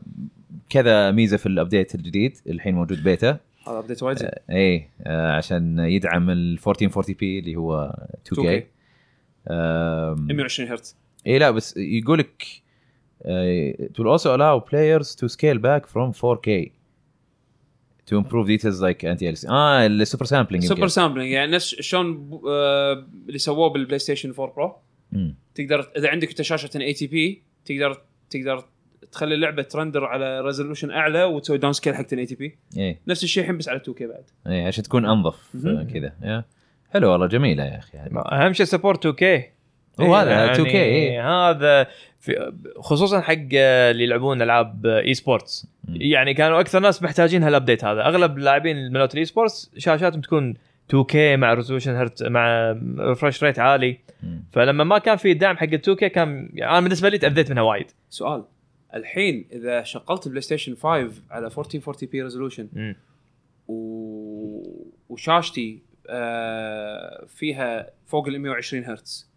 [SPEAKER 4] كذا ميزه في الابديت الجديد الحين موجود بيتا
[SPEAKER 1] هذا ابديت وايد زين.
[SPEAKER 4] اي آه عشان يدعم ال 1440 بي اللي هو 2K
[SPEAKER 1] 2K.
[SPEAKER 4] آم،
[SPEAKER 1] 120 هرتز
[SPEAKER 4] اي لا بس يقول لك it will also allow players to scale back from 4K to improve details like anti aliasing اه السوبر سامبلينج
[SPEAKER 1] سوبر سامبلينج يعني نفس شلون ب- آه، اللي سووه بالبلاي ستيشن 4 برو تقدر اذا عندك انت شاشه اي تي بي تقدر تقدر تخلي اللعبه ترندر على ريزولوشن اعلى وتسوي داون سكيل حق 1080 بي
[SPEAKER 4] اي
[SPEAKER 1] نفس الشيء الحين بس على 2K بعد
[SPEAKER 4] اي إيه، عشان تكون انظف
[SPEAKER 1] مهم.
[SPEAKER 4] آه، كذا يا. حلو والله جميله يا اخي هذه.
[SPEAKER 2] اهم شيء سبورت 2K
[SPEAKER 4] هو هذا إيه. 2K إي.
[SPEAKER 2] إيه، يعني هذا في خصوصا حق اللي يلعبون العاب اي سبورتس
[SPEAKER 4] مم.
[SPEAKER 2] يعني كانوا اكثر ناس محتاجين هالابديت هذا اغلب اللاعبين مالت الاي سبورتس شاشاتهم تكون 2K مع ريزولوشن هرت مع ريفرش ريت عالي
[SPEAKER 4] مم.
[SPEAKER 2] فلما ما كان في دعم حق ال 2K كان يعني انا بالنسبه لي تاذيت منها وايد
[SPEAKER 1] سؤال الحين اذا شغلت البلاي ستيشن 5 على 1440 بي ريزولوشن
[SPEAKER 2] مم.
[SPEAKER 1] و... وشاشتي آه فيها فوق ال 120 هرتز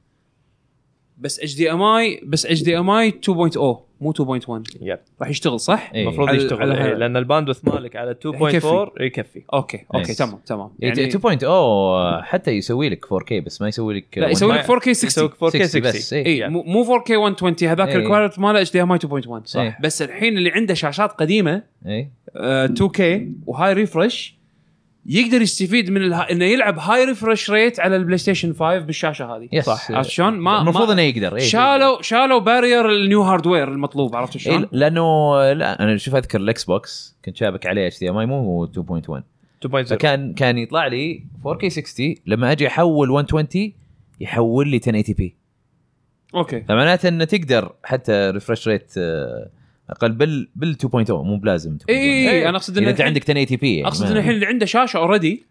[SPEAKER 1] بس اتش دي ام اي بس اتش دي ام اي 2.0 oh، مو 2.1
[SPEAKER 2] يب.
[SPEAKER 1] راح يشتغل صح؟
[SPEAKER 4] إي.
[SPEAKER 2] المفروض
[SPEAKER 1] على-
[SPEAKER 2] يشتغل
[SPEAKER 1] على-
[SPEAKER 2] إيه، لان الباندوث مالك على 2.4 يكفي
[SPEAKER 1] اوكي اوكي
[SPEAKER 4] Nice.
[SPEAKER 1] تمام يعني تمام
[SPEAKER 4] إي، 2.0 oh، حتى يسوي لك 4K بس ما يسوي لك
[SPEAKER 1] لا يسوي لك 4K 60
[SPEAKER 2] يسوي 4K 60
[SPEAKER 4] بس إيه.
[SPEAKER 2] بس
[SPEAKER 4] إي.
[SPEAKER 1] اي إيه، مو- مو 4K 120 هذاك
[SPEAKER 4] إي.
[SPEAKER 1] الكواليتي ماله اتش دي ام اي 2.1
[SPEAKER 4] صح.
[SPEAKER 1] بس الحين اللي عنده شاشات قديمه
[SPEAKER 4] اي
[SPEAKER 1] آه، 2K وهاي ريفرش يقدر يستفيد من الها... انه يلعب هاي ريفرش ريت على البلاي ستيشن 5 بالشاشه هذه
[SPEAKER 4] يس.
[SPEAKER 1] صح عرفت شلون؟ ما
[SPEAKER 4] المفروض
[SPEAKER 1] ما-
[SPEAKER 4] انه يقدر إي.
[SPEAKER 1] شالوا شالوا بارير النيو هاردوير المطلوب عرفت
[SPEAKER 4] إيه
[SPEAKER 1] شلون؟
[SPEAKER 4] لانه لا انا شوف اذكر الاكس بوكس كنت شابك عليه اتش دي ام اي مو 2.1
[SPEAKER 2] 2.0
[SPEAKER 4] فكان كان يطلع لي 4K 60 لما اجي احول 120 يحول لي 1080 بي
[SPEAKER 1] اوكي
[SPEAKER 4] فمعناته انه تقدر حتى ريفرش ريت اقل آه، بال بال 2.0 مو بلازم 2.0.
[SPEAKER 1] اي
[SPEAKER 2] إيه.
[SPEAKER 1] اي انا اقصد
[SPEAKER 4] اذا
[SPEAKER 1] انه
[SPEAKER 4] انت عندك 1080 بي
[SPEAKER 1] اقصد انه الحين اللي عنده شاشه اوريدي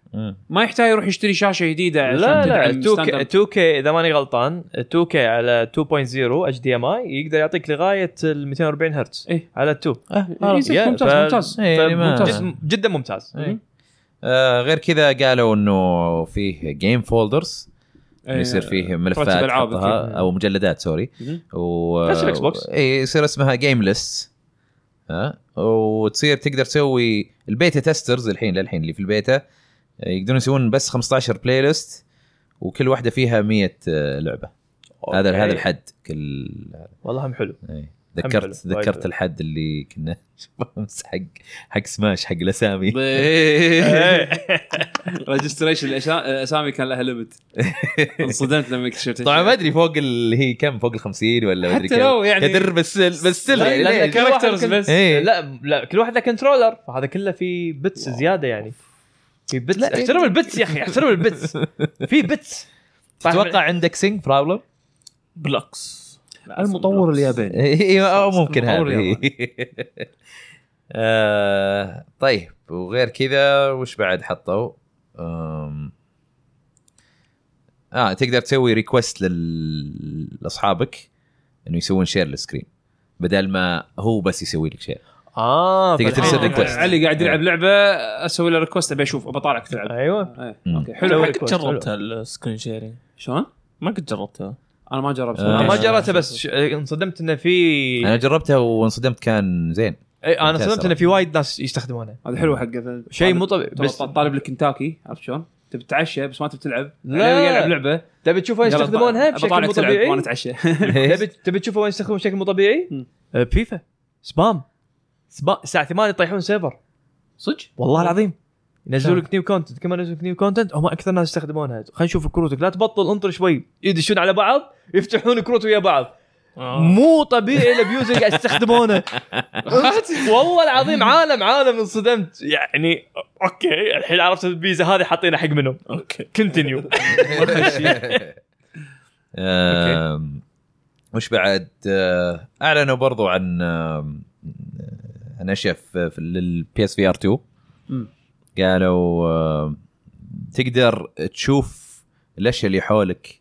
[SPEAKER 1] ما يحتاج يروح يشتري شاشه جديده عشان
[SPEAKER 2] لا لا
[SPEAKER 1] تدعم
[SPEAKER 2] 2K
[SPEAKER 1] standard.
[SPEAKER 2] 2K اذا ماني غلطان 2K على 2.0 اتش دي ام اي يقدر يعطيك لغايه ال 240 هرتز
[SPEAKER 1] إيه.
[SPEAKER 2] على 2
[SPEAKER 1] إيه، زين،
[SPEAKER 2] يا،
[SPEAKER 1] ممتاز
[SPEAKER 2] ف-
[SPEAKER 1] ممتاز
[SPEAKER 4] إيه، يعني ما-
[SPEAKER 2] ممتاز جدا ممتاز
[SPEAKER 4] إيه. آه غير كذا قالوا انه فيه جيم فولدرز
[SPEAKER 1] إيه،
[SPEAKER 4] يصير
[SPEAKER 2] إيه.
[SPEAKER 4] فيه ملفات
[SPEAKER 1] ترتب ألعاب
[SPEAKER 4] تحطها
[SPEAKER 1] أكيد.
[SPEAKER 4] او مجلدات سوري
[SPEAKER 1] مهم.
[SPEAKER 4] و
[SPEAKER 2] نفس الإكس بوكس.
[SPEAKER 4] اي يصير اسمها جيم ليست ها وتصير تقدر تسوي البيتا تيسترز الحين للحين اللي في البيتا آه، يقدرون يسوون بس 15 بلاي ليست وكل واحده فيها 100 آه، لعبه
[SPEAKER 2] أوكي.
[SPEAKER 4] هذا هذا الحد كل
[SPEAKER 2] والله هم حلو
[SPEAKER 4] إيه.
[SPEAKER 2] الحمد لله.
[SPEAKER 4] ذكرت
[SPEAKER 2] وايد
[SPEAKER 1] طيب.
[SPEAKER 4] ذكرت
[SPEAKER 2] حلو.
[SPEAKER 4] الحد اللي كنا امس حق حق سماش حق إيه. الاسامي
[SPEAKER 1] إيه. ريجستريشن الاسامي إيه، كان لها ليمت انصدمت لما اكتشفت
[SPEAKER 4] طبعا ما ادري فوق اللي هي كم فوق ال 50 ولا ما ادري
[SPEAKER 1] حتى
[SPEAKER 4] كم
[SPEAKER 1] لو يعني
[SPEAKER 4] كدر بس بس
[SPEAKER 2] لا،
[SPEAKER 4] يعني
[SPEAKER 2] لأن
[SPEAKER 4] ليش؟
[SPEAKER 2] كل واحد
[SPEAKER 1] characters
[SPEAKER 2] كان-
[SPEAKER 1] بس.
[SPEAKER 4] إيه.
[SPEAKER 2] لا لا كل واحد له كنترولر فهذا كله في بيتس زياده يعني في بيتس
[SPEAKER 4] لا.
[SPEAKER 2] احترم البيتس يا اخي احترم البيتس في بيتس
[SPEAKER 4] تتوقع عندك سينج بروبلم؟
[SPEAKER 3] بلوكس
[SPEAKER 1] المطور الياباني
[SPEAKER 4] ايوه أو
[SPEAKER 1] صح،
[SPEAKER 4] ممكن
[SPEAKER 1] مطور
[SPEAKER 4] هذا آه، طيب وغير كذا وش بعد حطوا؟ أم، اه تقدر تسوي ريكوست لاصحابك انه يسوون شير للسكرين بدل ما هو بس يسوي لك شير
[SPEAKER 2] اه
[SPEAKER 4] تقدر
[SPEAKER 2] فالحين-
[SPEAKER 4] ترسل
[SPEAKER 1] آه،
[SPEAKER 4] ريكوست.
[SPEAKER 1] علي قاعد
[SPEAKER 2] إيه.
[SPEAKER 1] يلعب لعبه اسوي له ريكوست ابي اشوف بطالعك تلعب
[SPEAKER 2] ايوه
[SPEAKER 1] إيه،
[SPEAKER 4] مم.
[SPEAKER 1] اوكي
[SPEAKER 2] سوي
[SPEAKER 1] حلو
[SPEAKER 2] request.
[SPEAKER 1] حق-
[SPEAKER 2] جربت
[SPEAKER 3] جربت السكرين شيرنج
[SPEAKER 1] شلون؟
[SPEAKER 3] ما قد جربتها
[SPEAKER 1] انا ما جربت
[SPEAKER 4] آه.
[SPEAKER 2] أنا ما
[SPEAKER 4] إيه.
[SPEAKER 2] جربته بس ش- انصدمت انه في
[SPEAKER 4] انا جربتها وانصدمت كان زين
[SPEAKER 2] إيه، انا
[SPEAKER 4] ممتاز
[SPEAKER 2] انصدمت انه
[SPEAKER 4] صراحة.
[SPEAKER 2] في وايد ناس يستخدمونه
[SPEAKER 1] هذا حلو حقه
[SPEAKER 2] شيء مو طبيعي
[SPEAKER 1] بس
[SPEAKER 2] بس
[SPEAKER 1] طالب الكنتاكي عرفت شلون؟ تبي تتعشى بس ما تبي تلعب
[SPEAKER 2] لا.
[SPEAKER 1] علي قاعد يلعب لعبه
[SPEAKER 2] تبي تشوف وين
[SPEAKER 1] يلا
[SPEAKER 2] يستخدمونها
[SPEAKER 1] بطالعك
[SPEAKER 2] بشكل مو
[SPEAKER 1] تلعب،
[SPEAKER 2] طبيعي
[SPEAKER 1] وانا اتعشى
[SPEAKER 2] تبي تبي تشوفه وين يستخدمون بشكل مو طبيعي
[SPEAKER 1] مم.
[SPEAKER 2] أه، فيفا سبام سبام الساعه 8 يطيحون سيرفر
[SPEAKER 1] صدق؟
[SPEAKER 2] والله العظيم ينزلوا
[SPEAKER 1] شلون؟
[SPEAKER 2] لك نيو كونتنت كمان ينزلوا لك نيو كونتنت هم اكثر ناس يستخدمونها خلينا نشوف كروتك لا تبطل انطر شوي يدشون على بعض يفتحون كروت ويا بعض
[SPEAKER 3] آه.
[SPEAKER 2] مو طبيعي الابيوز اللي قاعد يستخدمونه والله العظيم عالم عالم انصدمت يعني اوكي الحين عرفت الفيزا هذه حاطينها حق منهم
[SPEAKER 3] اوكي
[SPEAKER 2] كونتينيو
[SPEAKER 4] آم، وش بعد آه، اعلنوا برضو عن آم، عن اشياء في في- للبي اس في ار 2
[SPEAKER 1] مم.
[SPEAKER 4] قالوا آم، تقدر تشوف الاشياء اللي حولك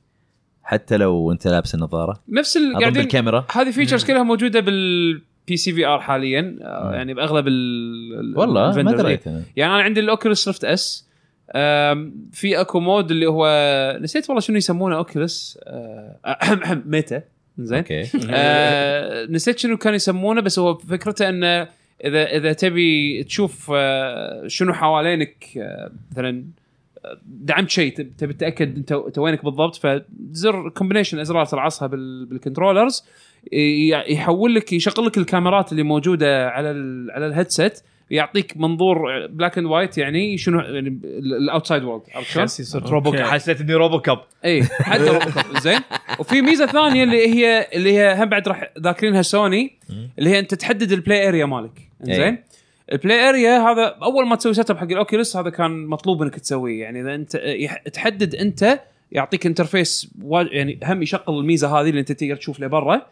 [SPEAKER 4] حتى لو انت لابس النظاره
[SPEAKER 1] نفس ال-
[SPEAKER 4] اظن
[SPEAKER 1] قاعدين
[SPEAKER 4] بالكاميرا
[SPEAKER 1] هذه فيتشرز كلها موجوده بالبي سي في ار حاليا آه،
[SPEAKER 4] مم.
[SPEAKER 1] يعني باغلب ال ال-
[SPEAKER 4] والله ما
[SPEAKER 1] الفندرز.
[SPEAKER 4] دريت انا
[SPEAKER 1] يعني انا عندي الاوكيوليس ريفت اس آم، في اكو مود اللي هو نسيت والله شنو يسمونه اوكيوليس ميتا زين
[SPEAKER 4] اوكي
[SPEAKER 1] آه، نسيت شنو كانوا يسمونه بس هو فكرته انه اذا اذا تبي تشوف آه، شنو حوالينك آه، مثلا آه، دعمت شيء تب- تبي تتاكد انت انت وينك بالضبط فزر كومبينيشن ازرار ترعصها بال- بالكنترولرز ي- يحول لك يشغل لك الكاميرات اللي موجوده على ال على الهيدسيت يعطيك منظور آه، بلاك اند وايت يعني شنو يعني الاوتسايد وورلد عرفت شلون؟
[SPEAKER 2] صرت
[SPEAKER 3] روبو
[SPEAKER 2] روبو
[SPEAKER 3] كاب.
[SPEAKER 2] حسيت اني روبو كاب
[SPEAKER 1] اي إيه، حتى روبوكوب زين وفي ميزه ثانيه اللي هي اللي هي هم بعد راح ذاكرينها سوني اللي هي انت تحدد البلاي اريا مالك زين البلاي اريا هذا اول ما تسوي سيت اب حق الاوكيوليس هذا كان مطلوب انك تسويه يعني اذا انت يح- تحدد انت يعطيك انترفيس وا- يعني هم يشغل الميزه هذه اللي انت تقدر تشوف لبرا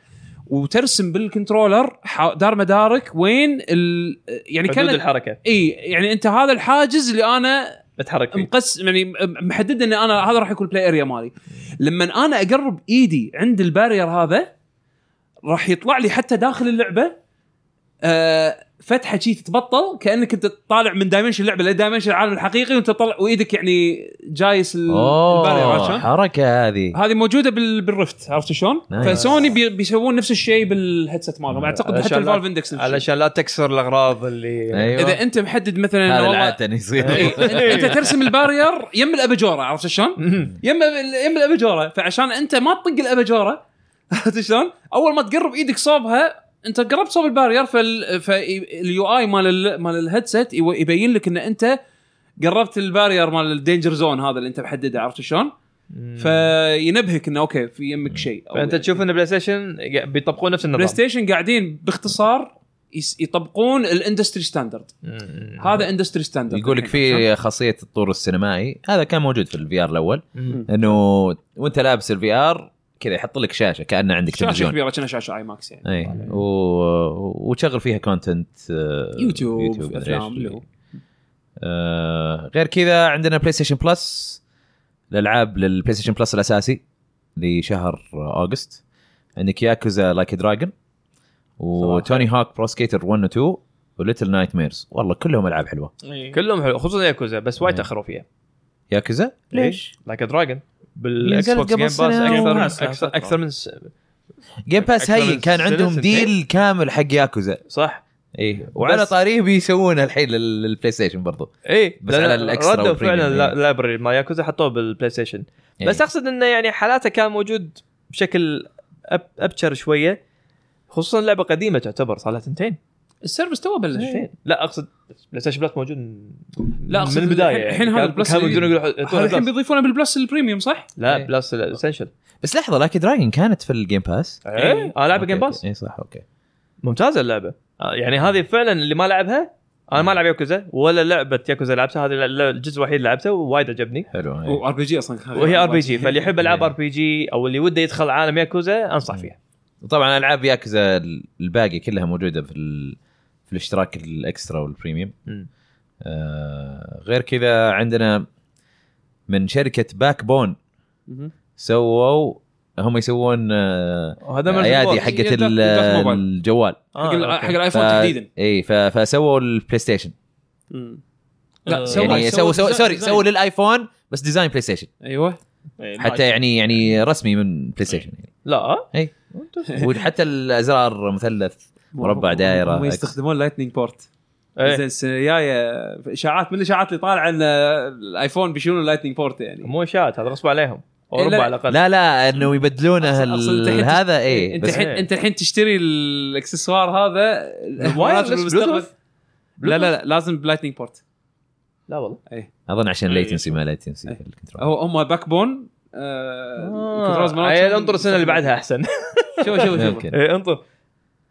[SPEAKER 1] وترسم بالكنترولر حا- دار مدارك وين ال يعني
[SPEAKER 2] حدود
[SPEAKER 1] كان
[SPEAKER 2] الحركه
[SPEAKER 1] اي يعني انت هذا الحاجز اللي انا
[SPEAKER 2] بتحرك فيه
[SPEAKER 1] مقسم يعني محدد ان انا هذا راح يكون بلاي اريا مالي لما انا اقرب ايدي عند البارير هذا راح يطلع لي حتى داخل اللعبه آه فتحه شي تتبطل كانك انت طالع من دايمنشن اللعبه لدايمنشن العالم الحقيقي وانت طالع وايدك يعني جايس ال- البارير عرفت
[SPEAKER 4] اوه
[SPEAKER 1] شلون؟
[SPEAKER 4] حركه هذه
[SPEAKER 1] هذه موجوده بال- بالرفت عرفت شلون؟
[SPEAKER 4] نايس.
[SPEAKER 1] فسوني بي- بيسوون نفس الشيء بالهيدسيت مالهم اعتقد حتى
[SPEAKER 2] علشان لا-
[SPEAKER 1] الفالف اندكس
[SPEAKER 2] علشان لا تكسر الاغراض اللي
[SPEAKER 4] ايوه
[SPEAKER 1] اذا انت محدد مثلا
[SPEAKER 4] هذا
[SPEAKER 1] والله-
[SPEAKER 4] العاده يصير
[SPEAKER 1] إيه، انت ترسم البارير يم الاباجوره عرفت شلون؟ يم يم الاباجوره فعشان انت ما تطق الاباجوره عرفت شلون؟ اول ما تقرب ايدك صوبها انت قربت صوب البارير فال فاليو اي مال ال مال الهيدسيت يو- يبين لك ان انت قربت البارير مال الدينجر زون هذا اللي انت محدده عرفت شلون؟ إيه. فينبهك انه اوكي في يمك شيء أو
[SPEAKER 2] فانت
[SPEAKER 1] يعني
[SPEAKER 2] تشوف ان بلاي ستيشن بيطبقون نفس
[SPEAKER 1] بلاي
[SPEAKER 2] النظام
[SPEAKER 1] ستيشن قاعدين باختصار يس- يطبقون الاندستري ستاندرد
[SPEAKER 2] مم.
[SPEAKER 1] هذا اندستري ستاندرد
[SPEAKER 4] يقول لك في خاصيه الطور السينمائي هذا كان موجود في الفي ار الاول انه وانت لابس الفي ار كذا يحط لك شاشه كانه عندك
[SPEAKER 1] شاشه
[SPEAKER 4] تلفزيون
[SPEAKER 1] كبيره كأنها شاشه اي ماكس يعني
[SPEAKER 4] اي و... وتشغل فيها كونتنت آه،
[SPEAKER 1] يوتيوب,
[SPEAKER 4] مدري
[SPEAKER 1] افلام
[SPEAKER 4] إيش.
[SPEAKER 1] اللي هو
[SPEAKER 4] آه، غير كذا عندنا بلاي ستيشن بلس الالعاب للبلاي ستيشن بلس الاساسي لشهر اوغست عندك ياكوزا لايك دراجون وتوني هاك برو سكيتر 1 و 2 وليتل نايت ميرز والله كلهم العاب حلوه
[SPEAKER 2] كلهم حلو خصوصا ياكوزا بس وايد
[SPEAKER 4] إيه.
[SPEAKER 2] تاخروا فيها
[SPEAKER 4] ياكوزا
[SPEAKER 3] ليش؟
[SPEAKER 2] لايك دراجون بالاكس
[SPEAKER 4] نزلت
[SPEAKER 2] بوكس
[SPEAKER 4] قبل
[SPEAKER 2] جيم باس
[SPEAKER 4] سنة. آه،
[SPEAKER 3] Game
[SPEAKER 2] اكثر
[SPEAKER 3] Pass
[SPEAKER 2] اكثر
[SPEAKER 3] فترة.
[SPEAKER 2] اكثر من س...
[SPEAKER 4] جيم باس
[SPEAKER 2] أكثر
[SPEAKER 4] هي
[SPEAKER 2] من
[SPEAKER 4] كان عندهم
[SPEAKER 2] سنتين.
[SPEAKER 4] ديل كامل حق ياكوزا
[SPEAKER 2] صح
[SPEAKER 4] اي إيه، وعلى
[SPEAKER 2] بس-
[SPEAKER 4] طاريه بيسوونه الحين لل- للبلاي ستيشن برضو
[SPEAKER 2] اي
[SPEAKER 4] بس على الإكسترا
[SPEAKER 2] ردوا
[SPEAKER 4] والبريميوم،
[SPEAKER 2] فعلا
[SPEAKER 4] إيه.
[SPEAKER 2] اللايبرري مال ياكوزا حطوه بالبلاي ستيشن
[SPEAKER 4] إيه.
[SPEAKER 2] بس اقصد انه يعني حالاته كان موجود بشكل أب... ابشر شويه خصوصا لعبه قديمه تعتبر صار لها سنتين
[SPEAKER 1] السيرفس تو
[SPEAKER 4] إيه.
[SPEAKER 1] بلش
[SPEAKER 2] سنتين لا اقصد بلاي ستيشن بلس موجود من-
[SPEAKER 1] لا أقصد
[SPEAKER 2] من البدايه
[SPEAKER 1] الحين- الحين هذا البلس
[SPEAKER 2] كانوا يقدرون يقولوا
[SPEAKER 1] هذا
[SPEAKER 2] يحطونه
[SPEAKER 1] الحين
[SPEAKER 2] بلس.
[SPEAKER 1] بيضيفونه بالبلس البريميوم صح؟
[SPEAKER 2] لا
[SPEAKER 4] إيه.
[SPEAKER 2] بلس الاسنشل
[SPEAKER 4] بس لحظه لاكي دراجون كانت في الجيم باس
[SPEAKER 1] إيه.
[SPEAKER 2] ايه انا لعبه
[SPEAKER 4] أوكي،
[SPEAKER 2] جيم باس
[SPEAKER 4] أوكي. اي صح اوكي
[SPEAKER 2] ممتازه اللعبه آه، يعني هذه فعلا اللي ما لعبها انا ما العب ياكوزا ولا لعبه ياكوزا لعبتها هذا الجزء الوحيد اللي لعبته ووايد عجبني
[SPEAKER 4] حلو إيه.
[SPEAKER 1] وار بي جي اصلا
[SPEAKER 2] وهي ار بي جي فاللي يحب العاب
[SPEAKER 4] إيه.
[SPEAKER 2] ار بي جي او اللي وده يدخل عالم ياكوزا انصح فيها
[SPEAKER 4] وطبعا العاب ياكوزا الباقي كلها موجوده في ال... في الاشتراك الاكسترا والبريميوم
[SPEAKER 2] مم.
[SPEAKER 4] آه غير كذا عندنا من شركه باك بون
[SPEAKER 1] مهم.
[SPEAKER 4] سووا هم يسوون آه
[SPEAKER 2] وهذا من
[SPEAKER 4] ايادي
[SPEAKER 2] الفوز.
[SPEAKER 1] حق-
[SPEAKER 4] حقت ال-
[SPEAKER 1] يدخل موبايل.
[SPEAKER 4] الجوال
[SPEAKER 1] حق ال-
[SPEAKER 2] آه،
[SPEAKER 1] حق
[SPEAKER 2] أوكي.
[SPEAKER 4] ف...
[SPEAKER 1] الايفون تحديدا
[SPEAKER 4] اي ف... فسووا البلاي ستيشن
[SPEAKER 1] مم. لا
[SPEAKER 3] آه،
[SPEAKER 1] سووا
[SPEAKER 4] يعني سووا سووا
[SPEAKER 1] ديزاين-
[SPEAKER 4] سوري
[SPEAKER 1] ديزاين.
[SPEAKER 4] سووا للايفون بس ديزاين بلاي ستيشن
[SPEAKER 1] ايوه
[SPEAKER 2] إيه،
[SPEAKER 4] حتى يعني يعني رسمي من بلاي ستيشن يعني.
[SPEAKER 2] لا
[SPEAKER 4] اي وحتى الازرار مثلث مربع، دائرة،
[SPEAKER 1] هم
[SPEAKER 4] أكس.
[SPEAKER 1] يستخدمون لايتنينج بورت
[SPEAKER 2] إيه.
[SPEAKER 1] زين السنه الجايه اشاعات من الاشاعات اللي طالعه ان الايفون بيشيلون اللايتنينج بورت يعني
[SPEAKER 2] مو اشاعات هذا غصب عليهم او
[SPEAKER 1] إيه، لا،
[SPEAKER 2] ربع على الاقل
[SPEAKER 4] لا لا انه يبدلونه
[SPEAKER 1] أصل- أصل
[SPEAKER 4] ال-
[SPEAKER 1] أنت الحين
[SPEAKER 4] هذا اي
[SPEAKER 1] انت
[SPEAKER 4] بس
[SPEAKER 1] الحين
[SPEAKER 2] إيه.
[SPEAKER 1] انت الحين تشتري الاكسسوار هذا
[SPEAKER 2] وايرلس
[SPEAKER 1] لازم بالمستقبل-
[SPEAKER 2] بلوتوث.
[SPEAKER 1] لا لا لا لازم بلايتنينج بورت
[SPEAKER 2] لا والله
[SPEAKER 4] اظن عشان
[SPEAKER 3] إيه.
[SPEAKER 4] ليتنسي ما ليتنسي
[SPEAKER 1] إيه.
[SPEAKER 4] في الكنترول
[SPEAKER 1] هو هم باك بون
[SPEAKER 2] آه، عيل انطر السنه اللي بعدها احسن
[SPEAKER 1] شوف شوف شوف
[SPEAKER 4] ممكن
[SPEAKER 2] إيه، انطر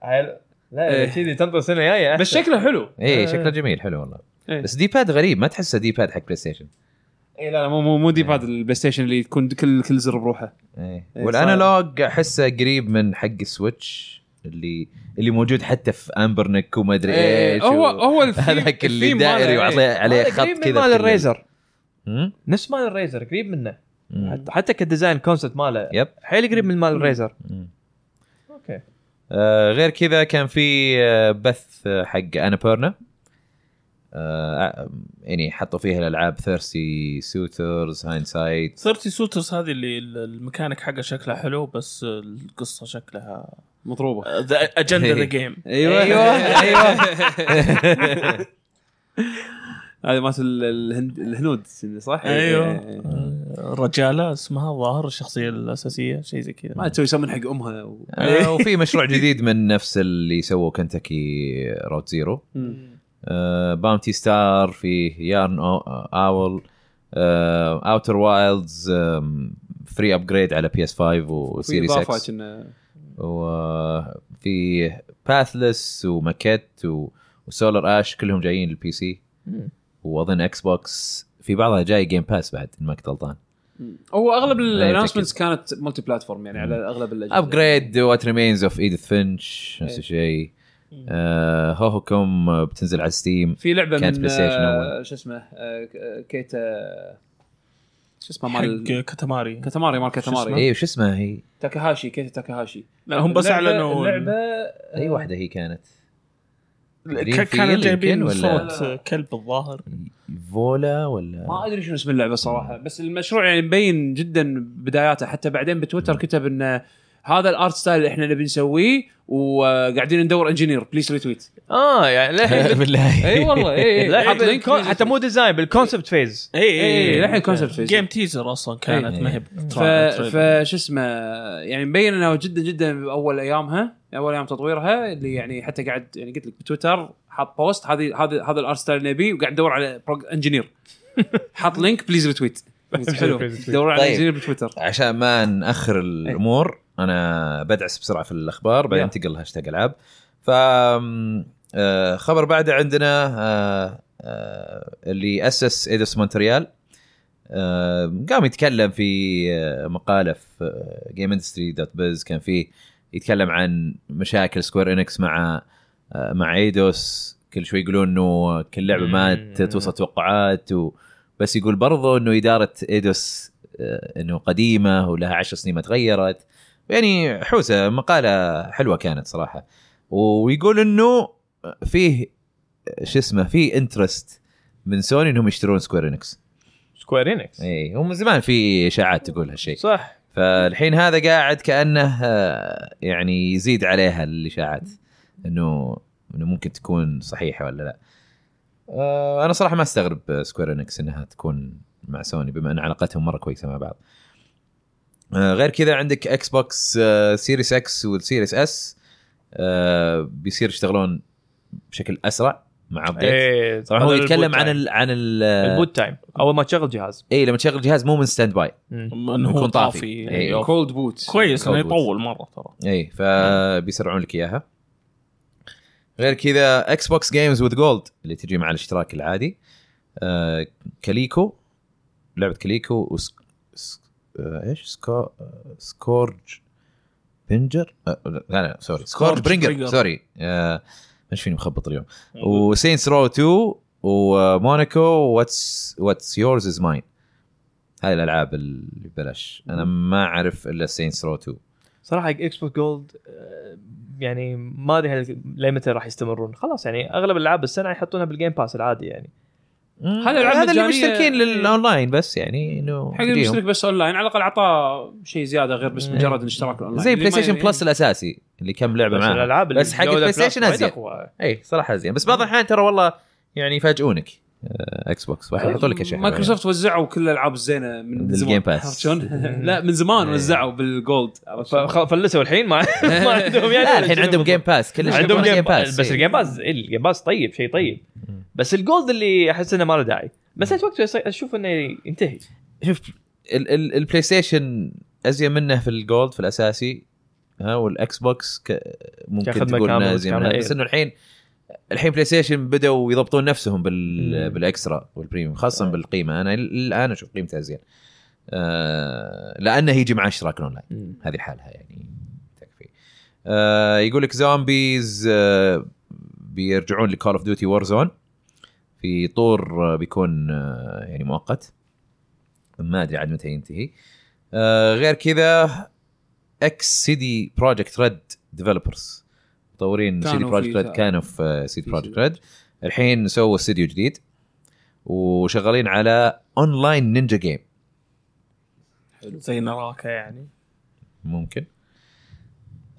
[SPEAKER 2] عيل لا
[SPEAKER 1] إيه.
[SPEAKER 2] كذي تنطر السنه الجايه
[SPEAKER 1] بس
[SPEAKER 2] أحسن.
[SPEAKER 1] شكله حلو
[SPEAKER 4] اي إيه، شكله جميل حلو والله
[SPEAKER 1] إيه.
[SPEAKER 4] بس دي باد غريب ما تحسه دي باد حق بلاي ستيشن
[SPEAKER 1] اي إيه، لا لا مو مو مو دي باد البلاي ستيشن اللي يكون كل كل زر بروحه
[SPEAKER 4] إيه.
[SPEAKER 1] إيه،
[SPEAKER 4] والانالوج احسه قريب من حق السويتش اللي اللي موجود حتى في امبرنك وما ادري ايش
[SPEAKER 1] إيه، هو
[SPEAKER 4] و-
[SPEAKER 1] هو الثيم-
[SPEAKER 4] هذاك اللي
[SPEAKER 1] الثيم ماله،
[SPEAKER 4] دائري
[SPEAKER 1] إيه.
[SPEAKER 4] وعليه عليه
[SPEAKER 2] هذا
[SPEAKER 4] خط
[SPEAKER 2] قريب من
[SPEAKER 4] كذا
[SPEAKER 2] يعني مال
[SPEAKER 4] بكل-
[SPEAKER 2] الريزر
[SPEAKER 4] مم؟
[SPEAKER 2] نفس مال الريزر قريب منه
[SPEAKER 4] مم.
[SPEAKER 2] حتى- حتى كديزاين كونسبت ماله
[SPEAKER 4] يب
[SPEAKER 2] حيل قريب من مال الريزر
[SPEAKER 4] مم.
[SPEAKER 2] اوكي
[SPEAKER 4] آه، غير كذا كان في آه، بث آه، حق انا بيرنا يعني حطوا فيها الالعاب ثيرسي سوترز هاينسايت
[SPEAKER 3] صرت سوترز هذه اللي ال- الميكانيك حقه شكلها حلو بس القصه شكلها
[SPEAKER 1] مضروبه
[SPEAKER 3] اجندا ذا جيم
[SPEAKER 1] ايوه
[SPEAKER 4] أيوة،
[SPEAKER 1] ايوه هذه مالت ال- الهند الهنود صح؟
[SPEAKER 3] أيوة.
[SPEAKER 1] إيه.
[SPEAKER 3] الرجاله اسمها الظاهر الشخصيه الاساسيه شيء زي كذا
[SPEAKER 1] ما تسوي سمن حق امها و...
[SPEAKER 4] آه، وفي مشروع جديد من نفس اللي سووا كنتاكي روت زيرو باونتي ستار آه، فيه يارن اول اوتر وايلدز فري ابجريد على بي اس 5
[SPEAKER 1] في
[SPEAKER 4] وسيريس
[SPEAKER 1] اضافه
[SPEAKER 4] اكس
[SPEAKER 1] كنا
[SPEAKER 4] وفي باثلس وماكيت و- وسولار اش كلهم جايين للبي سي واظن اكس بوكس في بعضها جاي جيم باس بعد ان ما كنت غلطان
[SPEAKER 1] هو اغلب
[SPEAKER 4] أتأكد.
[SPEAKER 1] الانونسمنتس كانت ملتي بلاتفورم يعني على اغلب الاجهزه
[SPEAKER 4] ابجريد وات ريمينز اوف ايديث فينش نفس
[SPEAKER 1] إيه.
[SPEAKER 4] الشيء آه هوهوكم بتنزل على ستيم
[SPEAKER 1] في لعبه
[SPEAKER 4] كانت
[SPEAKER 1] من
[SPEAKER 4] بلاي ستيشن
[SPEAKER 1] آه، شو اسمه آه، ك- آه، كيتا شو اسمه مال
[SPEAKER 3] حق كتماري
[SPEAKER 1] كاتاماري مال
[SPEAKER 3] شو
[SPEAKER 1] كاتاماري
[SPEAKER 4] اي إيه، وش اسمها هي؟
[SPEAKER 1] تاكاهاشي كيتا تاكاهاشي
[SPEAKER 3] لا هم بس
[SPEAKER 1] اللعبة-
[SPEAKER 3] اعلنوا
[SPEAKER 1] اللعبة
[SPEAKER 4] اي واحده هي كانت؟
[SPEAKER 3] ك- كانوا
[SPEAKER 4] Greenfield يمكن
[SPEAKER 3] جايبين
[SPEAKER 4] ولا-
[SPEAKER 3] صوت كلب الظاهر
[SPEAKER 4] فولا ولا
[SPEAKER 1] ما ادري شنو اسم اللعبه صراحه بس المشروع يعني مبين جدا بداياته حتى بعدين بتويتر كتب ان هذا الارت ستايل اللي احنا نبي نسويه وقاعدين ندور انجينير بليز ريتويت
[SPEAKER 2] اه يعني للحين
[SPEAKER 4] بالله
[SPEAKER 1] اي إيه، والله
[SPEAKER 4] إيه،
[SPEAKER 1] اي
[SPEAKER 2] لا،
[SPEAKER 1] اي حط
[SPEAKER 2] حتى
[SPEAKER 1] لينك
[SPEAKER 2] بالكون- حتى مو ديزاين بالكونسبت فيز
[SPEAKER 3] اي
[SPEAKER 1] إي، للحين concept phase.
[SPEAKER 3] جيم تيزر اصلا كانت
[SPEAKER 4] إي.
[SPEAKER 3] ما هي
[SPEAKER 1] ف فش اسمه يعني مبين انه جدا جدا اول ايامها اول ايام تطويرها اللي يعني حتى قاعد يعني قلت لك بتويتر حط بوست هذه هذا هذا الارت ستايل اللي نبيه وقاعد ندور على انجينير حط لينك بليز ريتويت حلو دوروا على
[SPEAKER 4] طيب.
[SPEAKER 1] انجينير بتويتر
[SPEAKER 4] عشان ما ناخر الامور انا بدعس بسرعه في الاخبار بعدين
[SPEAKER 1] يلا.
[SPEAKER 4] انتقل هاشتاج العاب ف آم، آه، خبر بعده عندنا آه، آه، اللي اسس ايدوس مونتريال آه، قام يتكلم في آه، مقاله في آه، جيم اندستري دوت بيز كان فيه يتكلم عن مشاكل سكوير انكس مع آه، مع ايدوس كل شوي يقولون انه كل لعبه ما
[SPEAKER 2] مم.
[SPEAKER 4] توصل توقعات و... بس يقول برضه انه اداره ايدوس آه، انه قديمه ولها عشر سنين ما تغيرت يعني حوسه مقاله حلوه كانت صراحه ويقول انه فيه آه، شو اسمه فيه انترست من سوني انهم يشترون سكوير انكس
[SPEAKER 2] سكوير انكس
[SPEAKER 4] اي ومن إيه، زمان في اشاعات تقول هالشيء
[SPEAKER 2] صح
[SPEAKER 4] فالحين هذا قاعد كانه آه، يعني يزيد عليها الاشاعات انه انه ممكن تكون صحيحه ولا لا آه، انا صراحه ما استغرب سكوير انكس انها تكون مع سوني بما ان علاقتهم مره كويسه مع بعض آه، غير كذا عندك آه، اكس بوكس سيريس اكس والسيريس اس آه، بيصير يشتغلون بشكل اسرع مع ابديت
[SPEAKER 2] إيه،
[SPEAKER 4] طبعا هو
[SPEAKER 2] هذا
[SPEAKER 4] يتكلم
[SPEAKER 2] البوت
[SPEAKER 4] عن
[SPEAKER 2] تايم.
[SPEAKER 4] ال عن ال
[SPEAKER 2] البوت تايم اول ما تشغل جهاز
[SPEAKER 4] اي لما تشغل الجهاز مو من ستاند باي
[SPEAKER 3] انه هو
[SPEAKER 4] يكون طافي.
[SPEAKER 3] طافي
[SPEAKER 4] إيه.
[SPEAKER 3] أيوه.
[SPEAKER 1] كولد بوت
[SPEAKER 3] كويس انه
[SPEAKER 4] كود بوت.
[SPEAKER 3] يطول مره ترى
[SPEAKER 4] اي إيه، فبيسرعون لك اياها غير كذا اكس بوكس جيمز وذ جولد اللي تجي مع الاشتراك العادي آه كليكو لعبه كليكو وس... س... آه ايش سكو... آه، سكورج بنجر آه لا لا سوري سكورج
[SPEAKER 3] سكورج
[SPEAKER 4] برينجر
[SPEAKER 3] برينجر.
[SPEAKER 4] سوري آه ايش فيني مخبط اليوم وسينس رو 2 وموناكو واتس واتس يورز از ماين هاي الالعاب اللي ببلاش انا ما اعرف الا سينس رو 2
[SPEAKER 2] صراحه اكس بوكس جولد آه، يعني ما ادري هل- لي متى راح يستمرون خلاص يعني اغلب الالعاب السنه يحطونها بالجيم باس العادي يعني
[SPEAKER 1] هذا الألعاب
[SPEAKER 4] هذا اللي
[SPEAKER 1] مجانية.
[SPEAKER 4] مشتركين للاونلاين بس يعني انه
[SPEAKER 1] حق اللي
[SPEAKER 4] يجيهم.
[SPEAKER 1] مشترك بس اونلاين على الاقل اعطاه شيء زياده غير بس
[SPEAKER 2] مم.
[SPEAKER 1] مجرد الاشتراك الاونلاين
[SPEAKER 4] زي
[SPEAKER 1] اللي
[SPEAKER 4] بلاي
[SPEAKER 1] ما
[SPEAKER 4] ستيشن
[SPEAKER 1] يعني-
[SPEAKER 4] بلس الاساسي اللي كم لعبه
[SPEAKER 2] بس
[SPEAKER 4] معاه
[SPEAKER 2] الالعاب
[SPEAKER 4] بس حق البلاي ستيشن أزين. اي صراحه زين بس بعض الاحيان ترى والله يعني يفاجئونك آه، اكس بوكس واحد يحطوا لك اشياء
[SPEAKER 1] مايكروسوفت وزعوا كل الالعاب الزينه من
[SPEAKER 4] بالجيم
[SPEAKER 1] زمان
[SPEAKER 4] باس.
[SPEAKER 1] عرفت شلون؟ لا من
[SPEAKER 4] إيه.
[SPEAKER 1] زمان وزعوا بالجولد عرفت شلون؟
[SPEAKER 2] فلسوا الحين ما ما عندهم يعني
[SPEAKER 4] لا الحين عندهم جيم باس كل شيء
[SPEAKER 2] عندهم
[SPEAKER 4] يحطونه
[SPEAKER 2] جيم باس بس
[SPEAKER 4] إي.
[SPEAKER 2] الجيم باس إيه، الجيم باس طيب شيء طيب
[SPEAKER 4] مم.
[SPEAKER 2] بس الجولد اللي احس انه ما له داعي بس نفس الوقت يصير- اشوف انه ينتهي
[SPEAKER 4] شوف ال- ال- البلاي ستيشن ازين منه في الجولد في الاساسي ها والاكس بوكس ك... ممكن
[SPEAKER 2] كخدمة
[SPEAKER 4] تقول انه
[SPEAKER 2] كاملة
[SPEAKER 4] ازين
[SPEAKER 2] كاملة،
[SPEAKER 4] منها
[SPEAKER 2] إيه.
[SPEAKER 4] بس انه الحين الحين بلاي ستيشن بدأوا يضبطون نفسهم بال...
[SPEAKER 2] مم.
[SPEAKER 4] بالاكسترا والبريميوم خاصه
[SPEAKER 2] آه.
[SPEAKER 4] بالقيمه انا ال- الان اشوف قيمته ازين آه... لانه يجي مع اشتراك اونلاين هذه لحالها يعني تكفي آه يقول لك زومبيز آه بيرجعون لكول اوف ديوتي وور زون في طور آه بيكون آه يعني مؤقت ما ادري عاد متى ينتهي آه غير كذا اكس سيدي بروجكت ريد ديفلوبرز مطورين
[SPEAKER 1] كانوا
[SPEAKER 4] سيدي بروجكت
[SPEAKER 1] في
[SPEAKER 4] ريد
[SPEAKER 1] تا-
[SPEAKER 4] كانوا في سيدي
[SPEAKER 1] في
[SPEAKER 4] بروجكت
[SPEAKER 1] CD.
[SPEAKER 4] ريد الحين سووا استديو جديد وشغالين على اونلاين نينجا جيم
[SPEAKER 3] زي نراكا يعني
[SPEAKER 4] ممكن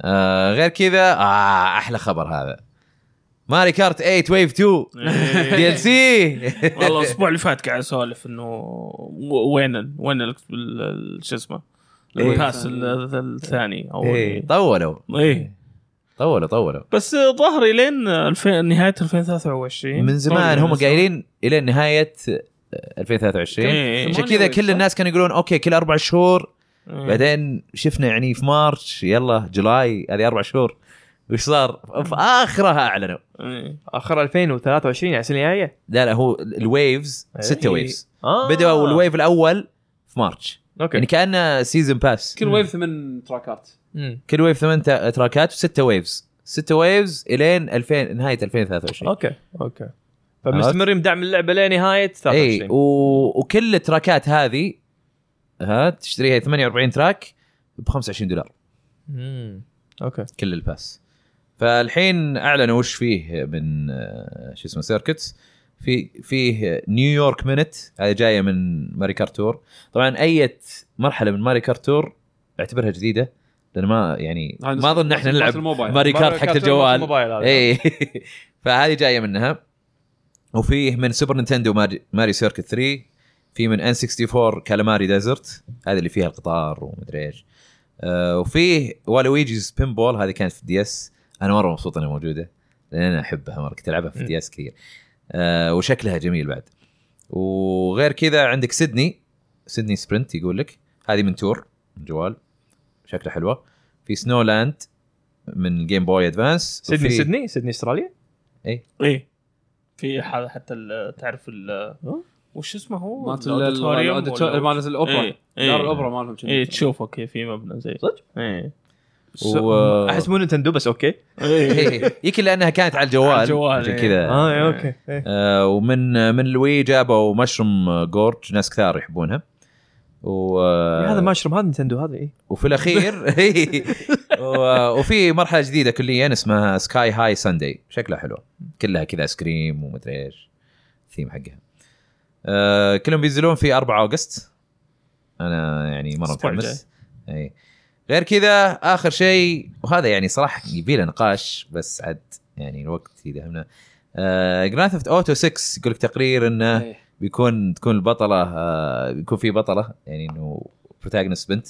[SPEAKER 4] آه غير كذا آه احلى خبر هذا ماري كارت 8 ويف 2 دي
[SPEAKER 1] إيه.
[SPEAKER 4] ال سي
[SPEAKER 3] والله الاسبوع اللي فات قاعد اسولف انه و- وين ال- وين ال- ال- ال- شو اسمه
[SPEAKER 4] إيه.
[SPEAKER 3] الباس ال- ال- الثاني او
[SPEAKER 4] إيه،
[SPEAKER 3] ال-
[SPEAKER 4] طولوا إيه.
[SPEAKER 3] ايه
[SPEAKER 4] طولوا طولوا
[SPEAKER 3] بس ظهري لين 2000 نهايه 2023
[SPEAKER 4] من زمان هم قايلين الى نهايه آه، 2023
[SPEAKER 3] إيه.
[SPEAKER 4] عشان كذا كل الناس كانوا يقولون اوكي كل اربع شهور
[SPEAKER 3] إيه.
[SPEAKER 4] بعدين شفنا يعني في مارش يلا جولاي هذه اربع شهور وش صار؟ في اخرها اعلنوا
[SPEAKER 3] إيه.
[SPEAKER 2] اخر 2023 يعني السنه الجايه
[SPEAKER 4] لا لا هو الويفز
[SPEAKER 2] إيه.
[SPEAKER 4] ستة ويفز
[SPEAKER 2] آه.
[SPEAKER 4] بدأوا الويف الاول في مارش يعني
[SPEAKER 2] اوكي
[SPEAKER 4] كانه سيزون باس
[SPEAKER 1] كل ويف ثمان تراكات
[SPEAKER 2] مم.
[SPEAKER 4] كل ويف ثمان تا- تراكات وستة ويفز ستة ويفز الين 2000 نهايه 2023
[SPEAKER 2] اوكي اوكي إيه. فمستمرين بدعم اللعبه لنهايه
[SPEAKER 4] اي
[SPEAKER 2] 23
[SPEAKER 4] إيه، و... وكل التراكات هذه ها تشتريها 48 تراك ب 25 دولار
[SPEAKER 2] مم. اوكي
[SPEAKER 4] كل الباس فالحين اعلنوا وش فيه من آه، شو اسمه سيركتس في فيه نيويورك مينت هذه جايه من ماري كارتور طبعا اي مرحله أية من ماري كارتور اعتبرها جديده لان ما يعني ما اظن احنا نلعب
[SPEAKER 1] الموبايل
[SPEAKER 4] ماري كارت
[SPEAKER 2] ماريو
[SPEAKER 4] حق
[SPEAKER 2] كارت
[SPEAKER 4] الجوال إيه.
[SPEAKER 2] الموبايل هذا.
[SPEAKER 4] اي فهذه جايه منها وفيه من سوبر نينتندو ماري, ماري سيركت 3 في من ان 64 كالاماري ديزرت هذه اللي فيها القطار ومدري ايش آه وفيه والويجيز بين بول هذه كانت في الدي اس انا مره مبسوط انها موجوده لان انا احبها مره كنت العبها في
[SPEAKER 2] مم.
[SPEAKER 4] الدي اس كثير آه وشكلها جميل بعد وغير كذا عندك سيدني سيدني سبرنت يقول لك هذه من تور من جوال شكلها حلوه في سنو لاند من جيم بوي ادفانس
[SPEAKER 2] سيدني
[SPEAKER 4] وفي-
[SPEAKER 3] إيه.
[SPEAKER 2] سيدني سيدني استراليا أه؟
[SPEAKER 3] ايه في هذا حتى ال- تعرف ال- وش اسمه هو؟
[SPEAKER 1] مالت
[SPEAKER 3] الأوديتوريوم
[SPEAKER 1] ال- الأوديتو-
[SPEAKER 3] ولا-
[SPEAKER 1] مالت الاوبرا
[SPEAKER 3] إيه، إيه.
[SPEAKER 1] دار الاوبرا مالهم
[SPEAKER 3] اي
[SPEAKER 1] كنا.
[SPEAKER 3] تشوفه كذا في مبنى زي
[SPEAKER 2] صدق؟
[SPEAKER 3] اي
[SPEAKER 4] و-
[SPEAKER 2] احس مو نتندو بس اوكي
[SPEAKER 4] إيه، يمكن لانها كانت على الجوال
[SPEAKER 3] على الجوال،
[SPEAKER 4] عشان
[SPEAKER 3] إيه.
[SPEAKER 4] كذا
[SPEAKER 2] اه إيه، اوكي إيه.
[SPEAKER 4] آه، ومن من لوي جابوا مشروم جورج ناس كثار يحبونها و...
[SPEAKER 2] هذا ماشروم هذا نتندو هذا إيه. اي
[SPEAKER 4] وفي الاخير و... وفي مرحله جديده كليا اسمها سكاي هاي ساندي شكلها حلو كلها كذا ايس كريم ومدري ايش الثيم حقها آه كلهم بينزلون في 4 اوغست انا يعني مره
[SPEAKER 3] الأسبوع
[SPEAKER 4] متحمس اي غير كذا اخر شيء وهذا يعني صراحه يبيله نقاش بس عد يعني الوقت يدهمنا آه جراند ثفت اوتو 6 يقول لك تقرير انه
[SPEAKER 1] إيه.
[SPEAKER 4] بيكون تكون البطله آه بيكون في بطله يعني انه بروتاغونست بنت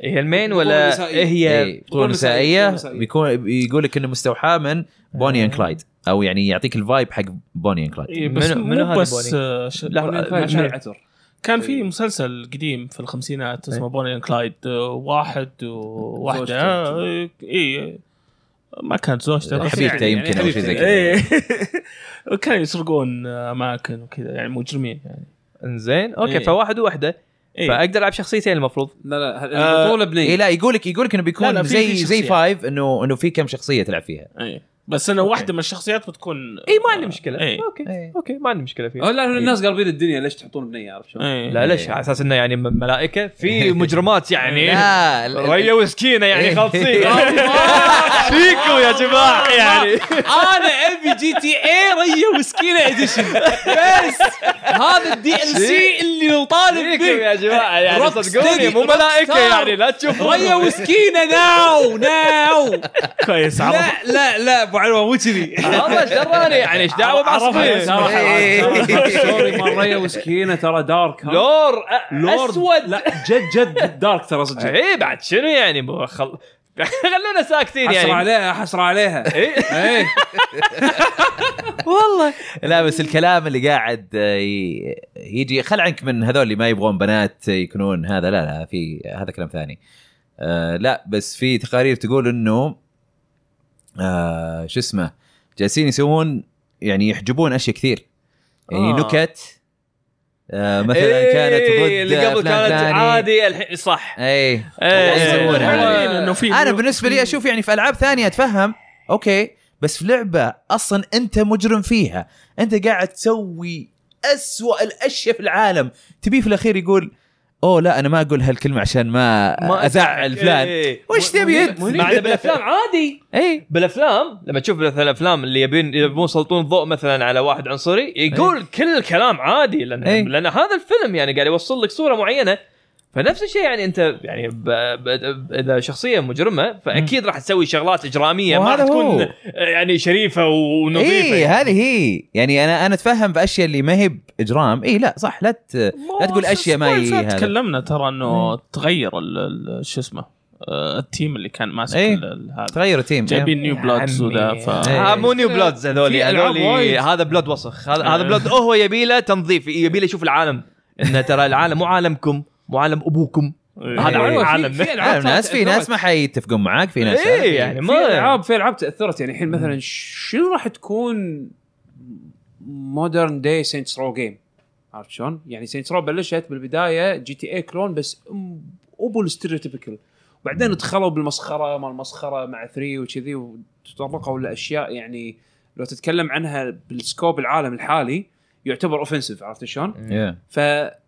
[SPEAKER 2] هي المين
[SPEAKER 1] بطولة
[SPEAKER 2] ولا
[SPEAKER 1] نسائية.
[SPEAKER 2] إيه هي
[SPEAKER 4] إيه، بطوله
[SPEAKER 1] نسائية،
[SPEAKER 4] نسائيه
[SPEAKER 1] بطولة نسائية.
[SPEAKER 4] بيكون بيقول لك انه مستوحاه من بوني اند
[SPEAKER 2] آه.
[SPEAKER 4] كلايد او يعني يعطيك الفايب حق بوني اند كلايد
[SPEAKER 3] إي، إيه، بس
[SPEAKER 2] منو-
[SPEAKER 3] منو
[SPEAKER 2] منو هذا
[SPEAKER 3] منو بس
[SPEAKER 2] بوني؟
[SPEAKER 3] آه، ش-
[SPEAKER 2] لا،
[SPEAKER 1] بوني
[SPEAKER 2] آه، إيه.
[SPEAKER 1] أند كلايد
[SPEAKER 2] مش
[SPEAKER 1] شعر
[SPEAKER 2] عارف.
[SPEAKER 1] عتر
[SPEAKER 3] كان في مسلسل قديم في
[SPEAKER 2] إيه.
[SPEAKER 3] الخمسينات اسمه بوني اند كلايد آه، واحد وواحده آه، اي ما كانت زوجته بس
[SPEAKER 4] حبيبته
[SPEAKER 3] يعني-
[SPEAKER 4] يمكن او شيء زي كذا
[SPEAKER 3] إي. إيه. وكانوا يسرقون اماكن وكذا يعني مجرمين يعني
[SPEAKER 2] انزين اوكي
[SPEAKER 3] إيه.
[SPEAKER 2] فواحد وواحده
[SPEAKER 3] إيه.
[SPEAKER 2] فاقدر العب شخصيتين المفروض
[SPEAKER 1] لا لا
[SPEAKER 4] آه،
[SPEAKER 1] البطوله بنيه
[SPEAKER 4] اي إيه، لا يقول لك يقول لك انه بيكون
[SPEAKER 3] لا، لا، في-
[SPEAKER 4] زي
[SPEAKER 3] في
[SPEAKER 4] زي
[SPEAKER 3] شخصية.
[SPEAKER 4] فايف انه انه في كم شخصيه تلعب فيها
[SPEAKER 3] اي إيه. بس انه واحده من الشخصيات بتكون
[SPEAKER 2] اي ما عندي مشكله
[SPEAKER 3] إيه.
[SPEAKER 2] اوكي
[SPEAKER 4] إيه.
[SPEAKER 2] اوكي ما عندي مشكله
[SPEAKER 1] أو
[SPEAKER 2] فيها
[SPEAKER 1] لا الناس قالبين الدنيا ليش تحطون بنيه عارف شلون؟
[SPEAKER 3] إي.
[SPEAKER 2] لا ليش على اساس انه يعني م- ملايكه في مجرمات يعني
[SPEAKER 3] إيه.
[SPEAKER 4] لا لا،
[SPEAKER 2] ريا وسكينه يعني
[SPEAKER 4] إيه.
[SPEAKER 2] خالصين فيكم يا جماعه يعني
[SPEAKER 1] انا ابي جي تي اي ريا مسكينه اديشن بس هذا الدي ال سي اللي طالب
[SPEAKER 2] فيكم
[SPEAKER 1] به
[SPEAKER 2] يا جماعه يعني
[SPEAKER 1] Rocksteady،
[SPEAKER 2] صدقوني مو ملائكه
[SPEAKER 1] Rockstar.
[SPEAKER 2] يعني لا تشوفوا
[SPEAKER 1] ريا مسكينه ناو ناو
[SPEAKER 3] كويس عرفت
[SPEAKER 1] لا لا لا ابو علوه مو كذي
[SPEAKER 2] والله ايش دراني يعني ايش دعوه بعصبي
[SPEAKER 4] إيه.
[SPEAKER 1] سوري مال ريا مسكينه ترى دارك ها؟
[SPEAKER 2] لور أ-
[SPEAKER 1] لورد.
[SPEAKER 2] اسود
[SPEAKER 1] لا جد جد دارك ترى صدق
[SPEAKER 2] اي بعد شنو يعني مو خل... خلونا ساكتين
[SPEAKER 1] حسرة
[SPEAKER 2] يعني
[SPEAKER 1] عليها حسرة عليها
[SPEAKER 2] إيه.
[SPEAKER 1] ايه
[SPEAKER 2] والله
[SPEAKER 4] لا بس الكلام اللي قاعد آه، ي- يجي خل عنك من هذول اللي ما يبغون بنات آه، يكونون هذا لا لا في هذا كلام ثاني آه لا بس في تقارير تقول انه آه شو اسمه جالسين يسوون يعني يحجبون اشياء كثير يعني
[SPEAKER 2] آه.
[SPEAKER 4] آه. نكت آه مثلا
[SPEAKER 2] إيه،
[SPEAKER 4] إيه كانت ضد
[SPEAKER 2] اللي قبل
[SPEAKER 4] فلان
[SPEAKER 2] كانت
[SPEAKER 4] فلاني.
[SPEAKER 2] عادي الحين صح
[SPEAKER 4] اي
[SPEAKER 2] إيه.
[SPEAKER 4] يسوونها
[SPEAKER 2] والله
[SPEAKER 4] هذه.
[SPEAKER 3] إنه في
[SPEAKER 4] انا بالنسبه لي اشوف يعني في العاب ثانيه اتفهم اوكي بس في لعبه اصلا انت مجرم فيها انت قاعد تسوي أسوأ الاشياء في العالم تبيه في الاخير يقول اوه لا انا ما اقول هالكلمه عشان ما, ازعل فلان
[SPEAKER 2] إيه.
[SPEAKER 4] وش تبي انت؟
[SPEAKER 2] مع إن بالافلام عادي
[SPEAKER 4] اي
[SPEAKER 2] بالافلام لما تشوف مثلا الافلام اللي يبين يبون يسلطون الضوء مثلا على واحد عنصري يقول كل الكلام عادي لان
[SPEAKER 4] إيه.
[SPEAKER 2] لان هذا الفيلم يعني قاعد يوصل لك صوره معينه فنفس الشيء يعني انت يعني ب... ب... ب... اذا شخصيه مجرمه فاكيد راح تسوي شغلات اجراميه ما راح
[SPEAKER 4] وهذا
[SPEAKER 2] تكون
[SPEAKER 4] هو.
[SPEAKER 2] يعني شريفه ونظيفه
[SPEAKER 4] اي
[SPEAKER 2] يعني.
[SPEAKER 4] إيه، هذه هي يعني انا انا اتفهم باشياء اللي ما هي باجرام اي لا صح لا ت... لا تقول اشياء ما إيه. هي هذا.
[SPEAKER 3] تكلمنا ترى انه تغير ال- ال- شو اسمه آه، التم اللي كان ماسك
[SPEAKER 4] إيه.
[SPEAKER 3] ال- ال- هذا
[SPEAKER 4] تغير تيم
[SPEAKER 3] جايبين نيو بلادز وذا ف
[SPEAKER 4] إيه.
[SPEAKER 2] آه، مو نيو بلودز هذول
[SPEAKER 3] في ألعاب
[SPEAKER 2] هذول
[SPEAKER 3] وايد.
[SPEAKER 2] هذا بلود وسخ هذا هذا بلود هو يبي له تنظيف يبي له يشوف العالم انه ترى العالم مو عالمكم مو عالم ابوكم
[SPEAKER 3] إيه.
[SPEAKER 2] هذا
[SPEAKER 1] أيوة، في-
[SPEAKER 2] عالم.
[SPEAKER 1] في ألعاب
[SPEAKER 4] عالم إيه. آه، ناس في
[SPEAKER 1] تأثرت.
[SPEAKER 4] ناس ما حيتفقون معاك في ناس
[SPEAKER 2] اي يعني
[SPEAKER 1] في
[SPEAKER 2] ما
[SPEAKER 1] العاب في العاب تاثرت يعني الحين مثلا شنو راح تكون مودرن داي سينتس رو جيم عرفت شلون؟ يعني سينتس رو بلشت بالبدايه جي تي اي كلون بس أم- ابو الستيريوتيبكال وبعدين دخلوا بالمسخره مال المسخره مع 3 وكذي وتطرقوا لاشياء يعني لو تتكلم عنها بالسكوب العالم الحالي يعتبر اوفنسيف عرفت شلون؟
[SPEAKER 4] Yeah.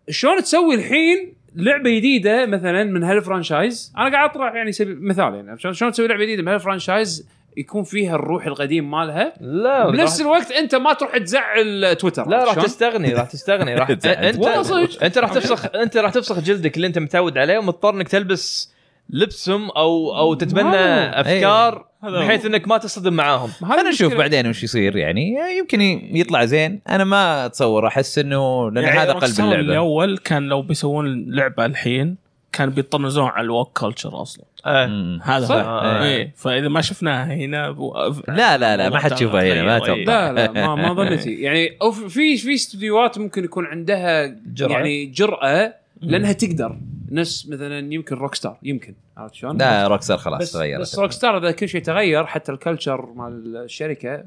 [SPEAKER 1] فشلون تسوي الحين لعبه جديده مثلا من هالفرانشايز انا قاعد اطرح يعني سبي... مثال يعني شلون شلون تسوي لعبه جديده من هالفرانشايز يكون فيها الروح القديم مالها
[SPEAKER 2] لا
[SPEAKER 1] بنفس الوقت انت ما تروح تزعل تويتر
[SPEAKER 2] لا راح
[SPEAKER 1] شلون؟
[SPEAKER 2] تستغني راح تستغني راح انت
[SPEAKER 4] تزعل.
[SPEAKER 1] والله صدق.
[SPEAKER 2] انت راح تفسخ انت راح تفسخ جلدك اللي انت متعود عليه ومضطر انك تلبس لبسهم او او تتبنى
[SPEAKER 1] ما-
[SPEAKER 2] افكار
[SPEAKER 3] هذا هو.
[SPEAKER 2] بحيث انك ما تصطدم معاهم
[SPEAKER 1] ما هذه
[SPEAKER 4] خلينا نشوف
[SPEAKER 1] المشكلة.
[SPEAKER 4] بعدين وش يصير يعني يمكن يطلع زين انا ما اتصور احس انه لان
[SPEAKER 3] يعني
[SPEAKER 4] هذا قلب
[SPEAKER 3] Rockstar
[SPEAKER 4] اللعبه
[SPEAKER 3] الاول كان لو بيسوون لعبه الحين كان بيطنزون على الوك كلتشر اصلا
[SPEAKER 2] آه.
[SPEAKER 4] مم.
[SPEAKER 3] هذا
[SPEAKER 1] صح.
[SPEAKER 3] هو
[SPEAKER 2] آه.
[SPEAKER 3] إيه. فاذا ما شفناها هنا ب-
[SPEAKER 4] لا لا لا ما حتشوفها هنا ما
[SPEAKER 3] تغير.
[SPEAKER 4] اتوقع
[SPEAKER 1] لا لا ما ما ظنيتي يعني او في في استديوهات ممكن يكون عندها
[SPEAKER 2] جرأة.
[SPEAKER 1] يعني جرأه لانها تقدر نفس مثلا يمكن روك ستار يمكن عرفت شلون؟
[SPEAKER 4] لا روكسر خلاص
[SPEAKER 1] بس بس
[SPEAKER 4] تغيرت
[SPEAKER 1] روك ستار اذا كل شيء تغير حتى الكلتشر مال الشركه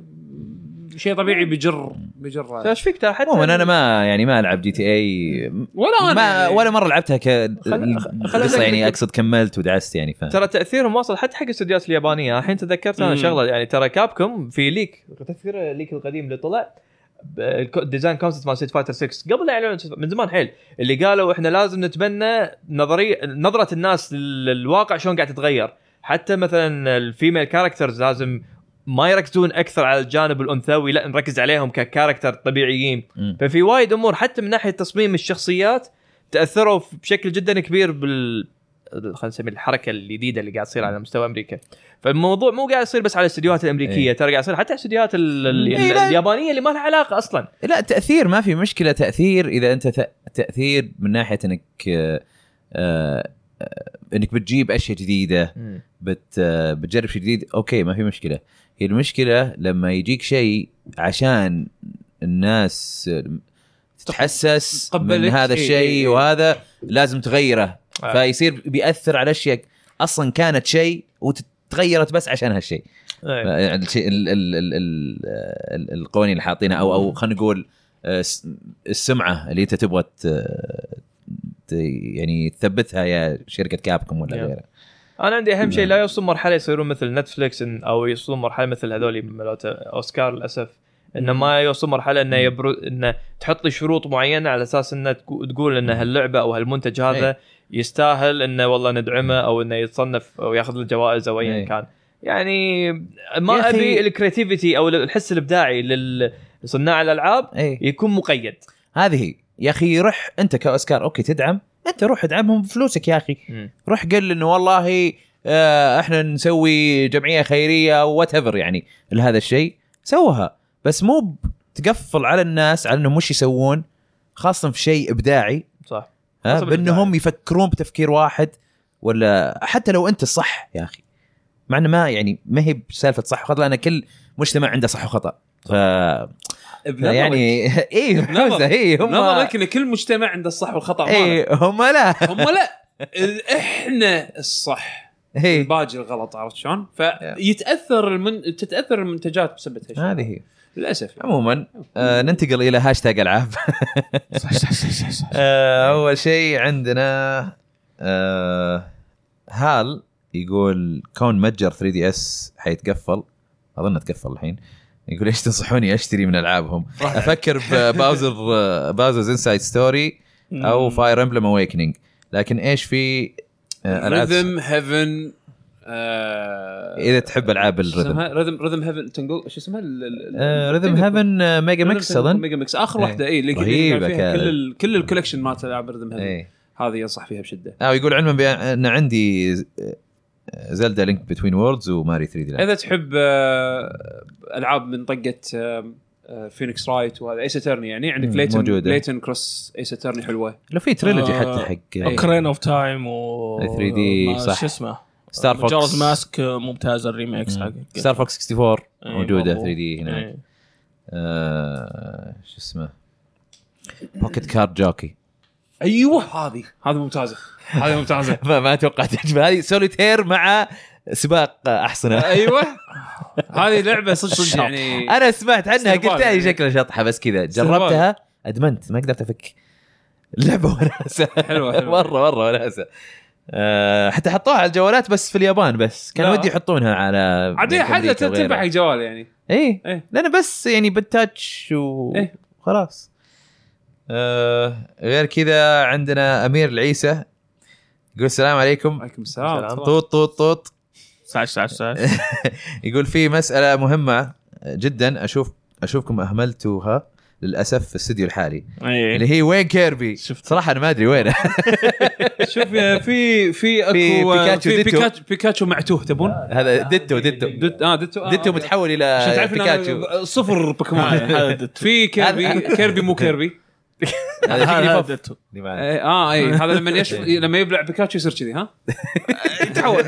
[SPEAKER 1] شيء طبيعي بجر بجر
[SPEAKER 2] ايش فيك ترى حتى
[SPEAKER 4] عموما انا ما يعني ما العب جي تي اي
[SPEAKER 1] ولا يعني. انا
[SPEAKER 4] ما ولا مره لعبتها ك
[SPEAKER 2] خل-
[SPEAKER 4] قصه يعني اقصد كملت ودعست يعني فاهم
[SPEAKER 2] ترى تاثيرهم واصل حتى حق الاستديوهات اليابانيه الحين تذكرت انا
[SPEAKER 1] مم.
[SPEAKER 2] شغله يعني ترى كابكم في ليك تذكر الليك القديم اللي طلع ب- الك- ديزاين كونسبت مال ستيت فايتر 6 قبل لا يعلنون Street- من زمان حيل اللي قالوا احنا لازم نتبنى نظريه نظره الناس لل- للواقع شلون قاعد تتغير حتى مثلا الفيميل كاركترز لازم ما يركزون اكثر على الجانب الانثوي لا نركز عليهم ككاركتر طبيعيين
[SPEAKER 4] مم.
[SPEAKER 2] ففي وايد امور حتى من ناحيه تصميم الشخصيات تاثروا في- بشكل جدا كبير بال خلينا نسميه الحركه الجديده اللي قاعد تصير على مستوى امريكا فالموضوع مو قاعد يصير بس على الاستديوهات الامريكيه
[SPEAKER 4] إيه.
[SPEAKER 2] ترى قاعد يصير حتى على الاستديوهات ال- ال-
[SPEAKER 4] إيه، لا.
[SPEAKER 2] اليابانيه اللي ما لها علاقه اصلا
[SPEAKER 4] لا تاثير ما في مشكله تاثير اذا انت ت- تاثير من ناحيه انك آه، آه، انك بتجيب اشياء جديده بت آه، بتجرب شيء جديد اوكي ما في مشكله هي المشكله لما يجيك شيء عشان الناس آه، تتحسس من
[SPEAKER 1] تقبلك،
[SPEAKER 4] هذا
[SPEAKER 1] إي، إي، إي.
[SPEAKER 4] الشيء وهذا لازم تغيره
[SPEAKER 2] آه.
[SPEAKER 4] فيصير بياثر على اشياء اصلا كانت شيء وتغيرت بس عشان هالشيء
[SPEAKER 2] إيه.
[SPEAKER 4] يعني الشيء ال- ال- ال- ال- ال- القوانين اللي حاطينها او او خلينا نقول آه، س- السمعه اللي انت تبغى ت- ت- يعني تثبتها يا شركه كابكم ولا
[SPEAKER 2] يا.
[SPEAKER 4] غيرها
[SPEAKER 2] انا عندي اهم شيء لا
[SPEAKER 4] نعم.
[SPEAKER 2] يوصلون مرحله يصيرون مثل نتفلكس إن- او يوصلون مرحله مثل هذول ملوت اوسكار للاسف انه ما يوصل مرحله انه يبرو انه تحط لي شروط معينه على اساس انه تقو- تقول ان هاللعبه او هالمنتج
[SPEAKER 4] إيه.
[SPEAKER 2] هذا يستاهل انه والله ندعمه او انه يتصنف او ياخذ له جوائز او ايا
[SPEAKER 4] إيه.
[SPEAKER 2] كان يعني
[SPEAKER 4] يا
[SPEAKER 2] ما
[SPEAKER 4] أخي-
[SPEAKER 2] ابي الكريتيفيتي او الحس الابداعي لل- لصناع الالعاب
[SPEAKER 4] اي
[SPEAKER 2] يكون مقيد
[SPEAKER 4] هذه هي يا اخي روح انت كاوسكار اوكي تدعم انت روح ادعمهم بفلوسك يا اخي روح قل انه والله آه، احنا نسوي جمعيه خيريه وات ايفر يعني لهذا الشيء سوها بس مو ب- تقفل على الناس على انهم وش يسوون خاصه في شيء ابداعي
[SPEAKER 2] صح
[SPEAKER 4] ها
[SPEAKER 2] حسب
[SPEAKER 4] بانهم يفكرون بتفكير واحد ولا حتى لو انت الصح يا اخي مع انه ما يعني ما هي بسالفه صح وخطا لان كل مجتمع عنده صح وخطا ف يعني اي
[SPEAKER 1] بنظرك.
[SPEAKER 4] اي هم
[SPEAKER 1] نظرك ان كل مجتمع عنده الصح والخطا ماله
[SPEAKER 4] اي إيه، هم لا
[SPEAKER 1] هم لا ال- احنا الصح
[SPEAKER 4] اي
[SPEAKER 1] الباقي الغلط عرفت شلون؟ فيتاثر المن... تتاثر المنتجات بسبب هالشيء
[SPEAKER 4] هذه هي
[SPEAKER 1] للاسف
[SPEAKER 4] عموما آه ننتقل الى هاشتاج العاب
[SPEAKER 3] صح صح صح صح, صح.
[SPEAKER 4] آه، اول شيء عندنا آه هال يقول كون متجر 3 دي اس حيتقفل اظن تقفل الحين يقول ايش تنصحوني اشتري من العابهم؟ افكر بباوزر باوزرز انسايد ستوري او فاير امبلم اويكننج لكن ايش في آه، العاب
[SPEAKER 1] ريذم هيفن اذا آه،
[SPEAKER 4] اذا تحب العاب الريذم
[SPEAKER 1] ريذم ريذم هيفن تنقل شو اسمها ال- ال- ال-
[SPEAKER 4] ريذم
[SPEAKER 1] تنقل.
[SPEAKER 4] هيفن ميجا
[SPEAKER 1] Rhythm
[SPEAKER 4] ميكس
[SPEAKER 1] Heaven
[SPEAKER 4] اظن
[SPEAKER 1] ميجا ميكس اخر
[SPEAKER 4] إيه.
[SPEAKER 1] واحده اي اللي كان
[SPEAKER 4] رهيبة
[SPEAKER 1] فيها
[SPEAKER 4] كانت.
[SPEAKER 1] كل ال... كل الكولكشن مالت العاب ريذم هيفن
[SPEAKER 4] إيه.
[SPEAKER 1] هذه ينصح فيها بشده
[SPEAKER 4] اه يقول علما بان عندي آه، زلدا لينك بتوين ووردز وماري 3 دي لاند
[SPEAKER 1] اذا تحب آه، العاب من طقه آه، آه، فينيكس رايت وهذا ايس اترني يعني عندك
[SPEAKER 4] مم،
[SPEAKER 1] ليتن
[SPEAKER 4] موجودة.
[SPEAKER 1] ليتن كروس ايس اترني حلوه
[SPEAKER 4] لو في تريلوجي
[SPEAKER 3] آه،
[SPEAKER 4] حتى حق
[SPEAKER 3] اوكرين اوف تايم و
[SPEAKER 4] 3D
[SPEAKER 3] ما-
[SPEAKER 4] صح.
[SPEAKER 3] شو اسمه
[SPEAKER 4] ستار فوكس
[SPEAKER 3] جارز ماسك ممتاز الريميكس حقه
[SPEAKER 4] ستار فوكس 64
[SPEAKER 3] إيه،
[SPEAKER 4] موجوده
[SPEAKER 3] برضو.
[SPEAKER 4] 3 دي هناك
[SPEAKER 3] إيه.
[SPEAKER 4] آه، شو اسمه بوكيت كارد جوكي
[SPEAKER 3] أيوه،
[SPEAKER 1] ايوه هذه هذه ممتازه هذه ممتازه
[SPEAKER 4] ما ما اتوقع تعجب هذه سوليتير مع سباق احصنه
[SPEAKER 1] ايوه هذه لعبه صدق صدق يعني
[SPEAKER 4] انا سمعت عنها
[SPEAKER 1] استهبال
[SPEAKER 4] قلت هي
[SPEAKER 1] يعني.
[SPEAKER 4] شكلها شطحه بس كذا
[SPEAKER 1] استهبال.
[SPEAKER 4] جربتها ادمنت ما قدرت افك لعبه وناسه
[SPEAKER 1] حلوة، حلوة.
[SPEAKER 4] مره مره وناسه آه، حتى حطوها على الجوالات بس في اليابان بس كان
[SPEAKER 1] لا.
[SPEAKER 4] ودي يحطونها على
[SPEAKER 1] عادية حاجه
[SPEAKER 4] أمريكا وغيرها.
[SPEAKER 1] تنفع حق جوال يعني
[SPEAKER 4] ايه,
[SPEAKER 1] إيه.
[SPEAKER 4] لانه بس يعني بالتاتش
[SPEAKER 1] إيه.
[SPEAKER 4] وخلاص آه غير كذا عندنا امير العيسى يقول السلام عليكم
[SPEAKER 1] عليكم السلام
[SPEAKER 4] طوط طوط طوط
[SPEAKER 3] صح صح صح
[SPEAKER 4] يقول في مساله مهمه جدا اشوف اشوفكم اهملتوها للاسف في الاستديو الحالي
[SPEAKER 3] إيه.
[SPEAKER 4] اللي هي وين كيربي
[SPEAKER 3] شفت.
[SPEAKER 4] صراحه انا ما ادري وينه
[SPEAKER 1] شوف يا في في اكو
[SPEAKER 4] في بيكاتشو
[SPEAKER 1] في
[SPEAKER 4] ديتو.
[SPEAKER 1] بيكاتشو بيكاتشو معتوه تبون
[SPEAKER 4] هذا ديتو ديتو
[SPEAKER 1] دت اه ديتو آه،
[SPEAKER 4] ديتو
[SPEAKER 1] آه. عشان
[SPEAKER 4] متحول الى
[SPEAKER 1] تعرف إن أنا
[SPEAKER 4] بيكاتشو
[SPEAKER 1] صفر بوكيمون
[SPEAKER 3] هذا دتو.
[SPEAKER 1] في كيربي كيربي مو كيربي
[SPEAKER 4] هذا شكلي
[SPEAKER 3] هذا
[SPEAKER 4] بوب
[SPEAKER 3] دتو.
[SPEAKER 4] اللي معاه.
[SPEAKER 1] إيه، اه اي هذا لما يشف
[SPEAKER 2] إيه.
[SPEAKER 1] لما يبلع بيكاتشو يصير كذي ها يتحول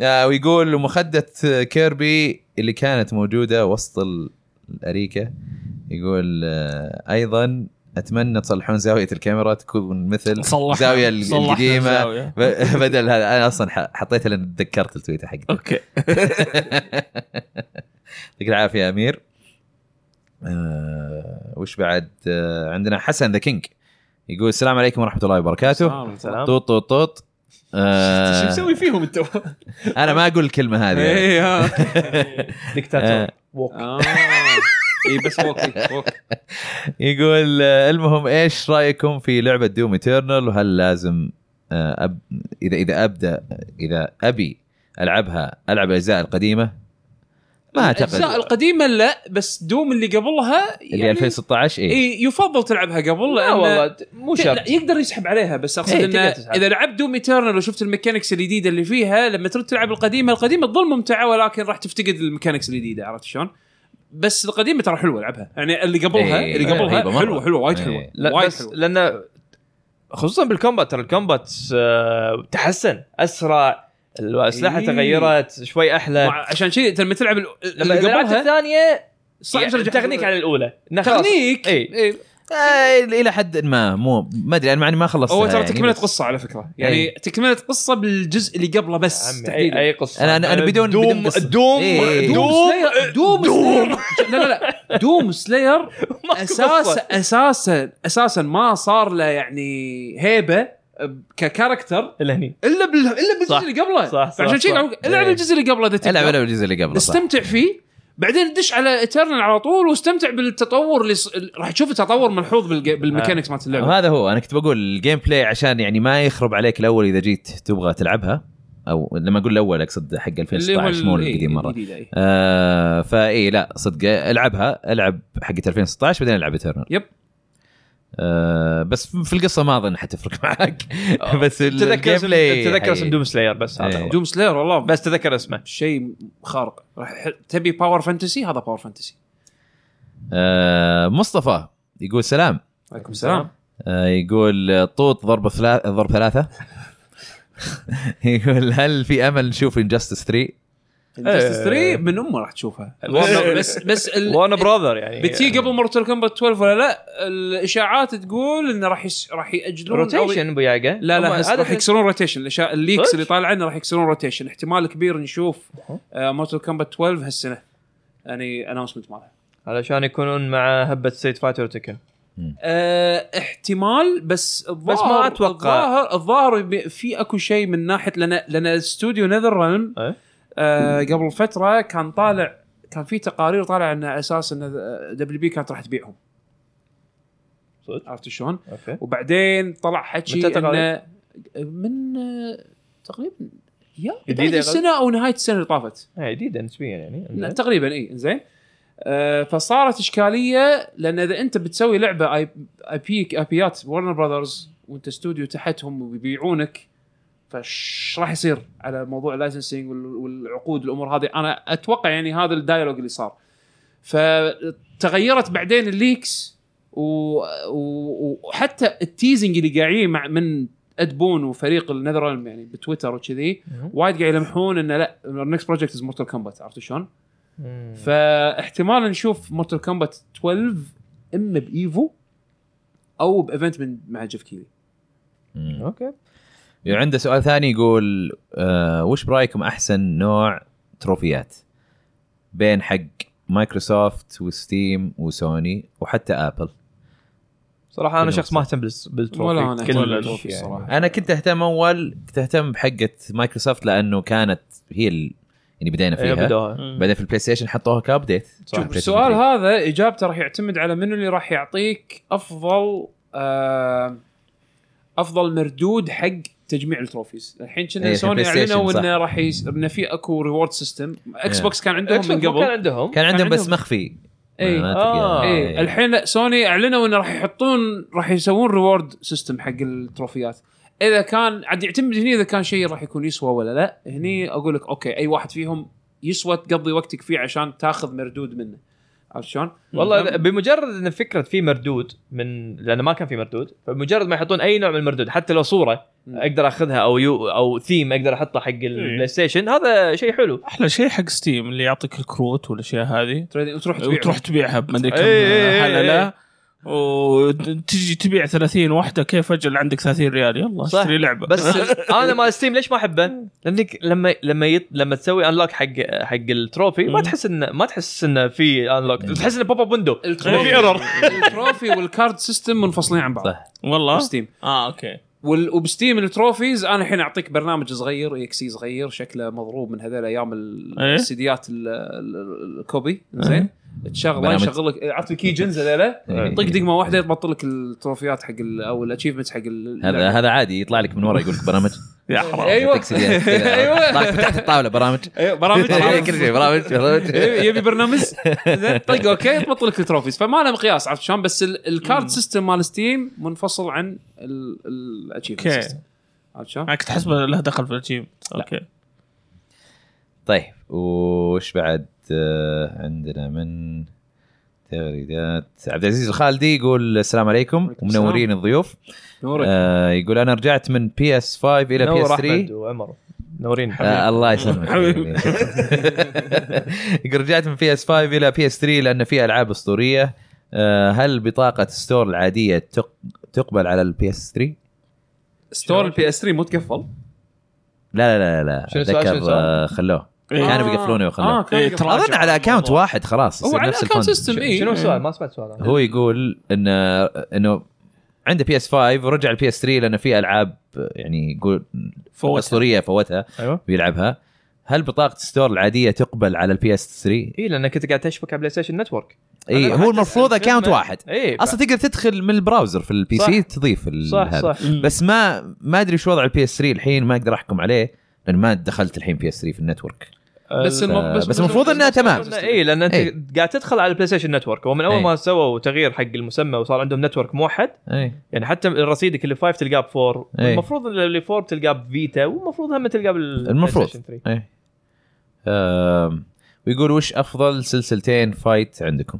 [SPEAKER 4] آه، ويقول مخدة كيربي اللي كانت موجودة وسط ال- الأريكة يقول آه، أيضا اتمنى تصلحون زاويه الكاميرا تكون مثل
[SPEAKER 3] صلحنا-
[SPEAKER 4] زاوية ال-
[SPEAKER 3] صلحنا
[SPEAKER 4] القديمة.
[SPEAKER 3] الزاوية.
[SPEAKER 4] ب- بدل هذا انا اصلا ح- حطيتها لان تذكرت التويته حقتي
[SPEAKER 3] اوكي
[SPEAKER 4] يعطيك العافيه يا امير آه وش بعد آه عندنا حسن ذا كينج يقول السلام عليكم ورحمه الله وبركاته
[SPEAKER 2] سلام
[SPEAKER 4] طوط طوط طوط آه،
[SPEAKER 1] شو مسوي إيه. فيهم انت؟
[SPEAKER 4] انا ما اقول الكلمه هذه
[SPEAKER 1] اي ها.
[SPEAKER 2] دكتاتور ووك.
[SPEAKER 1] آه. اي بس ووك ووك
[SPEAKER 4] يقول آه، المهم ايش رايكم في لعبه دوم ايترنال وهل لازم آه، أب... اذا اذا ابدا اذا ابي العبها العب الاجزاء القديمه ما
[SPEAKER 1] الاجزاء
[SPEAKER 4] اعتقد
[SPEAKER 1] القديمه لا بس دوم اللي قبلها
[SPEAKER 4] اللي
[SPEAKER 1] يعني
[SPEAKER 4] 2016 اي
[SPEAKER 1] إي، يفضل تلعبها قبل
[SPEAKER 2] لا
[SPEAKER 1] لأن-
[SPEAKER 2] والله مو
[SPEAKER 1] لا،
[SPEAKER 2] شرط
[SPEAKER 1] لا يقدر يسحب عليها بس اقصد
[SPEAKER 2] إيه،
[SPEAKER 1] انه
[SPEAKER 2] تقدر تسحب.
[SPEAKER 1] اذا لعبت دوم ايترنال وشفت الميكانكس الجديده اللي فيها لما ترد تلعب القديمه القديمه تظل ممتعه ولكن راح تفتقد الميكانكس الجديده عرفت شلون؟ بس القديمه ترى حلوه العبها يعني اللي قبلها
[SPEAKER 4] إيه،
[SPEAKER 1] اللي قبلها
[SPEAKER 4] رهيبة مرة.
[SPEAKER 1] حلوه حلوه وايد
[SPEAKER 4] إيه.
[SPEAKER 1] حلوه
[SPEAKER 2] لا
[SPEAKER 1] وايد
[SPEAKER 2] بس
[SPEAKER 1] حلوه
[SPEAKER 2] لان خصوصا بالكومبات ترى الكومبات آه، تحسن اسرع الاسلحه
[SPEAKER 1] إيه.
[SPEAKER 2] تغيرت شوي احلى
[SPEAKER 1] مع- عشان شيء أنت لما تلعب ال-
[SPEAKER 2] لما
[SPEAKER 1] اللي
[SPEAKER 2] لعبت
[SPEAKER 1] قبلها
[SPEAKER 2] الثانيه
[SPEAKER 1] صعب
[SPEAKER 2] يعني
[SPEAKER 1] ترجع
[SPEAKER 2] تغنيك عن الاولى إنه خلاص.
[SPEAKER 1] تغنيك
[SPEAKER 2] إي.
[SPEAKER 1] إي.
[SPEAKER 4] آه، الى حد ما مو ما ادري انا معني ما خلصت يعني.
[SPEAKER 1] هو ترى تكمله قصه على فكره يعني تكمله قصه بالجزء اللي قبله بس
[SPEAKER 2] عمي، اي
[SPEAKER 1] تحديدا
[SPEAKER 2] اي قصه
[SPEAKER 4] أنا- أنا- أنا بدون-
[SPEAKER 2] دوم
[SPEAKER 4] بدون قصة.
[SPEAKER 2] دوم
[SPEAKER 4] إيه، إيه، إيه.
[SPEAKER 2] دوم
[SPEAKER 1] سلاير- دوم سلاير- لا لا لا دوم سلاير
[SPEAKER 2] ماكو
[SPEAKER 1] اساسا
[SPEAKER 2] قصة.
[SPEAKER 1] اساسا اساسا ما صار له يعني هيبه ككاركتر
[SPEAKER 2] إلا هني
[SPEAKER 1] الا بال... الا بالجزء
[SPEAKER 2] صح.
[SPEAKER 1] اللي قبله
[SPEAKER 2] صح، صح،
[SPEAKER 1] فعشان شي
[SPEAKER 2] صح.
[SPEAKER 1] قاعد أقول العب
[SPEAKER 2] إيه.
[SPEAKER 1] الجزء اللي قبله ده
[SPEAKER 4] العب
[SPEAKER 1] العب
[SPEAKER 4] العب الجزء اللي قبله صح.
[SPEAKER 1] استمتع فيه بعدين دش على اترنال على طول واستمتع بالتطور اللي ص... راح تشوف تطور ملحوظ بالج... بالميكانكس مالت اللعبه
[SPEAKER 4] آه. هذا هو انا كنت بقول الجيم بلاي عشان يعني ما يخرب عليك الاول اذا جيت تبغى تلعبها او لما اقول الاول اقصد حق 2016 مو
[SPEAKER 1] ال- إيه،
[SPEAKER 4] القديم مره
[SPEAKER 1] الجديد، إيه.
[SPEAKER 4] آه فاي لا صدق العبها العب حقت 2016 بعدين العب ايترنال
[SPEAKER 1] يب.
[SPEAKER 4] آه بس في القصه ما اظن حتفرق معك بس ال-
[SPEAKER 2] تذكر
[SPEAKER 4] الجيم
[SPEAKER 2] اسم
[SPEAKER 4] بلاي
[SPEAKER 2] تذكر
[SPEAKER 4] حقيقي.
[SPEAKER 2] اسم دوم سلاير بس هذا
[SPEAKER 4] إيه.
[SPEAKER 2] هو.
[SPEAKER 1] دوم سلاير والله
[SPEAKER 2] بس تذكر اسمه
[SPEAKER 1] شيء خارق راح يح- تبي باور فانتسي هذا باور فانتسي
[SPEAKER 4] آه مصطفى يقول سلام
[SPEAKER 1] عليكم السلام
[SPEAKER 4] آه، يقول طوط ضرب ثلاث ضرب ثلاثة يقول هل في امل نشوف انجستس 3؟
[SPEAKER 1] انجستس
[SPEAKER 2] إيه.
[SPEAKER 1] 3 من امه راح تشوفها
[SPEAKER 2] Warner-
[SPEAKER 1] بس بس ال-
[SPEAKER 2] وانا براذر يعني
[SPEAKER 1] بتي قبل مورتال كومبات 12 ولا لا الاشاعات تقول انه راح يس... راح ياجلون أو-
[SPEAKER 2] روتيشن بياقه
[SPEAKER 1] لا
[SPEAKER 2] هم
[SPEAKER 1] لا هس- راح
[SPEAKER 2] عادة-
[SPEAKER 1] يكسرون روتيشن الاشياء الليكس
[SPEAKER 2] صدق؟
[SPEAKER 1] اللي طالعه انه راح يكسرون روتيشن احتمال كبير نشوف آه، مورتال كومبات 12 هالسنه يعني اناونسمنت مالها
[SPEAKER 2] علشان يكونون مع هبه ستيت فايتر تكن
[SPEAKER 1] أه احتمال بس الظاهر
[SPEAKER 2] ما أتوقع.
[SPEAKER 1] الظاهر الظاهر بي- في اكو شيء من ناحيه لان لان استوديو نذر رلم
[SPEAKER 2] إيه.
[SPEAKER 1] أه قبل فتره كان طالع كان في تقارير طالع انه اساس ان دبليو بي آه، كانت راح تبيعهم
[SPEAKER 2] صدق؟
[SPEAKER 1] عرفت شلون؟
[SPEAKER 2] اوكي
[SPEAKER 1] وبعدين طلع حكي
[SPEAKER 2] متى تقريبا؟
[SPEAKER 1] انه من آه، تقريبا يا
[SPEAKER 2] جديدة يا
[SPEAKER 1] بدايه السنه او نهايه السنه اللي طافت
[SPEAKER 2] هي جديده نسبيا يعني
[SPEAKER 1] لا، تقريبا اي زين آه، فصارت اشكاليه لان اذا انت بتسوي لعبه اي اي بي اي بيات ورنر براذرز وانت استوديو تحتهم وبيبيعونك فش راح يصير على موضوع اللايسنسنج والعقود الامور هذه انا اتوقع يعني هذا الدايلوج اللي صار فتغيرت بعدين الليكس و- و- وحتى التيزنج اللي قاعدين مع من ادبون وفريق النذر يعني بتويتر وكذي
[SPEAKER 2] مهم.
[SPEAKER 1] وايد قاعد يلمحون انه لا النكست بروجكت از مورتال كومبات عرفتوا شلون؟
[SPEAKER 2] مم.
[SPEAKER 1] فاحتمال نشوف مورتال كومبات 12 اما بايفو او بايفنت من مع جيف كيلي
[SPEAKER 4] مم.
[SPEAKER 2] اوكي
[SPEAKER 4] عنده سؤال ثاني يقول آه وش برايكم احسن نوع تروفيات بين حق مايكروسوفت وستيم وسوني وحتى ابل
[SPEAKER 2] صراحه انا
[SPEAKER 4] كلهم
[SPEAKER 2] شخص ما اهتم بالس- بالتروفي
[SPEAKER 1] ولا أنا
[SPEAKER 2] كل
[SPEAKER 1] ولا
[SPEAKER 2] الشيء
[SPEAKER 1] التروفي
[SPEAKER 2] يعني.
[SPEAKER 1] صراحة.
[SPEAKER 4] انا كنت اهتم اول كنت اهتم بحقه مايكروسوفت لانه كانت هي ال- اللي بدينا
[SPEAKER 2] إيه،
[SPEAKER 4] فيها
[SPEAKER 2] بدوها
[SPEAKER 4] بعدين في البلاي ستيشن حطوها كابديت
[SPEAKER 2] صح.
[SPEAKER 1] شوف السؤال هذا اجابته راح يعتمد على منو اللي راح يعطيك افضل آه افضل مردود حق تجميع التروفيز الحين كنا
[SPEAKER 4] إيه،
[SPEAKER 1] سوني
[SPEAKER 4] البلاي ستيشن،
[SPEAKER 1] اعلنوا
[SPEAKER 4] صح.
[SPEAKER 1] انه راح يس... انه في اكو ريورد سيستم اكس
[SPEAKER 4] إيه.
[SPEAKER 1] بوكس كان عندهم من
[SPEAKER 2] كان
[SPEAKER 1] قبل
[SPEAKER 2] عندهم
[SPEAKER 4] كان عندهم
[SPEAKER 1] كان
[SPEAKER 4] بس
[SPEAKER 1] عندهم-
[SPEAKER 4] مخفي
[SPEAKER 1] إي.
[SPEAKER 4] ما إيه.
[SPEAKER 2] آه.
[SPEAKER 4] تلقى-
[SPEAKER 1] ايه
[SPEAKER 4] إي.
[SPEAKER 1] الحين لا، سوني اعلنوا انه راح يحطون راح يسوون ريورد سيستم حق التروفيات اذا كان عاد يعتمد هني اذا كان شيء راح يكون يسوى ولا لا هني اقول لك اوكي اي واحد فيهم يسوى تقضي وقتك فيه عشان تاخذ مردود منه عرفت شلون؟
[SPEAKER 2] والله
[SPEAKER 1] فاهم؟
[SPEAKER 2] بمجرد ان فكره في مردود من لانه ما كان في مردود فمجرد ما يحطون اي نوع من المردود حتى لو صوره
[SPEAKER 1] مم.
[SPEAKER 2] اقدر اخذها او يو او ثيم اقدر احطه حق
[SPEAKER 4] إيه.
[SPEAKER 2] البلاي ستيشن هذا شيء حلو
[SPEAKER 3] احلى شيء حق ستيم اللي يعطيك الكروت والاشياء هذه
[SPEAKER 1] تريدنج- وتروح تبيع
[SPEAKER 3] وتروح تبيعها بمدري كم
[SPEAKER 2] إي إي إي إي.
[SPEAKER 3] حلله وتجي تبيع 30 واحده كيف اجل عندك 30 ريال يلا
[SPEAKER 2] صح.
[SPEAKER 3] اشتري لعبه
[SPEAKER 2] بس ال- انا مال ستيم ليش ما احبه؟ لانك لما لما يط... لما تسوي انلوك حق حق التروفي ما
[SPEAKER 3] مم.
[SPEAKER 2] تحس انه ما تحس انه في انلوك تحس انه بوب اب ويندو
[SPEAKER 1] التروفي
[SPEAKER 3] في error.
[SPEAKER 1] التروفي والكارد سيستم منفصلين عن بعض
[SPEAKER 4] صح.
[SPEAKER 3] والله
[SPEAKER 1] بستيم
[SPEAKER 3] اه اوكي
[SPEAKER 1] وال- وبستيم التروفيز انا الحين اعطيك برنامج صغير اي اكس صغير شكله مضروب من هذول ايام ال-
[SPEAKER 3] إيه.
[SPEAKER 1] السيديات ال- ال- الكوبي زين تشغله
[SPEAKER 4] إيه. برنامج.
[SPEAKER 1] يشغل لك عرفت الكيجنز هذول
[SPEAKER 4] إيه.
[SPEAKER 1] طق دقمه واحده يضبط لك التروفيات حق ال- او الاتشيفمنتس حق ال-
[SPEAKER 4] هذا هذا عادي يطلع لك من ورا يقول لك برامج
[SPEAKER 3] يا حرام
[SPEAKER 1] ايوه
[SPEAKER 4] يعطيك سيديات كذا. طيب.
[SPEAKER 1] ايوه
[SPEAKER 4] طلع فتحت الطاوله برامج
[SPEAKER 1] أيوة، برامج
[SPEAKER 4] كل شيء برامج برامج
[SPEAKER 1] إيه، يبي برنامج زين طق اوكي تبطل لك التروفيز فما له مقياس عرفت شلون بس ال- الكارد سيستم مال ستيم منفصل عن
[SPEAKER 3] اوكي
[SPEAKER 1] الاتشيفمنت عرفت شلون؟
[SPEAKER 4] آه.
[SPEAKER 3] انا كنت احسبه له دخل في الجيم اوكي
[SPEAKER 4] طيب وش بعد آه، عندنا من تغريدات عبد العزيز الخالدي يقول السلام عليكم
[SPEAKER 1] وعليكم السلام.
[SPEAKER 4] ومنورين الضيوف
[SPEAKER 1] نورك
[SPEAKER 4] آه، يقول انا رجعت من بي اس 5 الى بي اس
[SPEAKER 2] نور
[SPEAKER 4] 3
[SPEAKER 2] احمد وعمر نورين
[SPEAKER 4] آه الله يسلمك يعني
[SPEAKER 3] حبيبي.
[SPEAKER 4] يقول رجعت من بي اس 5 الى بي اس 3 لان في العاب اسطوريه آه، هل بطاقه ستور العاديه تق- تقبل على البي اس 3
[SPEAKER 1] ستور البي اس 3 مو تقفل
[SPEAKER 4] لا لا لا لا
[SPEAKER 2] شنو السؤال؟ شنو
[SPEAKER 4] ذكر
[SPEAKER 2] السؤال؟
[SPEAKER 4] آه، خلوه
[SPEAKER 3] إيه.
[SPEAKER 4] كانوا بيقفلونه ويخلوه.
[SPEAKER 1] آه، كانوا
[SPEAKER 3] إيه،
[SPEAKER 1] يقفلونه.
[SPEAKER 3] تراجع
[SPEAKER 4] اظن على
[SPEAKER 3] الموضوع.
[SPEAKER 4] اكونت واحد خلاص
[SPEAKER 1] هو
[SPEAKER 4] يصير
[SPEAKER 1] على
[SPEAKER 4] نفس
[SPEAKER 1] account
[SPEAKER 4] الفند.
[SPEAKER 1] system،
[SPEAKER 4] شو-
[SPEAKER 1] إيه.
[SPEAKER 2] شنو السؤال؟ ما سمعت سؤال
[SPEAKER 4] هو يقول انه انه عنده بي اس 5 ورجع البي اس 3 لانه في العاب يعني يقول
[SPEAKER 3] فوتها.
[SPEAKER 4] اسطوريه فوتها
[SPEAKER 2] ايوه
[SPEAKER 4] بيلعبها هل بطاقه الستور العاديه تقبل على البي اس 3
[SPEAKER 2] اي لانك إيه، كنت قاعد تشبك على بلاي ستيشن نتورك
[SPEAKER 4] اي إيه، هو المفروض اكونت واحد
[SPEAKER 2] اي
[SPEAKER 4] اصلا تقدر تدخل من البراوزر في البي سي
[SPEAKER 2] صح.
[SPEAKER 4] تضيف ال-
[SPEAKER 2] صح
[SPEAKER 4] هذا.
[SPEAKER 2] صح
[SPEAKER 4] يعني بس ما ما ادري شو وضع البي اس 3 الحين ما اقدر احكم عليه لان ما دخلت الحين بي اس 3 في النتورك
[SPEAKER 1] بس الم-
[SPEAKER 4] بس المفروض إنها تمام.
[SPEAKER 2] اي لان انت
[SPEAKER 4] إيه.
[SPEAKER 2] قاعد تدخل على البلاي ستيشن نتورك ومن اول
[SPEAKER 4] إيه.
[SPEAKER 2] ما سووا تغيير حق المسمى وصار عندهم نتورك موحد
[SPEAKER 4] اي
[SPEAKER 2] يعني حتى رصيدك اللي 5 تلقاه ب 4
[SPEAKER 4] إيه.
[SPEAKER 2] المفروض اللي 4 تلقاه بفيتا والمفروض هم تلقاه بال
[SPEAKER 4] المفروض.
[SPEAKER 2] PlayStation 3.
[SPEAKER 4] اي إيه. آم، ويقول وش افضل سلسلتين فايت عندكم؟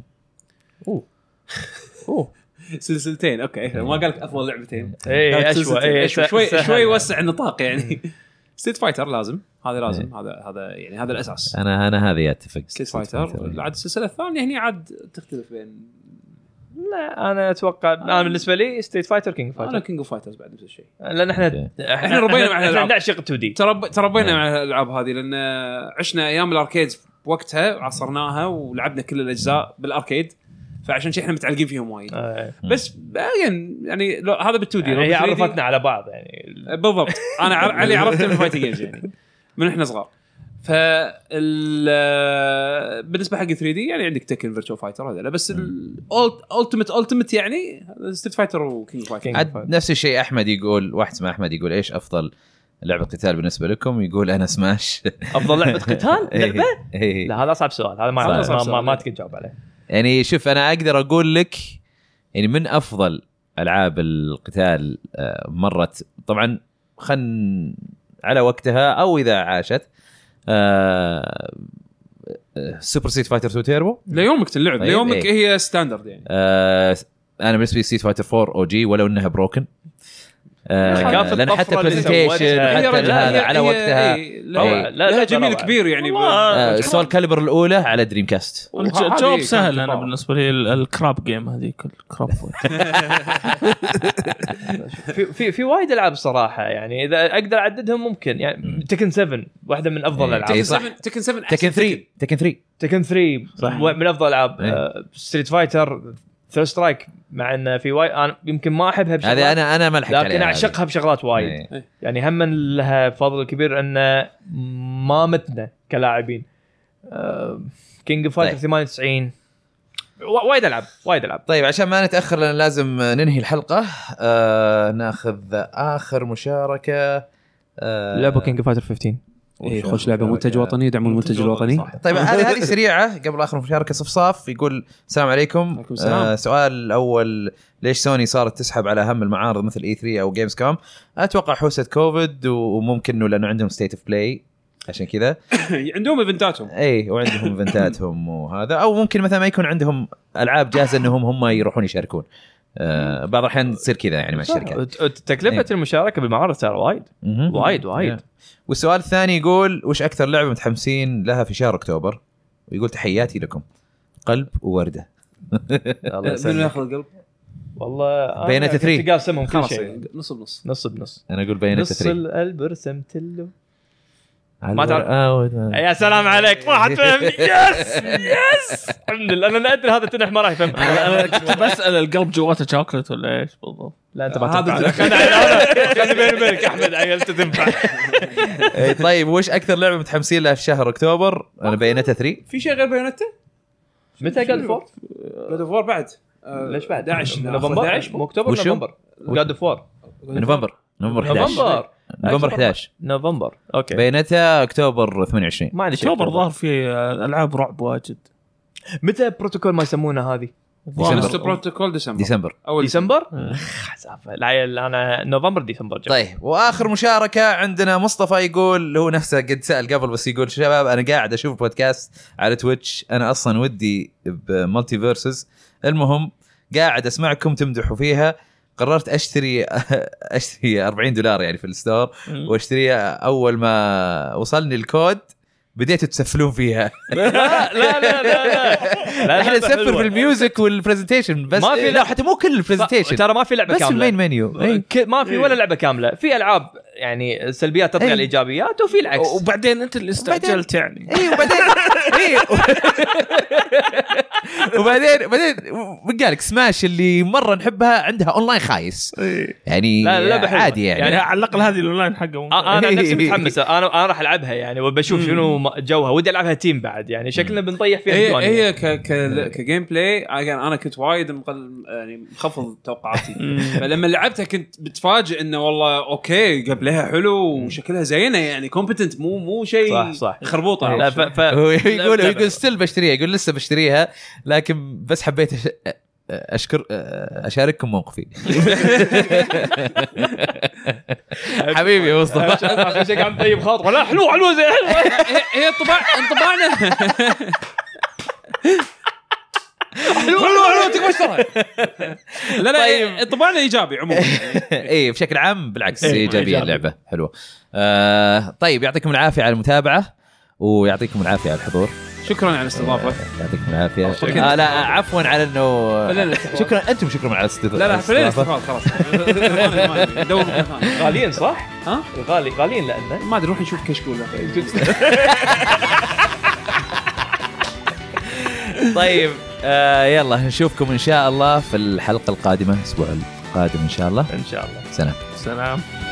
[SPEAKER 2] اوه
[SPEAKER 1] سلسلتين اوكي
[SPEAKER 4] إيه.
[SPEAKER 1] ما قال لك افضل لعبتين
[SPEAKER 2] اي اشوى اي
[SPEAKER 1] شوي شوي,
[SPEAKER 2] إيه، سهل.
[SPEAKER 1] شوي وسع النطاق يعني ستيت فايتر لازم
[SPEAKER 4] إيه.
[SPEAKER 1] هذا لازم هذا هذا يعني هذا الاساس
[SPEAKER 4] انا انا هذه اتفق
[SPEAKER 1] ستيت
[SPEAKER 4] إيه.
[SPEAKER 1] فايتر عاد السلسله الثانيه هنا عاد تختلف بين
[SPEAKER 2] لا انا اتوقع انا بالنسبه لي ستيت فايتر كينج
[SPEAKER 1] انا
[SPEAKER 2] فايتر
[SPEAKER 1] كينج اوف فايترز بعد نفس الشيء
[SPEAKER 2] لان احنا
[SPEAKER 4] أوكي.
[SPEAKER 2] احنا
[SPEAKER 1] ربينا مع
[SPEAKER 2] احنا
[SPEAKER 1] الألعاب.
[SPEAKER 2] نعشق 2 دي
[SPEAKER 1] ترى تربينا
[SPEAKER 4] نعم.
[SPEAKER 1] مع الالعاب هذه لان عشنا ايام الاركيد بوقتها عصرناها ولعبنا كل الاجزاء بالاركيد فعشان شي احنا متعلقين فيهم وايد
[SPEAKER 4] إيه.
[SPEAKER 1] بس يعني يعني لو هذا بال2 دي
[SPEAKER 2] يعني هي عرفتنا على بعض يعني
[SPEAKER 1] بالضبط انا عر... علي عرفته من فايتنج جيمز يعني من احنا صغار ف بالنسبه حق 3 دي يعني عندك تكن فيرتشو فايتر هذا لا بس الالتيميت التيميت يعني ستيت فايتر وكينج فايتر
[SPEAKER 2] King.
[SPEAKER 4] عاد نفس الشيء احمد يقول واحد اسمه احمد يقول ايش افضل لعبه قتال بالنسبه لكم يقول انا سماش
[SPEAKER 2] افضل لعبه قتال لعبه
[SPEAKER 4] إيه.
[SPEAKER 2] لا هذا اصعب سؤال هذا ما
[SPEAKER 1] هذا أصعب
[SPEAKER 2] ما, ما,
[SPEAKER 1] سؤال.
[SPEAKER 2] ما تقدر تجاوب عليه
[SPEAKER 4] يعني شوف انا اقدر اقول لك يعني من افضل العاب القتال آه، مرت طبعا خن على وقتها او اذا عاشت آه، آه، سوبر سيت فايتر 2 تيربو
[SPEAKER 1] ليومك تنلعب
[SPEAKER 4] طيب،
[SPEAKER 1] ليومك
[SPEAKER 4] إيه.
[SPEAKER 1] هي ستاندرد يعني
[SPEAKER 4] آه، انا بالنسبه لي سيت فايتر 4 او جي ولو انها بروكن
[SPEAKER 2] كافة
[SPEAKER 4] لان حتى
[SPEAKER 2] الطفرة اللي
[SPEAKER 4] برزنتيشن
[SPEAKER 2] سوتها.
[SPEAKER 1] هي
[SPEAKER 4] حتى
[SPEAKER 1] رجل-
[SPEAKER 4] هذا
[SPEAKER 1] هي-
[SPEAKER 4] على
[SPEAKER 1] هي-
[SPEAKER 4] وقتها
[SPEAKER 1] إيه،
[SPEAKER 4] روعة.
[SPEAKER 1] لا
[SPEAKER 2] لا،
[SPEAKER 1] لا
[SPEAKER 2] لا،
[SPEAKER 1] جميل
[SPEAKER 2] روعة.
[SPEAKER 1] كبير يعني
[SPEAKER 3] والله.
[SPEAKER 1] ب-
[SPEAKER 4] آه، سول كاليبر الاولى على دريم كاست
[SPEAKER 1] والله
[SPEAKER 3] الج-
[SPEAKER 1] هذه
[SPEAKER 3] الجواب
[SPEAKER 1] كانت
[SPEAKER 3] سهل انا
[SPEAKER 1] مباراة.
[SPEAKER 3] بالنسبه لي ال- الكراب جيم هذيك الكراب
[SPEAKER 2] في في, في وايد العاب صراحه يعني اذا اقدر اعددهم ممكن يعني تكن 7 واحده من افضل
[SPEAKER 4] إيه،
[SPEAKER 2] الالعاب
[SPEAKER 4] Tekken صح.
[SPEAKER 1] 7 تكن 7
[SPEAKER 4] تكن 3 تكن 3
[SPEAKER 2] تكن 3
[SPEAKER 3] صح.
[SPEAKER 2] و- من آه، افضل العاب
[SPEAKER 4] إيه.
[SPEAKER 2] ستريت فايتر ثيرد سترايك مع ان في وايد انا يمكن ما احبها بشغلات
[SPEAKER 4] هذه انا انا ما لحقت عليها
[SPEAKER 2] لكن
[SPEAKER 4] هذه.
[SPEAKER 2] اعشقها بشغلات وايد
[SPEAKER 4] إيه.
[SPEAKER 2] يعني هم لها فضل كبير ان ما متنا كلاعبين آه، كينج اوف فايتر
[SPEAKER 4] طيب.
[SPEAKER 2] 98 وا- وايد العاب وايد العاب
[SPEAKER 4] طيب عشان ما نتاخر لان لازم ننهي الحلقه آه ناخذ اخر مشاركه آه
[SPEAKER 2] لعبوا كينج اوف فايتر 15
[SPEAKER 1] اي إيه، خوش لعبه منتج وطني يدعمون المنتج الوطني
[SPEAKER 4] طيب هذه هذه سريعه قبل اخر مشاركه صفصاف يقول السلام عليكم
[SPEAKER 1] عليكم السلام.
[SPEAKER 4] آه سؤال الاول ليش سوني صارت تسحب على اهم المعارض مثل E اي 3 او جيمز كوم اتوقع حوسه كوفيد و- وممكن انه لانه عندهم ستيت اوف بلاي عشان كذا
[SPEAKER 1] عندهم ايفنتاتهم
[SPEAKER 4] اي وعندهم ايفنتاتهم وهذا او ممكن مثلا ما يكون عندهم العاب جاهزه انهم هم يروحون يشاركون آه بعض الاحيان تصير كذا يعني مع الشركات
[SPEAKER 2] تكلفه
[SPEAKER 4] إيه.
[SPEAKER 2] المشاركه بالمعارض ترى وايد
[SPEAKER 4] مهم.
[SPEAKER 2] وايد وايد
[SPEAKER 4] والسؤال الثاني يقول وش اكثر لعبه متحمسين لها في شهر اكتوبر؟ ويقول تحياتي لكم قلب وورده
[SPEAKER 2] الله
[SPEAKER 1] منو
[SPEAKER 4] إيه.
[SPEAKER 2] يسلمك
[SPEAKER 1] ياخذ القلب؟
[SPEAKER 2] والله أنا
[SPEAKER 4] بيانات
[SPEAKER 2] كنت
[SPEAKER 4] 3.
[SPEAKER 2] قاسمهم كل
[SPEAKER 1] خلاص يعني،
[SPEAKER 2] شيء
[SPEAKER 1] نص بنص
[SPEAKER 2] نص بنص
[SPEAKER 4] انا اقول بيانات
[SPEAKER 2] نص
[SPEAKER 4] 3
[SPEAKER 2] القلب رسمت له
[SPEAKER 4] ما
[SPEAKER 2] تعرف-
[SPEAKER 4] تعرف
[SPEAKER 2] يا سلام عليك ما حد فهم يس يس الحمد لله انا ادري هذا تنح ما راح يفهم
[SPEAKER 3] انا كنت بسال القلب جواته شوكلت ولا ايش بالضبط
[SPEAKER 2] لا انت ما
[SPEAKER 1] هذا
[SPEAKER 2] تنفع
[SPEAKER 1] تنفع.
[SPEAKER 2] خلي بيني وبينك احمد عيل تنفع
[SPEAKER 4] طيب وش اكثر لعبه متحمسين لها في شهر اكتوبر؟ انا بيانات 3
[SPEAKER 1] في شيء غير بايونيتا؟
[SPEAKER 2] متى قال فور؟
[SPEAKER 1] جود اوف وور بعد آه،
[SPEAKER 2] ليش بعد؟
[SPEAKER 4] أه،
[SPEAKER 1] 11
[SPEAKER 2] نوفمبر
[SPEAKER 1] 11
[SPEAKER 2] مو اكتوبر
[SPEAKER 4] وشو؟
[SPEAKER 2] نوفمبر جاد اوف وور
[SPEAKER 4] نوفمبر نوفمبر 11
[SPEAKER 2] نوفمبر
[SPEAKER 4] نوفمبر 11
[SPEAKER 2] نوفمبر اوكي
[SPEAKER 4] بيانتها اكتوبر 28
[SPEAKER 2] ما عندي شيء
[SPEAKER 3] اكتوبر ظهر فيه العاب رعب واجد
[SPEAKER 2] متى بروتوكول ما يسمونه هذه؟
[SPEAKER 1] مستر
[SPEAKER 4] ديسمبر.
[SPEAKER 1] بروتوكول ديسمبر
[SPEAKER 4] ديسمبر
[SPEAKER 1] اول
[SPEAKER 2] ديسمبر؟ حسافه العيل انا نوفمبر ديسمبر جاي.
[SPEAKER 4] طيب واخر مشاركه عندنا مصطفى يقول هو نفسه قد سال قبل بس يقول شباب انا قاعد اشوف بودكاست على تويتش انا اصلا ودي بمالتي فيرسز المهم قاعد اسمعكم تمدحوا فيها قررت اشتري اشتري 40 دولار يعني في الستور واشتريها اول ما وصلني الكود بديتوا تسفلون فيها
[SPEAKER 2] لا لا لا لا لا
[SPEAKER 4] احنا نسفل في الميوزك والبرزنتيشن بس
[SPEAKER 2] ما في-
[SPEAKER 4] لا حتى مو كل البرزنتيشن
[SPEAKER 2] ترى ما في لعبه
[SPEAKER 4] بس في
[SPEAKER 2] كامله
[SPEAKER 4] المين إيه. منيو أي.
[SPEAKER 2] ك- ما في ولا لعبه كامله في العاب يعني السلبيات تطغى
[SPEAKER 4] أي.
[SPEAKER 2] على الايجابيات وفي العكس
[SPEAKER 3] وبعدين انت اللي استعجلت يعني
[SPEAKER 4] اي وبعدين اي وبعدين بعدين من قال لك سماش اللي مره نحبها عندها اونلاين خايس يعني
[SPEAKER 2] لا، لا، لعبة حلوة.
[SPEAKER 4] عادي يعني,
[SPEAKER 3] يعني على الاقل هذه الاونلاين حقه
[SPEAKER 2] أ- انا عن نفسي متحمس انا انا راح العبها يعني وبشوف شنو م- جوها ودي العبها تيم بعد يعني شكلنا بنطيح
[SPEAKER 4] إيه،
[SPEAKER 2] فيها يعني.
[SPEAKER 1] هي
[SPEAKER 2] بدون.
[SPEAKER 1] هي أيوة، ك ك كجيم بلاي again، انا كنت وايد مقل يعني مخفض توقعاتي فلما لعبتها كنت بتفاجئ انه والله اوكي قبلها حلو وشكلها زينه يعني كومبتنت مو مو شيء
[SPEAKER 2] صح، صح.
[SPEAKER 1] خربوطه
[SPEAKER 2] طيب. لا ف ف
[SPEAKER 4] هو يقول
[SPEAKER 2] لا، لا.
[SPEAKER 4] يقول ستيل بشتريها يقول لسه بشتريها لكن بس حبيت أش... اشكر اشارككم موقفي حبيبي يا مصطفى
[SPEAKER 2] عشان شيء قاعد طيب خاطر لا حلوه حلوه زي حلوه
[SPEAKER 1] هي- هي انطباع انطباعنا
[SPEAKER 2] حلوه حلوه تقوى
[SPEAKER 1] لا
[SPEAKER 2] طيب.
[SPEAKER 1] لا انطباعنا ايجابي عموما
[SPEAKER 4] اي بشكل عام بالعكس
[SPEAKER 2] إيه،
[SPEAKER 4] ايجابيه
[SPEAKER 2] إيجابي.
[SPEAKER 4] اللعبه حلوه آه طيب يعطيكم العافيه على المتابعه ويعطيكم العافيه على الحضور
[SPEAKER 1] شكرا على الاستضافه
[SPEAKER 4] يعطيكم العافيه
[SPEAKER 1] شكراً.
[SPEAKER 4] آه لا عفوا على
[SPEAKER 1] فلنا
[SPEAKER 4] انه
[SPEAKER 1] الاستضافة.
[SPEAKER 4] شكرا انتم شكرا على الاستضافه
[SPEAKER 1] لا لا فلين استفاد خلاص ما- ما- ما- دور مكان ثاني.
[SPEAKER 2] غاليين صح؟
[SPEAKER 1] ها؟
[SPEAKER 2] غالي غاليين لانه
[SPEAKER 1] ما ادري نروح نشوف كشكول
[SPEAKER 4] طيب آه يلا نشوفكم ان شاء الله في الحلقه القادمه الاسبوع القادم ان شاء الله
[SPEAKER 2] ان شاء الله
[SPEAKER 4] سلام
[SPEAKER 3] سلام